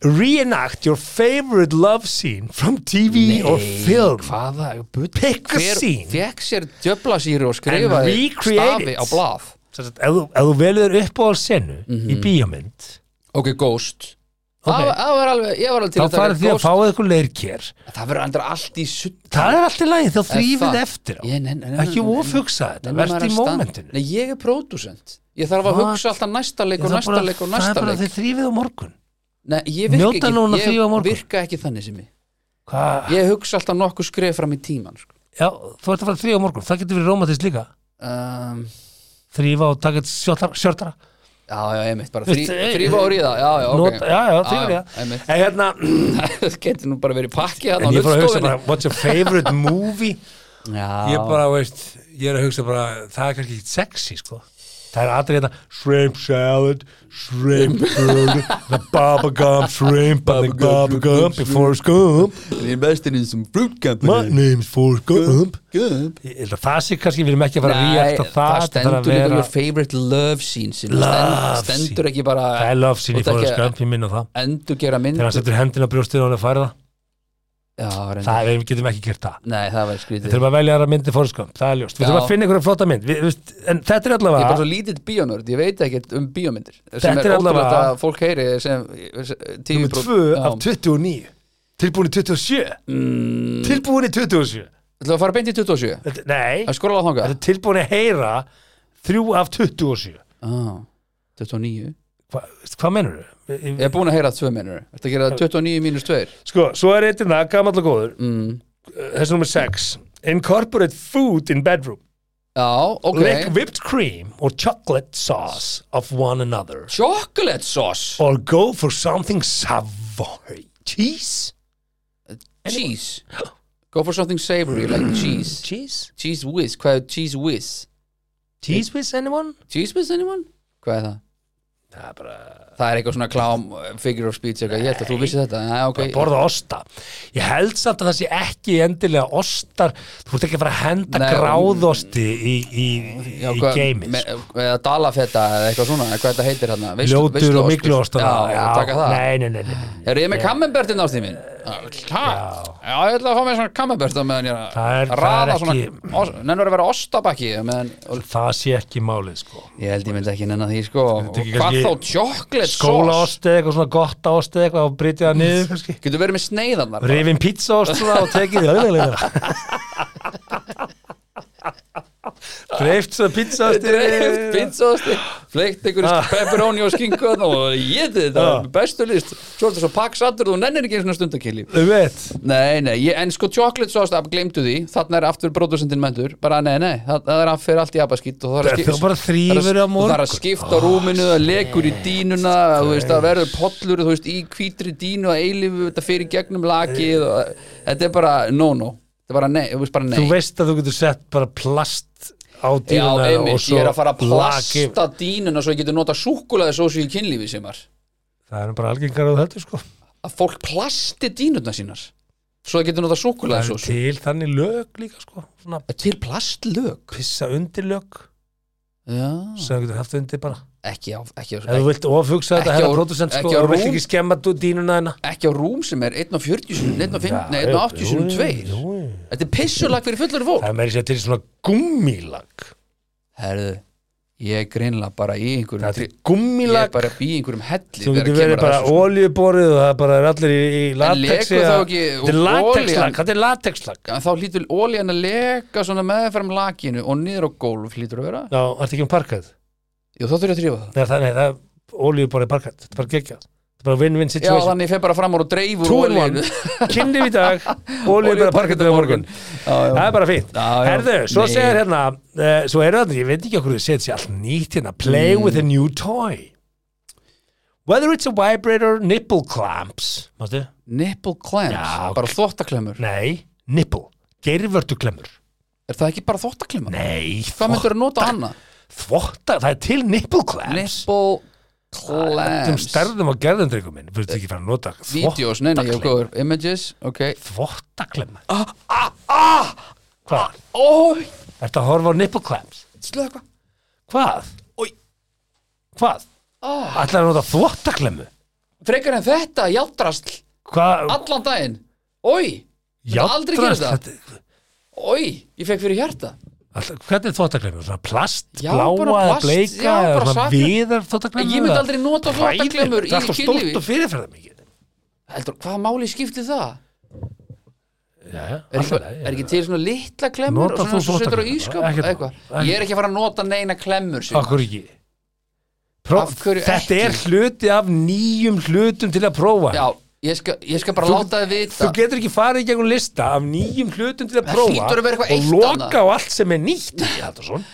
S2: Reenact your favorite love scene from TV or film
S1: Hvaða,
S2: Pick a scene
S1: fekk sér djöflasýru og
S2: And
S1: skrifaði
S2: recreate
S1: stafi
S2: it.
S1: á blað
S2: Sem sagt, ef, þú- ef þú velur upp á senu í
S1: Mhm.
S2: bíómynd
S1: Ok, ghost
S2: Ok.
S1: Það það var alveg, ég var alveg til
S2: þá farið því að
S1: ghost
S2: fáið eitthvað leirkér
S1: Það verður andra allt í sutt
S2: það er alltaf lægið, þá
S1: það-
S2: þrýfið eftir á
S1: Ég- nei, nei, nei,
S2: ekki
S1: nei, nei,
S2: ofugsa þetta,
S1: Nei, maður
S2: verð
S1: er
S2: í
S1: að standa-
S2: mómentinu
S1: Nei, ég er pródusent Ég þarf að
S2: What?
S1: hugsa alltaf næsta leik
S2: Já,
S1: og
S2: það er
S1: næsta
S2: bara-
S1: leik og
S2: það er
S1: næsta
S2: bara
S1: leik
S2: þið þrýfið á morgun
S1: Nei, ég virka
S2: Njóta núna
S1: ekki,
S2: þrífa á
S1: ég
S2: morgun.
S1: virka ekki þannig sem ég
S2: Hva?
S1: Ég hugsa alltaf nokkuð skref fram í tíman sko.
S2: já, þú ert að fara þrýfið á morgun, það getur verið rómatist líka
S1: um,
S2: þrýfa og taka sjörtara, sjörtara.
S1: Já, já, einmitt, bara
S2: Veist, eh,
S1: þrýfa ári í það Já, já, ok Ah,
S2: Nota- já, já, þrýfið í það
S1: einmitt.
S2: en hérna,
S1: Það getur nú bara verið pakki hann á
S2: en ég fór að hugsa
S1: luftstofinni
S2: bara what's your favorite movie
S1: Já,
S2: ég bara, veist, ég er að hugsa bara það er kannski ekki sexy, sko það er atrið þetta shrimp salad shrimp burger the baba gum shrimp I think baba gump and Forrest Gump
S1: Við investin í þessum fruit
S2: my
S1: company
S2: name's Forrest Gump
S1: Gump.
S2: ég held að það sé kannski, við erum ekki að fara að
S1: Nei,
S2: ríða
S1: það
S2: það það
S1: stendur líka með favorite love scene sem
S2: Love
S1: stend- stendur ekki bara
S2: það er love scene
S1: Þú
S2: í
S1: ert
S2: Forrest
S1: ekki að
S2: Gump, ég minna það
S1: Endur gera mynd
S2: þegar hann setur hendina á brjóstið og hann er að færa það
S1: Mm. Já, reyndar.
S2: það er, við getum ekki gert það
S1: Nei, það var
S2: við
S1: skrítið
S2: þurfum að velja aðra myndi Forrest Gump, það er ljóst við
S1: Já.
S2: þurfum að finna einhverja flotta mynd, við, við, en þetta er
S1: Ég er bara
S2: allavega
S1: svo lítill bíónörd, ég veit ekkert um bíómyndir sem
S2: Þetta
S1: er
S2: er
S1: ótrúlega
S2: allavega-
S1: að fólk heyri sem tími
S2: Númer 2 af 29 Tilbúin í 27 mm. Tilbúin í 27
S1: Þú að fara beint í 27
S2: þetta, Nei,
S1: að skóla á þanga
S2: þetta er tilbúin að heyra 3 af 27
S1: ah, 29
S2: Hva, Hvað menur
S1: Ég
S2: þau?
S1: er búin að heyra tvö mennur Þetta gera 29 mínus 2
S2: Sko, svo er eitthvað það, gamall og góður
S1: mm.
S2: Þessi nummer 6 Incorporate food in bedroom
S1: Já, ok
S2: Lick whipped cream or chocolate sauce of one another
S1: Chocolate sauce
S2: Or go for something savory Cheese?
S1: Cheese Go for something savory like cheese
S2: Cheese?
S1: Cheese whiz, hvað er cheese whiz?
S2: Cheese with anyone?
S1: Cheese whiz anyone? Hvað er það?
S2: það er bara
S1: það er eitthvað svona klám uh, figure of speech eitthvað, ég held að þú vissi þetta Ah, Nei, okay.
S2: borða osta ég held samt að það sé ekki endilega ostar þú ert ekki að fara að henda
S1: Nei,
S2: gráðosti í, í, í,
S1: Já,
S2: í
S1: hvað-
S2: gaming
S1: me- eða dalafeta eða eitthvað svona, hvað þetta heitir hérna Veislu-
S2: ljótur
S1: veisluost,
S2: og miklu ostar
S1: já, já, taka það
S2: nei, nei, nei, nei, nei.
S1: Er ég með kamembertin á stímin? Já. Já, ég ætla að fá mér svona kamembert á meðan ég er
S2: Það er-
S1: að
S2: það
S1: raða
S2: er
S1: svona
S2: ekki-
S1: os- Nennur að vera ostabakki á meðan
S2: það sé ekki málið sko
S1: Ég held ég myndi ekki nennan því sko Og
S2: Þetta er ekki
S1: Hvað
S2: kannski-
S1: þá tjóklet sós?
S2: skólaost eða eitthvað svona gott ost eða eitthvað og brytið það niður kannski
S1: Getur verið með sneiðarnar bara.
S2: rifin pizzaost svona og tekið því dreift svo pizzaost
S1: Dreift, pizzaosti, fleikt einhverju
S2: Ah.
S1: pepperoni og skinku þarna og ég þið þetta,
S2: Ah.
S1: bestu list Svo er þetta svo pakksatur, þú nennir ekki einu svona stundakili
S2: þú veit
S1: Nei, nei, ég, en sko chocolate sauce, að glemdu því, þarna er aftur bróðusendin menntur, bara nei, nei, það, það er að fyrir allt í abaskýtt og það er
S2: Það
S1: að
S2: er þá bara þrífur
S1: það er að-
S2: á morgun. Ah,
S1: Það er að skipta rúminu, það lekur í dínuna, þú veist, það verður pollur, þú veist, í hvítri dínu að eilifu, þetta fyrir gegnum lakið og þetta er bara no, no, þetta er bara nei, þú veist bara nei.
S2: þú veist að þú getur sett bara plast á
S1: Já,
S2: dýruna og
S1: einmitt,
S2: svo
S1: ég er að fara að
S2: laki-
S1: plasta dínuna svo ég getur nota súkkulaði í kynlífi sem er
S2: það er nú bara algengar á þetta sko
S1: að fólk plasti dínuna sínar svo það getur nota súkkulaði
S2: það er til þannig lög líka sko svona
S1: til plastlög
S2: pissa undir lög
S1: Já.
S2: sem þú getur haft undir bara
S1: ekki á, ekki á,
S2: ef þú vilt ofugsa þetta
S1: Ekki
S2: herra
S1: á-
S2: pródusent sko
S1: ekki á
S2: þú vilt
S1: rúm.
S2: ekki skemma dú- dýnuna hérna
S1: ekki á rúm sem er 1.40 sinum 1.50, nei 1.80 sinum 2 þetta er pissulag fyrir fullur fólk
S2: það er meiri sér til svona gummilag
S1: herðu, ég er greinlega bara í einhverjum
S2: þetta er
S1: tri- ég er
S2: gummilag
S1: bara í einhverjum helli
S2: sem
S1: þegar
S2: getur
S1: kemur
S2: verið
S1: að
S2: bara
S1: þessu, sko.
S2: oljuborið og það er bara er allir í, í latexi
S1: lekur þá
S2: að-
S1: ekki
S2: þetta er
S1: olían?
S2: latexlag, þetta er latexlag
S1: en þá hlýtur ólían að leka svona meðfram lakinu og niður á gólf hlýtur að vera
S2: já, ertu ekki um parkað
S1: Jú, þá þurfið að þrýfa það
S2: nei, það, nei, það er oljuborið parkað þetta er bara geggjað, þetta er bara win-win
S1: Já,
S2: situation
S1: þannig ég fer bara fram úr og dreifur
S2: Two in one. kynlíf í dag, oljuborið parkað á morgun það er bara fínt
S1: Já, já.
S2: herðu, svo
S1: Nei.
S2: segir hérna uh, svo er þetta, ég veit ekki okkur þú segir þessi allt nýtt hérna, play with a new toy whether it's a vibrator nipple clamps mástu?
S1: Nipple clamps,
S2: Já, ok.
S1: bara þvottaklemur
S2: nei, nipple, geirvörtu klemmur
S1: Er það ekki bara þvottaklemur?
S2: nei,
S1: Hvað myndur að nota annað?
S2: þvotta, það er til nipple clamps
S1: Nipple Ah,
S2: um
S1: clamps
S2: stærðum og gerðendryggum minn fyrir ekki fara að nota
S1: Vídeos, nei, nei, ég er góður Images, ok
S2: þvottaklemma ah, ah, ah, hvað,
S1: Ói,
S2: ertu að horfa á nipple clamps
S1: slökva
S2: hvað, Oi. hvað oh. ætlaði að nota þvottaklemmu
S1: Ah, Frekar en þetta, játtrasl
S2: hvað,
S1: Allan daginn Ói, myndi aldrei gera
S2: játrast,
S1: þetta Ói, ég fekk fyrir hjarta
S2: Alltaf, hvernig er þvottaklemmu? Svona plast,
S1: Já,
S2: bláa,
S1: bara plast,
S2: bleika,
S1: já,
S2: eða
S1: bara
S2: svona
S1: sakna-
S2: viðar
S1: En
S2: þvottaklemmu?
S1: ég myndi aldrei nota
S2: Hræðilegt,
S1: þvottaklemur í
S2: Það er alltaf stórt
S1: kynlífi
S2: og fyrirferða mikið.
S1: Heldur, Hvaða máli skipti það?
S2: Já, já,
S1: Er
S2: alltaf
S1: ekki,
S2: leið.
S1: er ekki til svona litla klemmur
S2: Nota
S1: og svona sem
S2: þú
S1: setur á
S2: þvottaklemmur?
S1: ískap
S2: Ekkert mál.
S1: eitthvað? Ég er ekki að fara að nota neina klemmur sér.
S2: Akkur ekki. Pró,
S1: Af hverju
S2: þetta
S1: ekki?
S2: er hluti af nýjum hlutum til að prófa.
S1: Já, ég skal, ég skal bara
S2: Þú-
S1: láta þið
S2: Þú
S1: vita
S2: getur ekki farið í gegnum lista af nýjum hlutum til að
S1: Það
S2: prófa
S1: hlýtur að vera eitthvað
S2: og
S1: eitt
S2: loka
S1: annað.
S2: á allt sem er nýtt. Halldórsson.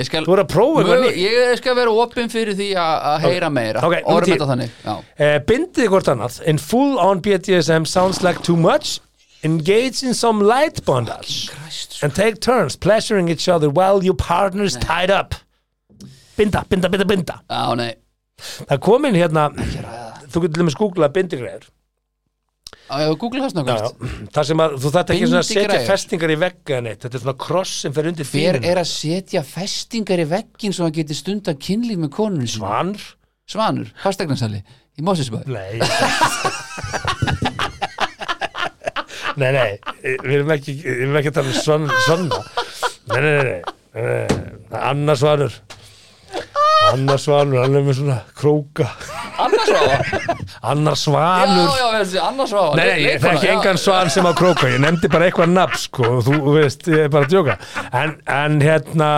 S1: Ég skal,
S2: Þú er að prófa eitthvað
S1: mögu-
S2: nýtt.
S1: ég skal vera opinn fyrir því a- að heyra meira
S2: Ok,
S1: og
S2: númer
S1: erum
S2: tíu.
S1: þetta þannig Já.
S2: Uh, bindið hvort annað in full on BDSM sounds like too much engage in some light bondage and take turns pleasuring each other while your partner is tied up binda, binda, binda, binda
S1: Já, nei
S2: það er komin hérna þú getur til dæmis googlað bindigræður
S1: Á, ég googla það snakast
S2: það sem að þú þetta ekki svona að setja
S1: Bindigræður.
S2: festingar í vegg eða neitt, þetta er svona kross sem fer undir
S1: Hver
S2: þínum.
S1: er að setja festingar í veggin svo hann geti stunda kynlíf með konunum sinni?
S2: svanr
S1: Svanur, fastegnarsali í Mósinsbæði
S2: nei nei, nei, við erum ekki við erum ekki að tala um svanna svanna nei, nei, nei, nei, nei, nei Anna Svanur Anna Svanur, hann er með svona króka
S1: Annarsváða
S2: Annar
S1: Já,
S2: Svanur
S1: já, þessi annarsváða
S2: Nei, nei, ég þekki engan svan sem á króka ég nefndi bara eitthvað nafn, sko og þú veist, ég er bara að djóka en, en hérna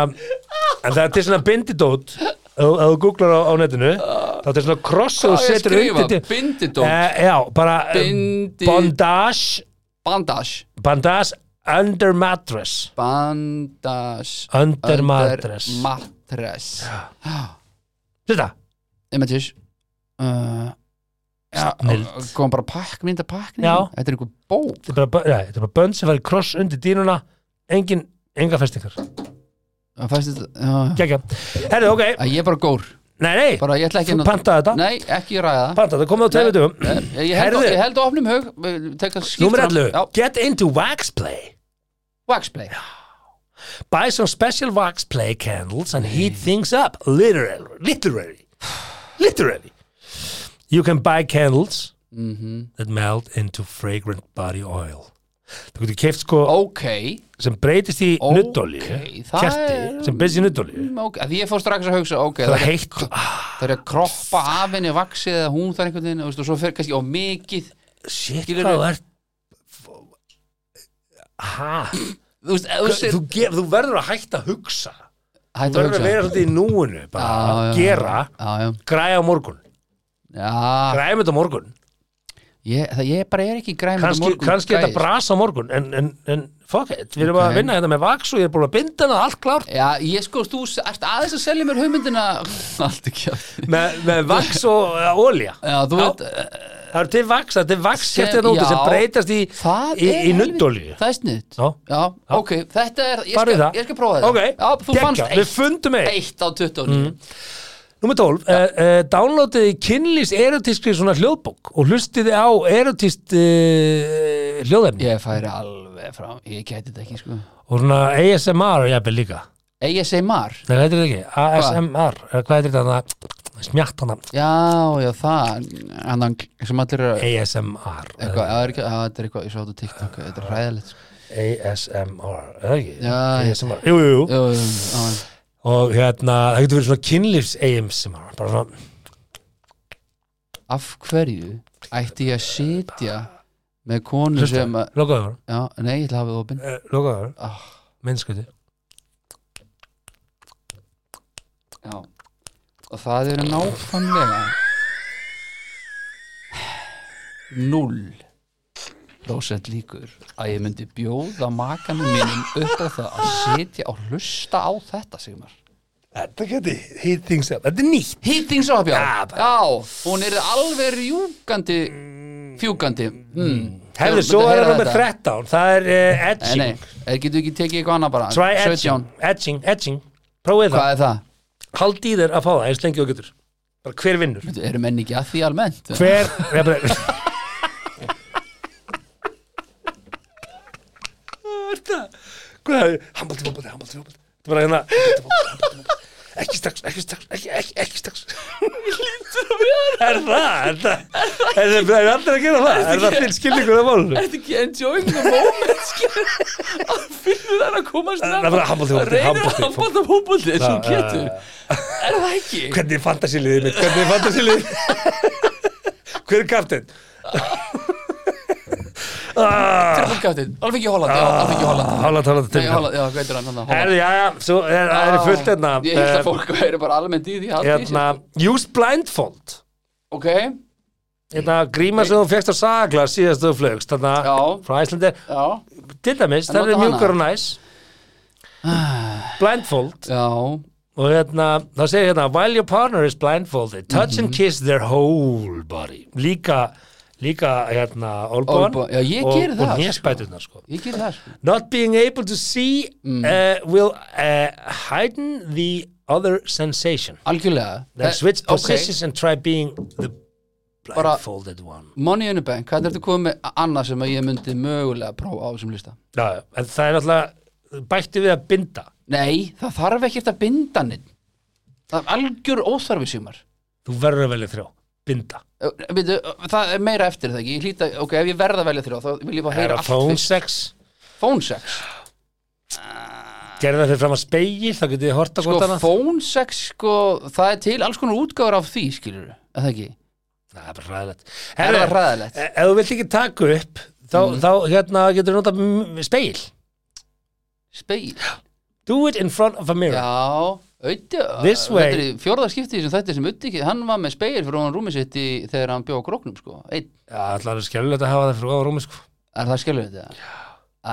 S2: en það er til svona bindidót ef ef þú googlar á, á netinu þá er til svona kross og
S1: Hvað á ég að
S2: setur
S1: skrifa?
S2: undir til-
S1: Bindidót?
S2: Eh, Já, bara eh,
S1: Bindi-
S2: bondage
S1: Bandage
S2: bandage under mattress
S1: Bandage
S2: under, mattress
S1: Mattress
S2: Þetta,
S1: Images uh, já,
S2: Snilld.
S1: Kom bara pakkmynd að pakkmynd
S2: Já.
S1: Þetta er einhver bók
S2: þetta er bara, bö- nei, þetta er bara bönd sem færi kross undir dýnuna engin, enga festingar
S1: Það fæst þetta- já, já.
S2: Gekja, herrið, ok
S1: Æ, Ég er bara gór
S2: Nei, nei,
S1: Bara ég ætla ekki
S2: þú pantaði þetta
S1: Nei, ekki ræða það
S2: Pantaði þetta, komið á tveimur dögum
S1: Nei, Ég held, ég held á opnum hug eh, tek það skýrt
S2: Númer
S1: fram.
S2: 11,
S1: Já,
S2: get into wax play
S1: Waxplay
S2: Buy some special wax play candles and heat things up literally, literally, literally. You can buy candles
S1: Mm-hmm.
S2: that melt into fragrant body oil. Þú getur keft sko
S1: Ok,
S2: sem breytist í
S1: Ó,
S2: okay, nuttolíu,
S1: ókei, það
S2: kerti
S1: er-
S2: sem breytist í nuttolíu.
S1: ok, að ég fór strax að hugsa Ok,
S2: Það
S1: það
S2: er
S1: er,
S2: heitt, ah,
S1: það er að kroppa af henni vaxið eða hún þar einhvern veginn veistu, og svo fer kannski á mikið
S2: shit,
S1: Skilurðu?
S2: hvað þú ert, ha,
S1: Þú veist, ef þú sér
S2: þú, gef, þú verður að hætta að hugsa. Þú
S1: Hættu að
S2: verður að
S1: hugsa
S2: vera svolítið í núinu, bara
S1: Já,
S2: að
S1: já,
S2: gera,
S1: Já, já,
S2: græja á morgun,
S1: já
S2: græja með Ah. þetta á morgun.
S1: ég, það, ég bara er ekki græm
S2: kannski, kannski þetta brasa á morgun en, en, en fuck it, við erum
S1: Ok.
S2: að vinna hérna með vaks og ég er búin að binda hana allt klart
S1: Já, ég sko, þú s- ert aðeins að selja mér hugmyndina Allt ekki að
S2: með, með vaks og uh, olja
S1: Já, þú veit,
S2: það eru til vaks, það er til vaks
S1: Sem-
S2: hérna úti sem
S1: já.
S2: breytast í,
S1: það
S2: í,
S1: er
S2: í nuttolíu
S1: Það er snitt
S2: Já.
S1: ok, þetta er Ég
S2: Farðu í
S1: skal,
S2: það.
S1: ég skal prófa þetta
S2: Ok,
S1: Já, þú
S2: geggjað.
S1: fannst eitt
S2: Við Mm. fundum eitt.
S1: Eitt á 29
S2: Númer 12, uh, uh, downloadiði kynlýs erotískri svona hljóðbók og hlustiði á erotist uh, hljóðefni
S1: Ég færi alveg frá Ég geti þetta ekki, sko
S2: og svona ASMR jafnvel líka
S1: ASMR
S2: Nei, hvað heitir þetta ekki? ASMR, eða hvað heitir þetta? Smjatt hana
S1: Já, já, það Annan sem allir eru
S2: ASMR
S1: Eitthvað, já, er ekki- já, þetta er eitthvað Ég svo þetta á TikTok Þetta er ræðilegt, sko
S2: ASMR, eða ekki?
S1: Já, ég-
S2: ASMR, jú, jú, jú.
S1: Jú, jú, jú, já.
S2: og hérna, það getur verið svona kynlífs ASMR, bara svona
S1: Af hverju ætti ég að sitja með konu sem að,
S2: lokaður,
S1: já, nei, ég ætla að hafa það
S2: Eh,
S1: opinn
S2: lokaður,
S1: Ah.
S2: mennskutu
S1: Já Og það eru nákvæmlega Null Rósent líkur að ég myndi bjóða makanum mínum upp á það að sitja og hlusta á þetta Sigmar
S2: Þetta geti, hit things up, þetta er nýtt
S1: Hitting svo já
S2: Já, bara-
S1: Já, hún er alveg rjúkandi fjúkandi mm.
S2: Hefðu, svo er það nummer 13, það er uh,
S1: Nei,
S2: edging,
S1: nei, er- getur ekki tekið eitthvað annað bara
S2: try edging, edging, edging prófið það,
S1: Hvað er það?
S2: hald í þér að fá það eins lengi og þú getur, bara hver vinnur
S1: Bíddu, Eru menn ekki að því almennt?
S2: hver, ég bara Hvað, handbólti, handbólti, handbólti, handbólti Þetta er bara hérna handbolti, handbolti, handbolti, handbolti. Ekki strax, ekki strax, ekki, ekki, ekki strax Er það, er það Er það, er allir að gera það Er það þinn skilningur af málunum
S1: Þetta ekki enjoying the moment skilur. að finnur það að komast
S2: Það er bara handbólti, handbólti, handbólti fólk.
S1: handbólta fótbólti eins og
S2: Já,
S1: getur
S2: já,
S1: Er það ekki?
S2: Hvernig er fantasiliðið mitt, hvernig er fantasiliðið Hver er kaptinn? Ah,
S1: Trefnarkaftin, alveg ekki Holland já, Alveg ekki Holland
S2: Holland, Holland,
S1: Nei,
S2: Holland
S1: Holland, já, hvað heitir hann hann?
S2: Herðu, já, já, svo er, það er fullt hérna
S1: Ég held
S2: eh,
S1: að fólk væri bara almennt í því haldi í sér.
S2: hérna, Use blindfold
S1: Ok,
S2: hérna, gríma sem þú fegst á sagla síðast þú flögst þarna
S1: Já.
S2: frá Æslandi
S1: já,
S2: til
S1: En
S2: dæmis, það
S1: nota
S2: er mjúkar og
S1: hana.
S2: næs blindfold
S1: já
S2: og hérna, það segir hérna while your partner is blindfolded
S1: Mhm.
S2: touch and kiss their whole body líka, líka hérna, olbúan
S1: Olnbogann, já, ég
S2: og,
S1: geri það,
S2: og nésbæturnar sko
S1: Ég ger það sko
S2: Not being able to see
S1: Mm.
S2: uh, will uh, heighten the other sensation.
S1: Algjörlega
S2: Then
S1: Eh,
S2: switch
S1: ok,
S2: positions and try being the
S1: Bara-
S2: blindfolded one.
S1: Money in a bank, hvað er þetta komið með annað sem að ég myndi mögulega prófa á þessum lista?
S2: Já, já, en það er náttúrulega bætti við að binda.
S1: Nei, það þarf ekkert að binda ninn Það er algjör óþarfi símar
S2: Þú verður að velja þrjá. Binda.
S1: Beidu, það er meira eftir það ekki Ég hlýta, ok, ef ég verða að velja þrjá þá vil ég bara
S2: Það er
S1: heyra
S2: að
S1: allt
S2: phone Sko,
S1: fyrst.
S2: sex.
S1: phone sex
S2: Gerðu það fyrir fram að speil, þá getið þið horta
S1: sko,
S2: hvort annað.
S1: phone sex, sko, það er til alls konar útgáður af því, skilur er það ekki?
S2: Það er bara ræðilegt.
S1: Er það ræðilegt?
S2: Ef þú vilt ekki taka upp, þá, þá hérna getur þú nota m- speil.
S1: Speil
S2: Do it in front of a mirror.
S1: Já, auðvitað
S2: This way.
S1: Þetta er fjórðarskiptið sem þetta sem auðvitað Hann var með speil fyrir hann rúmið sitt í, þegar hann bjóð á gróknum, sko Einn,
S2: Já, það er skjálfilegt að hafa það fyrir ofar rúmi, sko.
S1: er það skilur þetta?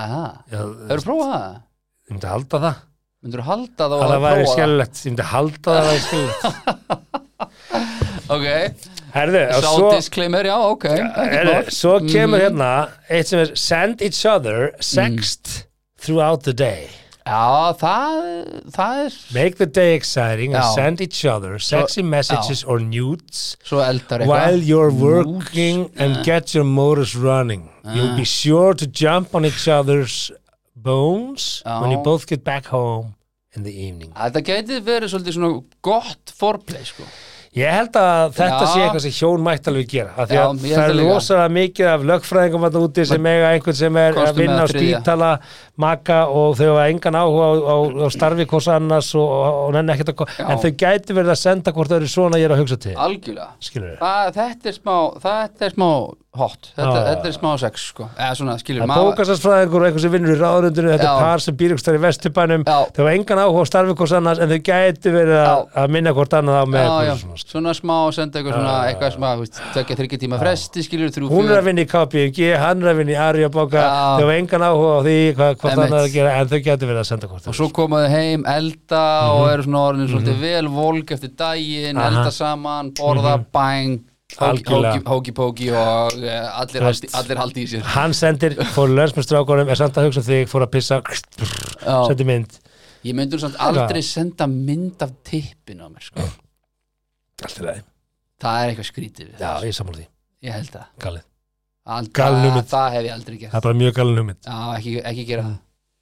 S1: Aha,
S2: Já,
S1: það eru prófað það?
S2: Ég myndi halda það.
S1: Myndur þú halda það
S2: Að
S1: og
S2: það
S1: að
S2: væri
S1: prófa það?
S2: skjálfilegt. Ég myndi halda það að það væri skjálfilegt.
S1: Ok,
S2: Herðu, og
S1: sá
S2: svo...
S1: disclaimer, já, ok ekkert
S2: Heyrðu,
S1: mál.
S2: Svo
S1: Mhm. Mhm.
S2: kemur hérna eitt sem er send each other sext throughout the day
S1: Já, það, það er
S2: Make the day exciting and
S1: Já.
S2: send each other sexy messages or nudes
S1: svo eldar
S2: while
S1: eitthvað
S2: you're working and get your motors running. You'll
S1: Ah.
S2: be sure to jump on each other's bones when you
S1: Já.
S2: both get back home in the evening.
S1: Þetta gæti verið svolítið svona gott forplay, sko
S2: Ég held að þetta
S1: Já.
S2: sé eitthvað sem hjón mætt alveg gera af því
S1: Já,
S2: að
S1: ég held
S2: það
S1: það
S2: er
S1: líka.
S2: rosalega mikið af lögfræðingum að úti sem eiga einhvern sem er að
S1: Kostum
S2: vinna á
S1: eða þriðja.
S2: spítala maka og þau hafa engan áhuga á, á, á starfi hvors annars og, og, og nenni ekkert að ko-
S1: Já.
S2: en þau gæti verið að senda hvort þau eru svona ég er að hugsa til
S1: Algjörlega
S2: skilur þau
S1: Það, þetta er smá, þetta er smá hot, þetta,
S2: Já, já,
S1: þetta er smá sex, sko eða svona, skilur
S2: Það bókastast fræðingur og einhver sem vinnur í ráðrundinu þetta
S1: Já.
S2: er par sem býr ykkur í vesturbænum
S1: Já.
S2: þau hafa engan áhuga á starfi hvors annars en þau gæti verið að, að minna hvort annað á með
S1: já, já,
S2: eitthvað svona.
S1: svona smá senda eitthvað svona, eitthvað smá, þú veist, tökja þryggja tíma fresti, skilur þrjú,
S2: hún er
S1: fjör
S2: að vinna í KPMG, hann er að vinna í Arja bóka,
S1: Já.
S2: þau hafa engan áhuga á því hvað, hvað
S1: Einmitt.
S2: það er að gera, en þau getur verið að senda hvort
S1: og svo komaðu heim, elda og eru svona orðin svolítið vel volg eftir daginn,
S2: Mhm. Aha. Mhm.
S1: elda saman borða, bæng
S2: Algjörlega.
S1: hóki-póki og uh, allir, haldi, allir haldi í sér
S2: hann sendir, fór löns með strákunum er samt að hugsa um þig, fór að pissa
S1: Já.
S2: sendi mynd,
S1: ég myndi nú samt aldrei senda mynd af tippinu á mér, sko
S2: allt í lagi
S1: það er eitthvað skrítið við
S2: já,
S1: það,
S2: ég sammála því,
S1: ég held það
S2: galið,
S1: Ald-
S2: Galin
S1: það-
S2: hugmynd.
S1: það hef ég aldrei gert
S2: það er bara mjög galin hugmynd
S1: já, ekki, ekki gera það,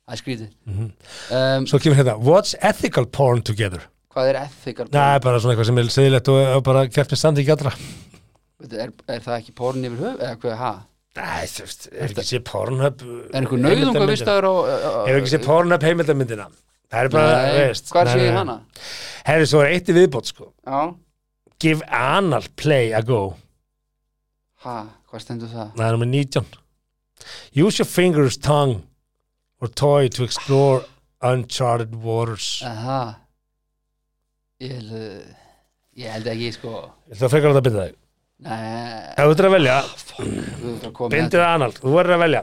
S1: það er skrítið
S2: Mhm.
S1: um,
S2: svo kemur hérna, what's ethical porn together
S1: hvað er ethical
S2: það er bara svona eitthvað sem er seðilegt og og bara gert með standi ekki allra
S1: er, er það ekki porn yfir höf eða hvað, ha?
S2: Nei, þú veist, er ekki sé pornhub
S1: Er einhver nauðung að vistaður á...
S2: er ekki sé pornhub heimildamyndina það er bara,
S1: Nei,
S2: veist
S1: hvað
S2: nei,
S1: sé
S2: nei.
S1: ég hana?
S2: Herri, svo er eitt í viðbót, sko
S1: Já.
S2: Give anal play a go
S1: Ha, hvað stendur það?
S2: Það er nummer 19 Use your fingers, tongue or toy to explore uncharted waters
S1: Aha. Ég held, uh, ég held ekki, sko...
S2: Það frekar að það binda þig
S1: Nei,
S2: Ef þú ert að velja,
S1: þú þarf að koma með
S2: bindir
S1: þetta.
S2: það anal Þú verður að velja,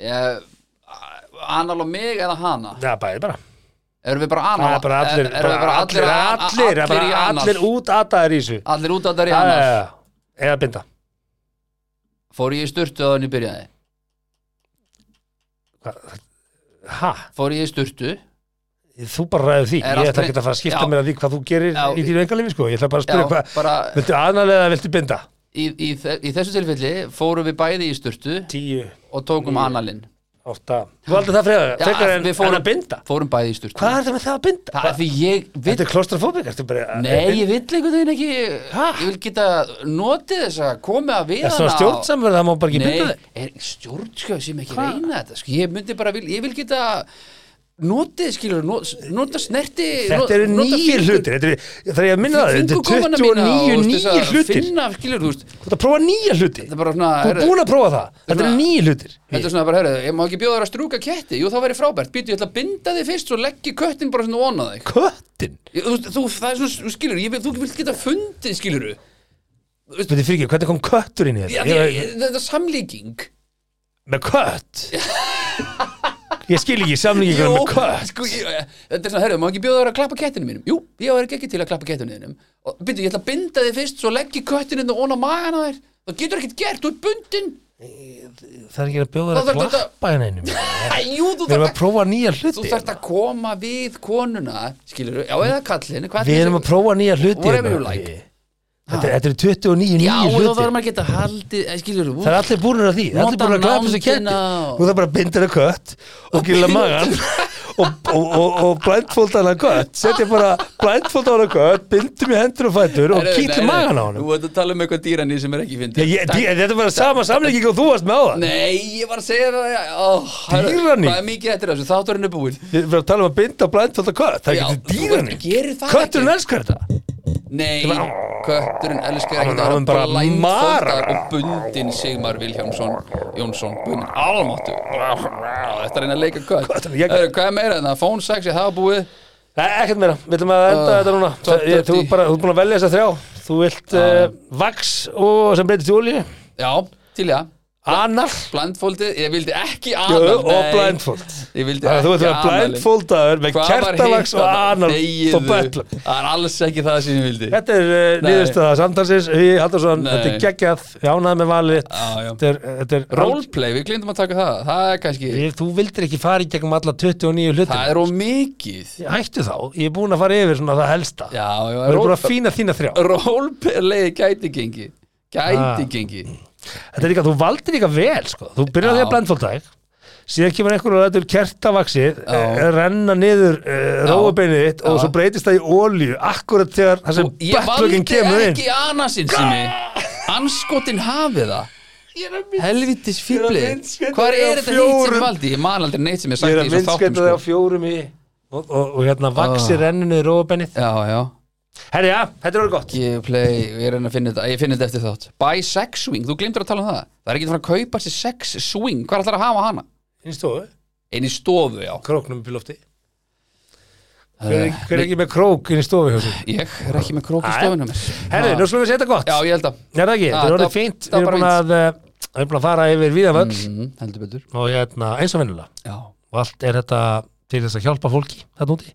S1: Ég- Eh, Anal og mig eða hana?
S2: það er bæði bara
S1: Erum við bara anal?
S2: Það er bara allir,
S1: Er- Erum við bara allir,
S2: allir,
S1: allir,
S2: allir, allir,
S1: í anal?
S2: allir út aðtaðir í þessu
S1: Allir út að það er í
S2: Já, já,
S1: anal?
S2: já. Eða binda
S1: Fór ég í sturtu að henni byrjaði?
S2: Ha,
S1: Fór ég í sturtu?
S2: þú bara ræður því
S1: Er
S2: Ég
S1: allt
S2: ætla
S1: reynt?
S2: ekki að fara að skipta
S1: Já.
S2: mér að því hvað þú gerir
S1: Já.
S2: í þínu engalífi sko Ég ætla bara að
S1: Já,
S2: spyrja hvað
S1: bara...
S2: Viltu anal eða viltu binda?
S1: Í, í, þe- í þessu tilfelli fórum við bæði í sturtu
S2: Tíu,
S1: og tókum analinn
S2: átta Þú aldrei það frekar, frekar en,
S1: við fórum-
S2: en að binda
S1: fórum bæði í sturtu
S2: Hvað er það með það að binda?
S1: Það er því ég vil,
S2: Þetta er klostrofóbik, ertu bara
S1: nei, ég vil einhvern veginn ekki,
S2: Ha?
S1: ég vil geta notið þess að koma að við
S2: Það er svona
S1: á-
S2: stjórnsamverð, það má bara ekki byrja
S1: Nei,
S2: þig
S1: er stjórnskjöð sem ekki reyna þetta, sko, ég myndi bara, vil, ég vil geta notið, skilur, not, nota snerti,
S2: Þetta eru nýjir hlutir, þetta eru, það er ég að minna það, þetta eru 29 nýjir hlutir
S1: Finna, skilur, þú veist,
S2: Þú ert að prófa nýja hlutir,
S1: þetta er bara svona,
S2: þú ert
S1: herðu,
S2: búin að prófa það Þetta eru
S1: svona-
S2: nýjir hlutir
S1: Þetta er svona bara, herðu, ég má ekki bjóða þér að strúka ketti, jú, þá væri frábært, býtu, ég ætla að binda þig fyrst og leggja köttin bara svona vonað þig.
S2: Köttin,
S1: Ég- Þú, þú, það er svona, þú skilur, ég, vil- þú vilt geta fundið, skilur
S2: veitir fyrir ekki, hvernig kom köttur inn í
S1: Já,
S2: þetta?
S1: ég,
S2: Ég-
S1: ég, þetta er samlíking
S2: Með kött Ég skil ekki samlíkinguna
S1: Jú,
S2: með kött
S1: sko, ég, Þetta er svona, herrðu, má ekki bjóða þér að klappa kettinu mínum Jú, ég var ekki til að klappa kettinu mínum og byrju, ég ætla að binda þig fyrst svo legg ég köttinu og ón á magan á þér Það getur ekkert gert, þú ert bundin
S2: Það er ekki að bjóða
S1: Það
S2: þér
S1: þarf
S2: að
S1: þetta-
S2: klappa henni einum Við
S1: Æ, Jú, þú
S2: erum að
S1: þarft að,
S2: prófa nýja hluti
S1: þú þarft að koma við konuna Skilur, já, eða kallinu
S2: Við erum að prófa nýja hluti
S1: Whatever you
S2: hérna.
S1: like.
S2: Þetta er- þetta eru
S1: Já,
S2: 29 nýjir
S1: og þá
S2: hlutir
S1: þarf maður að geta haldið, eh, skilur
S2: Það er allir búinir að því, það er allir
S1: Nota
S2: búinir að klappa þessu ketti
S1: nándina og-
S2: Þú þarf bara að binda hana kött og gilla magan og, og, og, og blindfolda hana kött setja bara blindfolda hana kött bindum í hendur og fætur og kýttu magan á hann
S1: Þú ert að tala um eitthvað dýraníð sem er ekki fyndið
S2: Þetta er bara sama samlíking og þú varst með á það
S1: Nei, ég var að segja það já, ó, herru,
S2: Dýraníð?
S1: Hvað er mikið eftir þessu, þátturinn er búinn
S2: Við erum bara að tala um að binda og blindfolda kött það
S1: Já,
S2: er
S1: þú
S2: ekki dýran
S1: gerir það
S2: Kötturinn
S1: ekki.
S2: elskar þetta
S1: Nei,
S2: bara-
S1: kötturinn elskar
S2: Hann-
S1: ekki að
S2: hann
S1: vera
S2: bara
S1: blindfoldar
S2: marar.
S1: og bundin Sigmar Vilhjámsson Jónsson, bundin almáttu Þetta er einn að leika kött
S2: Kötturinn, ég-
S1: Heyrðu, Hvað er meira en það? Phone sex, ég hafa búið
S2: Nei, ekkert meira, við ætlum að enda
S1: Ah,
S2: þetta núna
S1: top
S2: Ég- Þú
S1: 30.
S2: ert bara, þú ert búin að eh, velja þess að þrjá Þú vilt uh, vax og sem breytist í olíu
S1: Já, til já
S2: Anal
S1: Blindfoldið, ég vildi ekki anal
S2: Jú, og
S1: nei.
S2: blindfold
S1: Ég vildi
S2: Þannig að þú
S1: ekki
S2: ætlar að
S1: analinn.
S2: blindfoldaður með
S1: Hvað var hitt
S2: kertalags og
S1: þarna?
S2: anal
S1: Þegiðu.
S2: og böllum
S1: Það er alls ekki það sem ég vildi
S2: Þetta er uh,
S1: Nei.
S2: niðurstaða samtalsins Við Haldarsson,
S1: Nei.
S2: þetta er geggjað Ég ánaði með valið þitt.
S1: Já, já.
S2: Þetta er, þetta er
S1: Roleplay, við glindum að taka það Það er kannski,
S2: Ég- Þú vildir ekki fara í gegnum alla 29 hlutin
S1: það er of mikið
S2: Hættu þá, ég er búin að fara yfir svona það helsta
S1: Já, já,
S2: Við erum búin að
S1: role-
S2: fína þína þrjá
S1: roleplay gæti gengi Gæti
S2: Ah.
S1: gengi
S2: Þetta er líka, þú valdir líka vel sko. Þú byrjar á því
S1: Já.
S2: að blindfoldaði síðan kemur einhver og lætur kertavaxið
S1: Já.
S2: eh, renna niður uh, róabeinið þitt og
S1: Já.
S2: svo breytist það í ólju akkurat þegar það sem
S1: Ég valdi
S2: böttlögin kemur inn
S1: ekki anasinn sinni Anskotin hafið það Helvitis fíbli
S2: Ég er að myndskreyta
S1: Hvar
S2: þig á
S1: er þetta hitt sem
S2: fjórum.
S1: ég valdi? Ég man aldrei neitt sem ég sagt
S2: Ég er
S1: í
S2: að
S1: þessum
S2: myndsketta
S1: þáttum
S2: það á
S1: sko.
S2: fjórum í og, og, og hérna vaxi
S1: Ah.
S2: ah. renninu í róabennið
S1: Já, já
S2: Herri, já, þetta er orðið gott
S1: Ég play, ég er að reyna að finna þetta Ég finn þetta eftir þátt Bisexwing, þú glimtir að tala um það Það er ekki að fara að kaupa sér sex swing Hvað ætlar að hafa hana?
S2: Í stofu,
S1: Einn í stofu, já
S2: króknum upp í lofti
S1: Það
S2: Hver,
S1: er-
S2: er- hver er ekki með krók inn í stofu hjá sér?
S1: Ég er ekki með krók í
S2: Æ.
S1: stofunum Já,
S2: Herri, nú slum við setja gott
S1: ég held að
S2: Er það ekki?
S1: Já,
S2: Þetta er orðið
S1: Ah. það-
S2: fínt
S1: það er
S2: Við erum búin
S1: bara
S2: að, eh, við erum búin að fara yfir viðavöll
S1: Mhm, Heldur betur
S2: og hérna, eins og venjulega
S1: Já
S2: og allt er þetta til þess að hjálpa fólki þarna úti,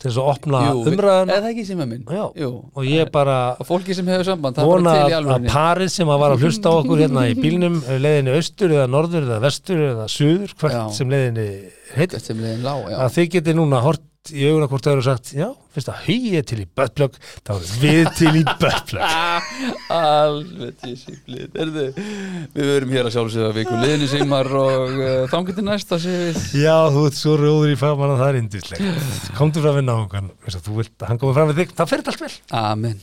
S2: til þess að opna
S1: Jú, við-
S2: umræðan
S1: Eða það ekki sem er minn
S2: Já.
S1: Jú
S2: og ég bara
S1: Og fólki sem hefur samband Það er
S2: vona
S1: bara til í
S2: að- að
S1: alveg
S2: parið sem að var að hlusta á okkur hérna í bílnum leiðinni austur eða norður eða vestur eða suður, hvert
S1: Já.
S2: sem leiðinni heitt,
S1: Þetta sem leiðin lág, já
S2: að þið geti núna hort í auguna hvort þau eru sagt já, finnst það hýið til í bötplögg þá erum við til í bötplögg
S1: Ah, Alveg tísiplit Erðu, við verum hér að sjálfsögða vikum liðinu simar og uh, þangur til næsta sér við
S2: já, þú ert svo róður í faman að það er indislegt komdu fram við náungan, Veist að þú vilt að hann komið fram við þig, það fyrir allt vel
S1: Amen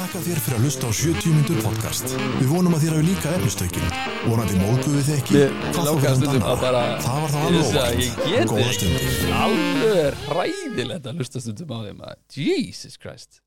S4: Þakka þér fyrir að hlusta á 70 mínútur podcast. Við vonum að þér hafi líka efnistökin. Vonandi móðguðu þið ekki.
S1: Mér
S4: hvað þá
S1: langar
S4: fyrir
S1: stundum
S4: annað.
S1: að bara
S4: Það var þá
S1: Ég
S4: alveg
S1: vissi að Ég
S4: óvart.
S1: get
S4: Góða
S1: ekki
S4: stundir.
S1: Alveg er hræðilegt að hlusta stundum á þeim að Jesus Christ